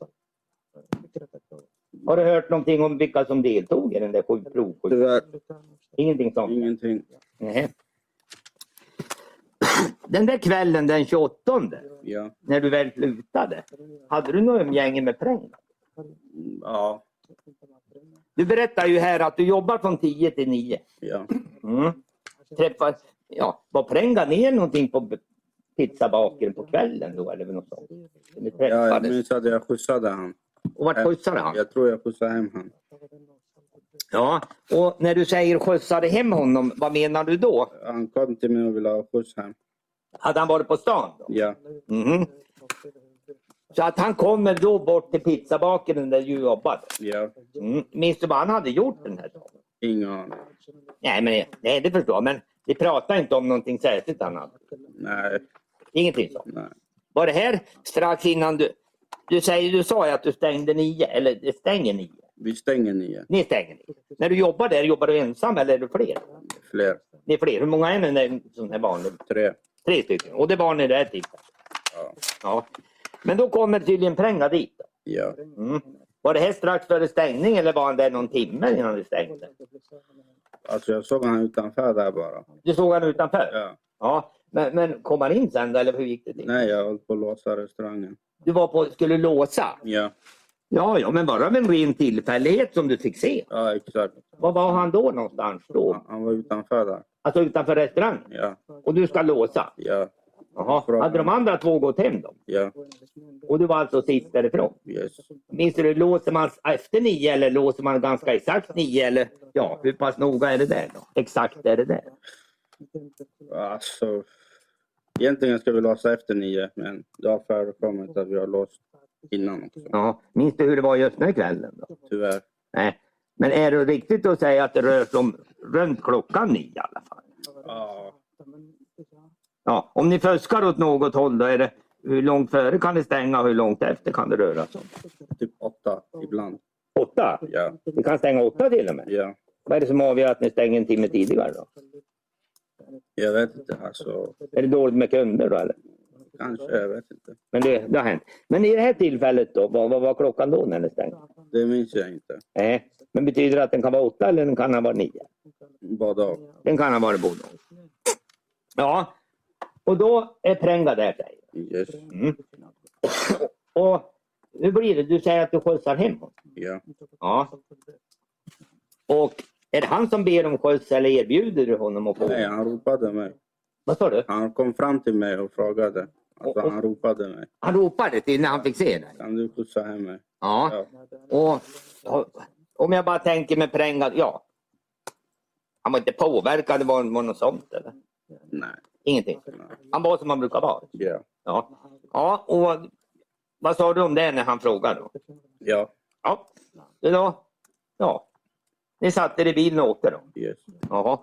Speaker 4: Har du hört någonting om vilka som deltog i den där sju- provskjutningen?
Speaker 2: Tyvärr
Speaker 4: Ingenting sånt?
Speaker 2: ingenting.
Speaker 4: Nej. Den där kvällen den 28
Speaker 2: Ja.
Speaker 4: när du väl slutade, hade du något umgänge med Präng?
Speaker 2: Mm, Ja.
Speaker 4: Du berättar ju här att du jobbar från 10 till 9.
Speaker 2: Ja.
Speaker 4: Mm. Träffar, ja, var Prenga ner någonting på b- pizzabakaren på kvällen då eller något sånt? Ni
Speaker 2: ja jag
Speaker 4: träffades.
Speaker 2: minns att jag skjutsade han.
Speaker 4: och vart skjutsade han?
Speaker 2: Jag tror jag skjutsade hem han.
Speaker 4: Ja, och när du säger skjutsade hem honom, vad menar du då?
Speaker 2: Han kom till mig och ville ha skjuts hem.
Speaker 4: Hade han varit på stan då?
Speaker 2: Ja.
Speaker 4: Mhm. Så att han kommer då bort till pizzabakaren där du jobbade.
Speaker 2: Ja.
Speaker 4: Mm. Minns du vad han hade gjort den här dagen?
Speaker 2: Ingen aning.
Speaker 4: Nej, men, nej det förstår jag, men vi pratar inte om någonting särskilt han hade.
Speaker 2: Nej.
Speaker 4: Ingenting sånt.
Speaker 2: Nej.
Speaker 4: Var det här strax innan du... Du, säger, du sa ju att du stängde nio, eller det stänger nio.
Speaker 2: Vi stänger nio.
Speaker 4: Ni stänger nio. När du jobbar där, jobbar du ensam eller är du fler?
Speaker 2: Fler.
Speaker 4: Det är fler. Hur många är ni när en sån här vanlig?
Speaker 2: Tre.
Speaker 4: Tre stycken. Och det var ni där tillfället.
Speaker 2: Ja. Ja.
Speaker 5: Ja.
Speaker 4: Men då kommer tydligen Pränga dit.
Speaker 2: ja.
Speaker 4: Mm. Var det här strax före stängning eller var han där någon timme innan det stängde?
Speaker 2: Alltså jag såg han utanför där bara.
Speaker 4: Du såg han utanför?
Speaker 2: Ja.
Speaker 4: Ja. Men, men kom han in sen då, eller hur gick det till?
Speaker 2: Nej, jag höll på att låsa restaurangen.
Speaker 4: Du var på, skulle låsa?
Speaker 2: Ja,
Speaker 4: Ja, ja, men bara av en ren tillfällighet som du fick se.
Speaker 2: ja exakt.
Speaker 4: Var var han då någonstans då?
Speaker 2: Han, han var utanför där.
Speaker 4: Alltså utanför restaurangen?
Speaker 2: Ja,
Speaker 4: Och du ska låsa?
Speaker 2: ja,
Speaker 4: Jaha. Hade de andra två gått hem då?
Speaker 2: ja.
Speaker 4: Och du var alltså sist därifrån?
Speaker 2: Yes.
Speaker 4: Minns du, låser man efter nio eller låser man ganska exakt nio? Eller ja, hur pass noga är det där då? Exakt är det där?
Speaker 2: Alltså, egentligen ska vi låsa efter nio, men det har förekommit att vi har låst innan också,
Speaker 4: Ja, minns du hur det var just den här kvällen? Då?
Speaker 2: tyvärr.
Speaker 4: Nej. Men är det riktigt att säga att det rör sig om runt klockan nio i alla fall?
Speaker 2: Ja,
Speaker 4: Ja, om ni fuskar åt något håll då är det hur långt före kan det stänga och hur långt efter kan det röra sig om?
Speaker 2: typ åtta ibland.
Speaker 4: Åtta?
Speaker 2: Ja,
Speaker 4: Vi kan stänga åtta till och med.
Speaker 2: ja.
Speaker 4: Vad är det som avgör att ni stänger en timme tidigare då?
Speaker 2: Jag vet inte, alltså.
Speaker 4: Är det dåligt med kunder då eller?
Speaker 2: Kanske, jag vet inte.
Speaker 4: Men det, det har hänt. Men i det här tillfället då, vad, vad var klockan då när ni stängde?
Speaker 2: Det minns jag inte.
Speaker 4: Nej. Men betyder det att den kan vara åtta eller den kan ha varit nio?
Speaker 2: Båda och.
Speaker 4: Den kan ha varit både och. Ja, och då är Pränga där säger du.
Speaker 2: Yes,
Speaker 4: mm. Och hur blir det? Du säger att du skjutsar hem honom.
Speaker 2: ja.
Speaker 4: Ja. Och är det han som ber om skjuts eller erbjuder du honom att få?
Speaker 2: Nej, han ropade mig.
Speaker 4: Vad sa du?
Speaker 2: Han kom fram till mig och frågade. Alltså, han ropade mig.
Speaker 4: Han ropade till när han fick se dig?
Speaker 2: Kan du skjutsa hem mig?
Speaker 4: Ja.
Speaker 2: Ja.
Speaker 4: Och om jag bara tänker med Pränga, ja. Han var inte påverkad, det var, var något sånt eller?
Speaker 2: Nej.
Speaker 4: Ingenting. Han var som han brukar vara.
Speaker 2: Ja.
Speaker 4: Ja, ja och vad sa du om det när han frågade? Då?
Speaker 2: Ja.
Speaker 4: Ja, det då, ja. Ni satte er i bilen och åkte då?
Speaker 2: Yes.
Speaker 4: Jaha.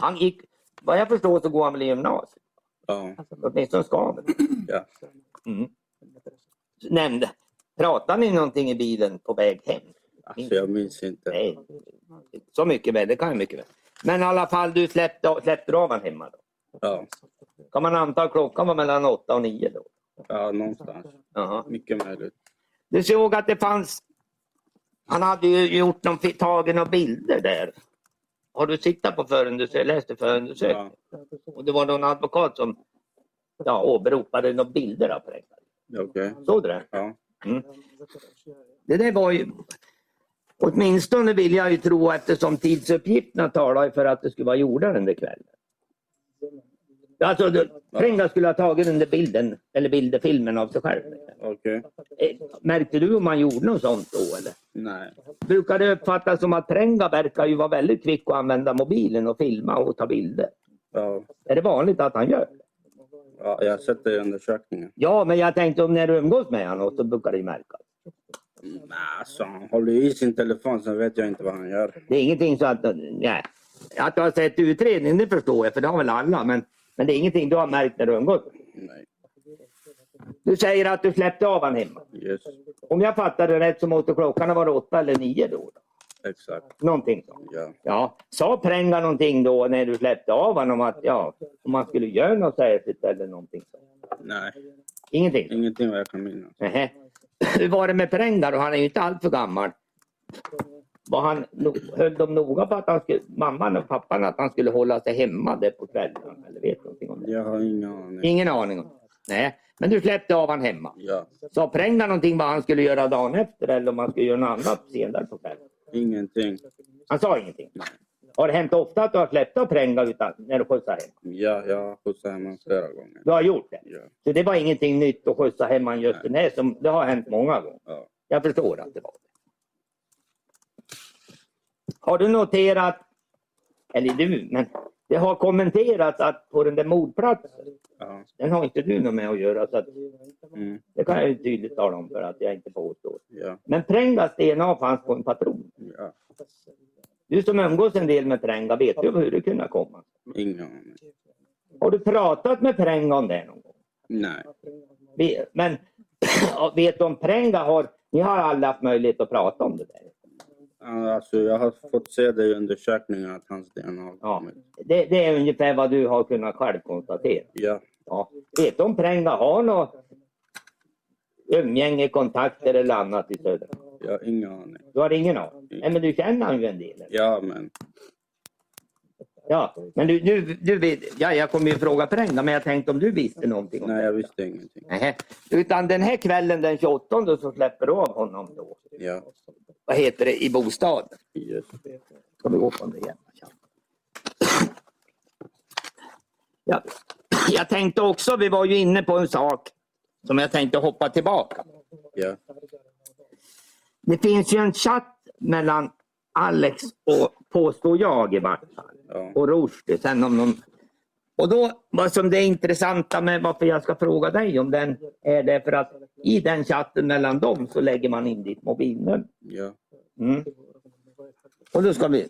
Speaker 4: Han gick, vad jag förstår så går han väl i gymnasiet?
Speaker 2: Ja.
Speaker 4: Åtminstone ska han väl.
Speaker 2: Ja.
Speaker 4: Mm. Nämnde, pratade ni någonting i bilen på väg hem?
Speaker 2: Alltså, jag minns inte.
Speaker 4: Nej, så mycket väl, det kan jag mycket väl. Men i alla fall, du släppte, släppte du av honom hemma då?
Speaker 2: Ja.
Speaker 4: Kan man anta att klockan var mellan åtta och nio då?
Speaker 2: Ja, någonstans.
Speaker 4: Jaha.
Speaker 2: Mycket möjligt.
Speaker 4: Du såg att det fanns... Han hade ju gjort någon, tagit några bilder där. Har du tittat på förundersökningen? Läste förundersökningen?
Speaker 2: Ja.
Speaker 4: Och det var någon advokat som ja, åberopade några bilder. av Pränga.
Speaker 2: Okej.
Speaker 4: Såg du det?
Speaker 2: Ja.
Speaker 4: Det där var ju... Åtminstone vill jag ju tro eftersom tidsuppgifterna talar ju för att det skulle vara gjorda den där kvällen.
Speaker 2: Mm.
Speaker 4: Alltså, det- Pränga skulle ha tagit den där bilden, eller bilderfilmen av sig själv.
Speaker 2: Okej.
Speaker 4: Eh, Märkte du om man gjorde något sånt då eller?
Speaker 2: Nej.
Speaker 4: brukar det uppfattas som att Pränga verkar ju vara väldigt kvick att använda mobilen och filma och ta bilder.
Speaker 2: Ja.
Speaker 4: Är det vanligt att han gör det?
Speaker 2: ja. Jag har sett det i undersökningen.
Speaker 4: Ja, men jag tänkte om när du umgås med honom så brukar det ju märkas.
Speaker 2: Nej, alltså, han håller i sin telefon, sen vet jag inte vad han gör.
Speaker 4: Det är ingenting så att, nej. Att du har sett utredningen, det förstår jag, för det har väl alla. Men, men det är ingenting du har märkt när du umgås.
Speaker 2: Nej.
Speaker 4: Du säger att du släppte av honom hemma.
Speaker 2: Yes.
Speaker 4: Om jag fattade rätt så måste klockan ha varit åtta eller nio då.
Speaker 2: Exakt.
Speaker 4: Någonting sånt.
Speaker 2: Ja.
Speaker 4: Ja, sa Pränga någonting då när du släppte av honom att ja, om man skulle göra något särskilt eller någonting sånt?
Speaker 2: Nej.
Speaker 4: Ingenting?
Speaker 2: Ingenting vad jag kan minnas.
Speaker 4: Nähä. Hur var det med Pränga då? Han är ju inte alltför gammal. Var han, no- höll de noga på att han skulle, mamman och pappan att han skulle hålla sig hemma där på kvällen? Eller vet du någonting om det?
Speaker 2: Jag har ingen aning.
Speaker 4: Ingen aning om det. Nej, men du släppte av han hemma.
Speaker 2: Ja.
Speaker 4: Sa Pränga någonting vad han skulle göra dagen efter eller om han skulle göra något annat senare på kvällen?
Speaker 2: Ingenting.
Speaker 4: Han sa ingenting. Har det hänt ofta att du har släppt av Pränga utan, när du skjutsar hem?
Speaker 2: Ja, jag har skjutsat hem honom flera gånger.
Speaker 4: Du har gjort det?
Speaker 2: Ja.
Speaker 4: Så det var ingenting nytt att skjutsa hem han just den här som, det har hänt många gånger.
Speaker 2: Ja.
Speaker 4: Jag förstår att det var det. Har du noterat, eller du, men det har kommenterats att på den där mordplatsen,
Speaker 2: ja.
Speaker 4: den har inte du något med att göra så att
Speaker 2: Mm.
Speaker 4: det kan jag ju tydligt tala om för att jag inte påstår.
Speaker 2: Ja.
Speaker 4: Men Prängas DNA fanns på en patron.
Speaker 2: ja.
Speaker 4: Du som umgås en del med Pränga, vet du hur det kunde komma?
Speaker 2: Ingen aning.
Speaker 4: Har du pratat med Pränga om det någon gång?
Speaker 2: Nej.
Speaker 4: Vi- Men vet du om Pränga har, ni har alla haft möjlighet att prata om det där?
Speaker 2: Alltså, jag har fått se det i undersökningen att hans DNA har
Speaker 4: Ja.
Speaker 2: kommit.
Speaker 4: Det, det är ungefär vad du har kunnat själv konstatera.
Speaker 2: Ja.
Speaker 4: Ja. Vet om Pränga har något umgänge, kontakter eller annat i Södra?
Speaker 2: Jag har ingen aning.
Speaker 4: Du har ingen aning? Nej, men du känner han ju en del. eller?
Speaker 2: Ja, men
Speaker 4: Ja, men du, du, du vet, ja, jag kommer ju fråga Pränga, men jag tänkte om du visste någonting om
Speaker 2: nej,
Speaker 4: det.
Speaker 2: jag visste ingenting.
Speaker 4: Nej. Utan den här kvällen den 28 så släpper du av honom då.
Speaker 2: Ja,
Speaker 4: Vad heter det? I bostad.
Speaker 2: just
Speaker 4: Ska vi gå på det igen? Ja. Jag tänkte också, vi var ju inne på en sak som jag tänkte hoppa tillbaka.
Speaker 2: ja.
Speaker 4: Det finns ju en chatt mellan Alex och, påstår jag i vart fall,
Speaker 2: ja.
Speaker 4: och Rushdie. Sen om någon... Och då, vad som det är intressanta med varför jag ska fråga dig om den, är det för att i den chatten mellan dem så lägger man in ditt mobilnummer.
Speaker 2: ja.
Speaker 4: Mm. Och då ska vi...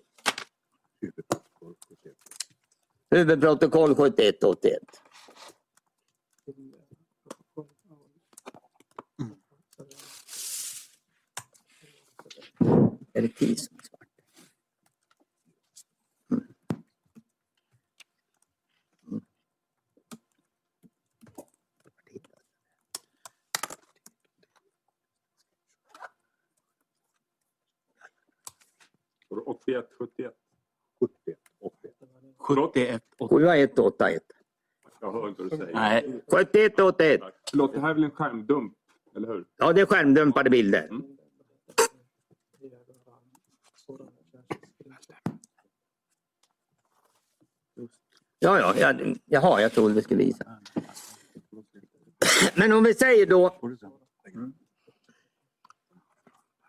Speaker 4: Huvudprotokoll 7181. Är det tid som är svart? Mm. Mm.
Speaker 3: Och 81, 71.
Speaker 5: 70, 80.
Speaker 1: 71. och-
Speaker 4: 7181.
Speaker 5: Jag hör inte vad du säger.
Speaker 4: Nej, 7181.
Speaker 3: Förlåt, det här är väl en skärmdump? Eller hur? Mm.
Speaker 4: Ja, det är skärmdumpade bilder. Ja, ja, jag, jaha, jag trodde det skulle visa. Men om vi säger då,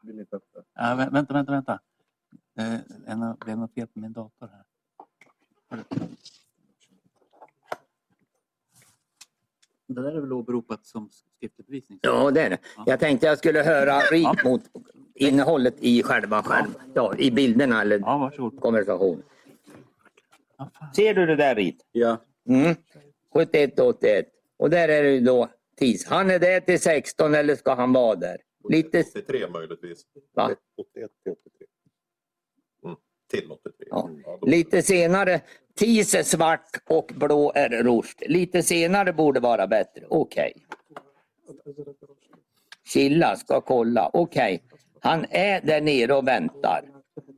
Speaker 1: Mm. Ja, vä- vänta, vänta, vänta. Det är nå- det är något fel på min dator här. Det där är väl åberopat som skriftlig bevisning?
Speaker 4: ja det är det. Jag tänkte jag skulle höra rikt mot innehållet i själva skärmen. Ja, i bilderna eller
Speaker 1: Ja, varsågod.
Speaker 4: konversationen. Ser du det där rit?
Speaker 2: ja.
Speaker 4: Mm. 71 81. Och där är det ju då TIS. Han är där till 16 eller ska han vara där? Lite,
Speaker 5: 83 möjligtvis.
Speaker 4: va?
Speaker 5: 81 till 83. Mm. Till 83.
Speaker 4: Ja.
Speaker 5: då-
Speaker 4: Lite senare. TIS är svart och blå är rost. Lite senare borde vara bättre. Okej. Chilla, ska kolla. Okej. Han är där nere och väntar.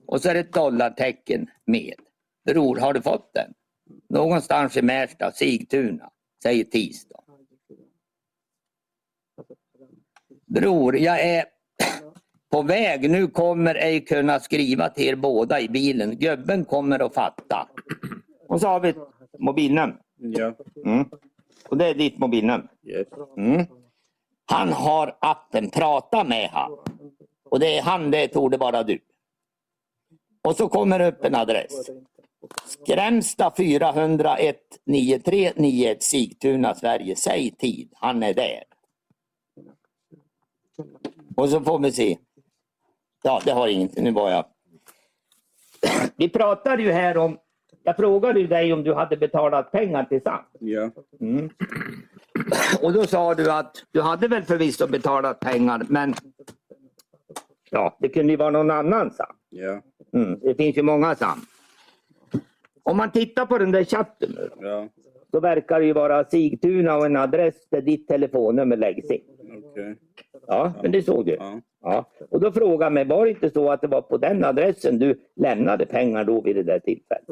Speaker 4: Och så är det ett dollartecken med. Bror, har du fått den? Någonstans i Märsta, Sigtuna, säger TIS. Då. Bror, jag är på väg. Nu kommer ej kunna skriva till er båda i bilen. Gubben kommer att fatta. Och så har vi ett mobilnummer.
Speaker 2: Ja,
Speaker 4: Mm. Och det är ditt mobilnummer.
Speaker 2: yes.
Speaker 4: Mm. Han har appen Prata med han. Och det är han, det torde vara du. Och så kommer det upp en adress. Skrämsta 401 9391 Sigtuna, Sverige. Säg tid, han är där. Och så får vi se. Ja, det har inget. Nu var jag... Vi pratade ju här om... Jag frågade ju dig om du hade betalat pengar till SAM.
Speaker 2: Ja,
Speaker 4: Mm. Och då sa du att du hade väl förvisso betalat pengar men ja, det kunde ju vara någon annan sam.
Speaker 2: ja,
Speaker 4: Mm. Det finns ju många sam. Om man tittar på den där chatten nu då,
Speaker 2: ja.
Speaker 4: så verkar det ju vara Sigtuna och en adress där ditt telefonnummer läggs in.
Speaker 2: Okej.
Speaker 4: Ja, men det såg du.
Speaker 2: Ja.
Speaker 4: Ja. Och då frågar man mig, var det inte så att det var på den adressen du lämnade pengar då vid det där tillfället?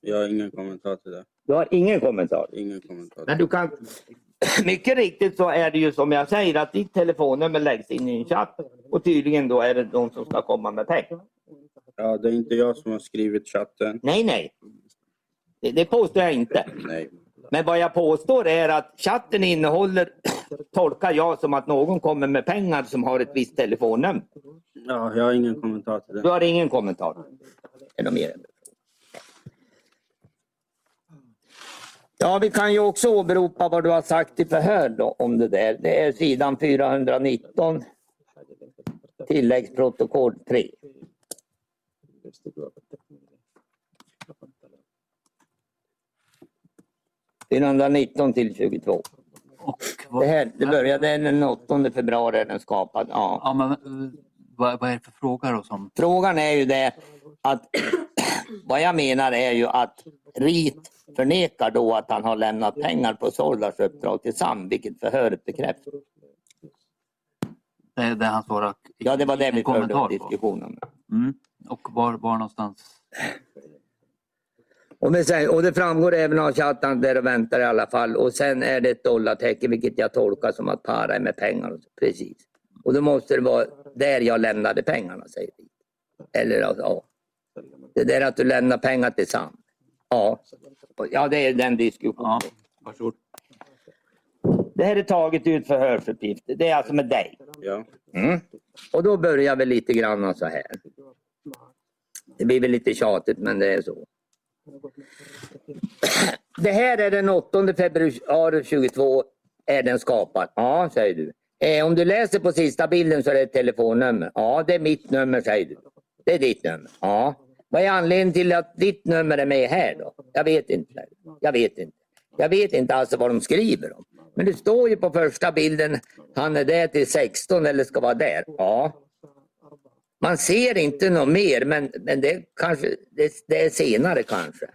Speaker 2: Jag har ingen kommentar till det.
Speaker 4: Du har ingen kommentar?
Speaker 2: Ingen kommentar.
Speaker 4: Men du kan... Mycket riktigt så är det ju som jag säger att ditt telefonnummer läggs in i en chatt och tydligen då är det de som ska komma med pengar.
Speaker 2: Ja, det är inte jag som har skrivit chatten.
Speaker 4: Nej, nej. Det, det påstår jag inte.
Speaker 2: Nej.
Speaker 4: Men vad jag påstår är att chatten innehåller, tolkar jag som att någon kommer med pengar som har ett visst telefonnummer.
Speaker 2: Ja, jag har ingen kommentar till
Speaker 4: Du
Speaker 2: det.
Speaker 4: har ingen kommentar? Är det mer? Ja, vi kan ju också åberopa vad du har sagt i förhör då, om det där. Det är sidan 419, tilläggsprotokoll 3. ...419 till 22.
Speaker 1: Och
Speaker 4: Det,
Speaker 1: vad,
Speaker 4: här, det började den 8 februari är den skapad. Ja.
Speaker 1: ja, men, eh, vad, vad är det för fråga då? Som,
Speaker 4: Frågan är ju det att vad jag menar är ju att Rit förnekar då att han har lämnat pengar på Sordas uppdrag till SAM, vilket förhöret bekräftar.
Speaker 1: Det är det han svarar.
Speaker 4: Ja, det var det vi förde
Speaker 1: Kommentar
Speaker 4: upp
Speaker 1: på.
Speaker 4: diskussionen.
Speaker 1: Mm. Och var, var någonstans?
Speaker 4: Och, men sen, och det framgår även av att han där och väntar i alla fall. Och sen är det ett dollartecken, vilket jag tolkar som att para är med pengar. Precis. Och då måste det vara där jag lämnade pengarna, säger vi. Eller ja, ja. Det där att du lämnar pengar till Sam. Ja, ja det är den diskussionen.
Speaker 1: Ja, varsågod.
Speaker 4: Det här är taget ut förhörsuppgifter. Det är alltså med dig.
Speaker 2: Ja.
Speaker 4: Mm. Och då börjar vi lite grann så här. Det blir väl lite tjatigt men det är så. Det här är den 8 februari 22 är den skapad. Ja, säger du. Eh, om du läser på sista bilden så är det ett telefonnummer. Ja, det är mitt nummer säger du. Det är ditt nummer. Ja. Vad är anledningen till att ditt nummer är med här då? Jag vet inte. Jag vet inte. Jag vet inte alltså vad de skriver om. Men det står ju på första bilden, han är där till 16 eller ska vara där. Ja. Man ser inte något mer, men, men det, kanske, det, det är senare kanske.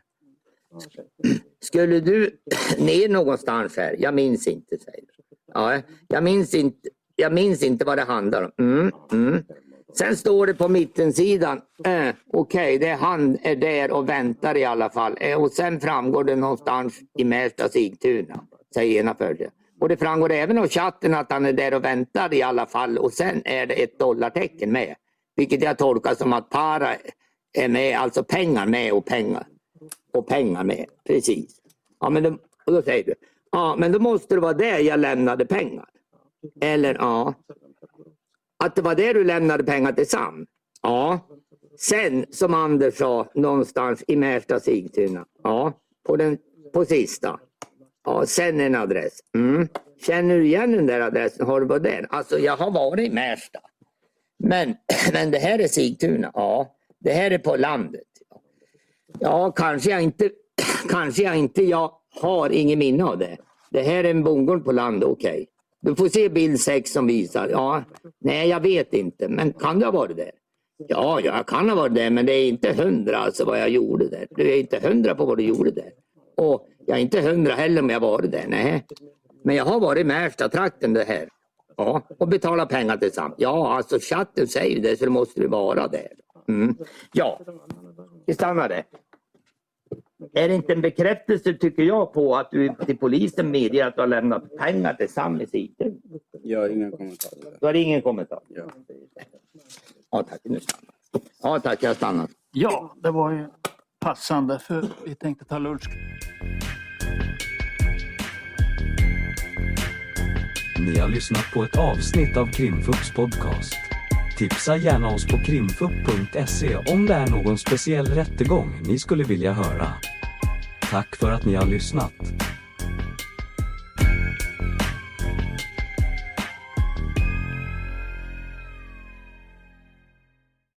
Speaker 4: Skulle du ner någonstans här? Jag minns inte, säger du. ja, jag, minns inte, jag minns inte vad det handlar om. Mm, mm. Sen står det på mittensidan, eh, okej, det är han är där och väntar i alla fall. Eh, och sen framgår det någonstans i Märsta Sigtuna, säger ena följden. Och det framgår även av chatten att han är där och väntar i alla fall. Och sen är det ett dollartecken med. Vilket jag tolkar som att para är med, alltså pengar med och pengar och pengar med. Precis. Ja, men då, och då säger du, ja men då måste det vara där jag lämnade pengar. Eller ja, att det var där du lämnade pengar till Sam. Ja. Sen som Anders sa, någonstans i Märsta Sigtuna. Ja, på, den, på sista. Ja, sen en adress. Mm. Känner du igen den där adressen? Har du varit där? Alltså jag har varit i Märsta. Men, men det här är Sigtuna. Ja, det här är på landet. Ja, kanske jag inte, kanske jag inte, jag har ingen minne av det. Det här är en bondgård på land, okej. Du får se bild 6 som visar. Ja, nej, jag vet inte, men kan det ha varit där? Ja, ja, jag kan ha varit där, men det är inte hundra alltså vad jag gjorde där. Du är inte hundra på vad du gjorde där. Och jag är inte hundra heller om jag varit där, nej. Men jag har varit i Märstatrakten det här. Ja, och betalat pengar till Sam. Ja, alltså chatten säger det, så det måste det vara där. Mm. Ja, vi stannar där. Är det inte en bekräftelse, tycker jag, på att du till polisen medger att du har lämnat pengar till Samlis IT?
Speaker 2: Jag har inga kommentarer.
Speaker 4: Då är det ingen kommentar.
Speaker 2: Ja.
Speaker 4: Ja tack, nu stannar jag. Ja tack, jag stannar.
Speaker 1: Ja, det var ju passande för vi tänkte ta lunch.
Speaker 7: Ni har lyssnat på ett avsnitt av Krimfupps podcast. Tipsa gärna oss på krimfupp.se om det är någon speciell rättegång ni skulle vilja höra. Tack för att ni har lyssnat.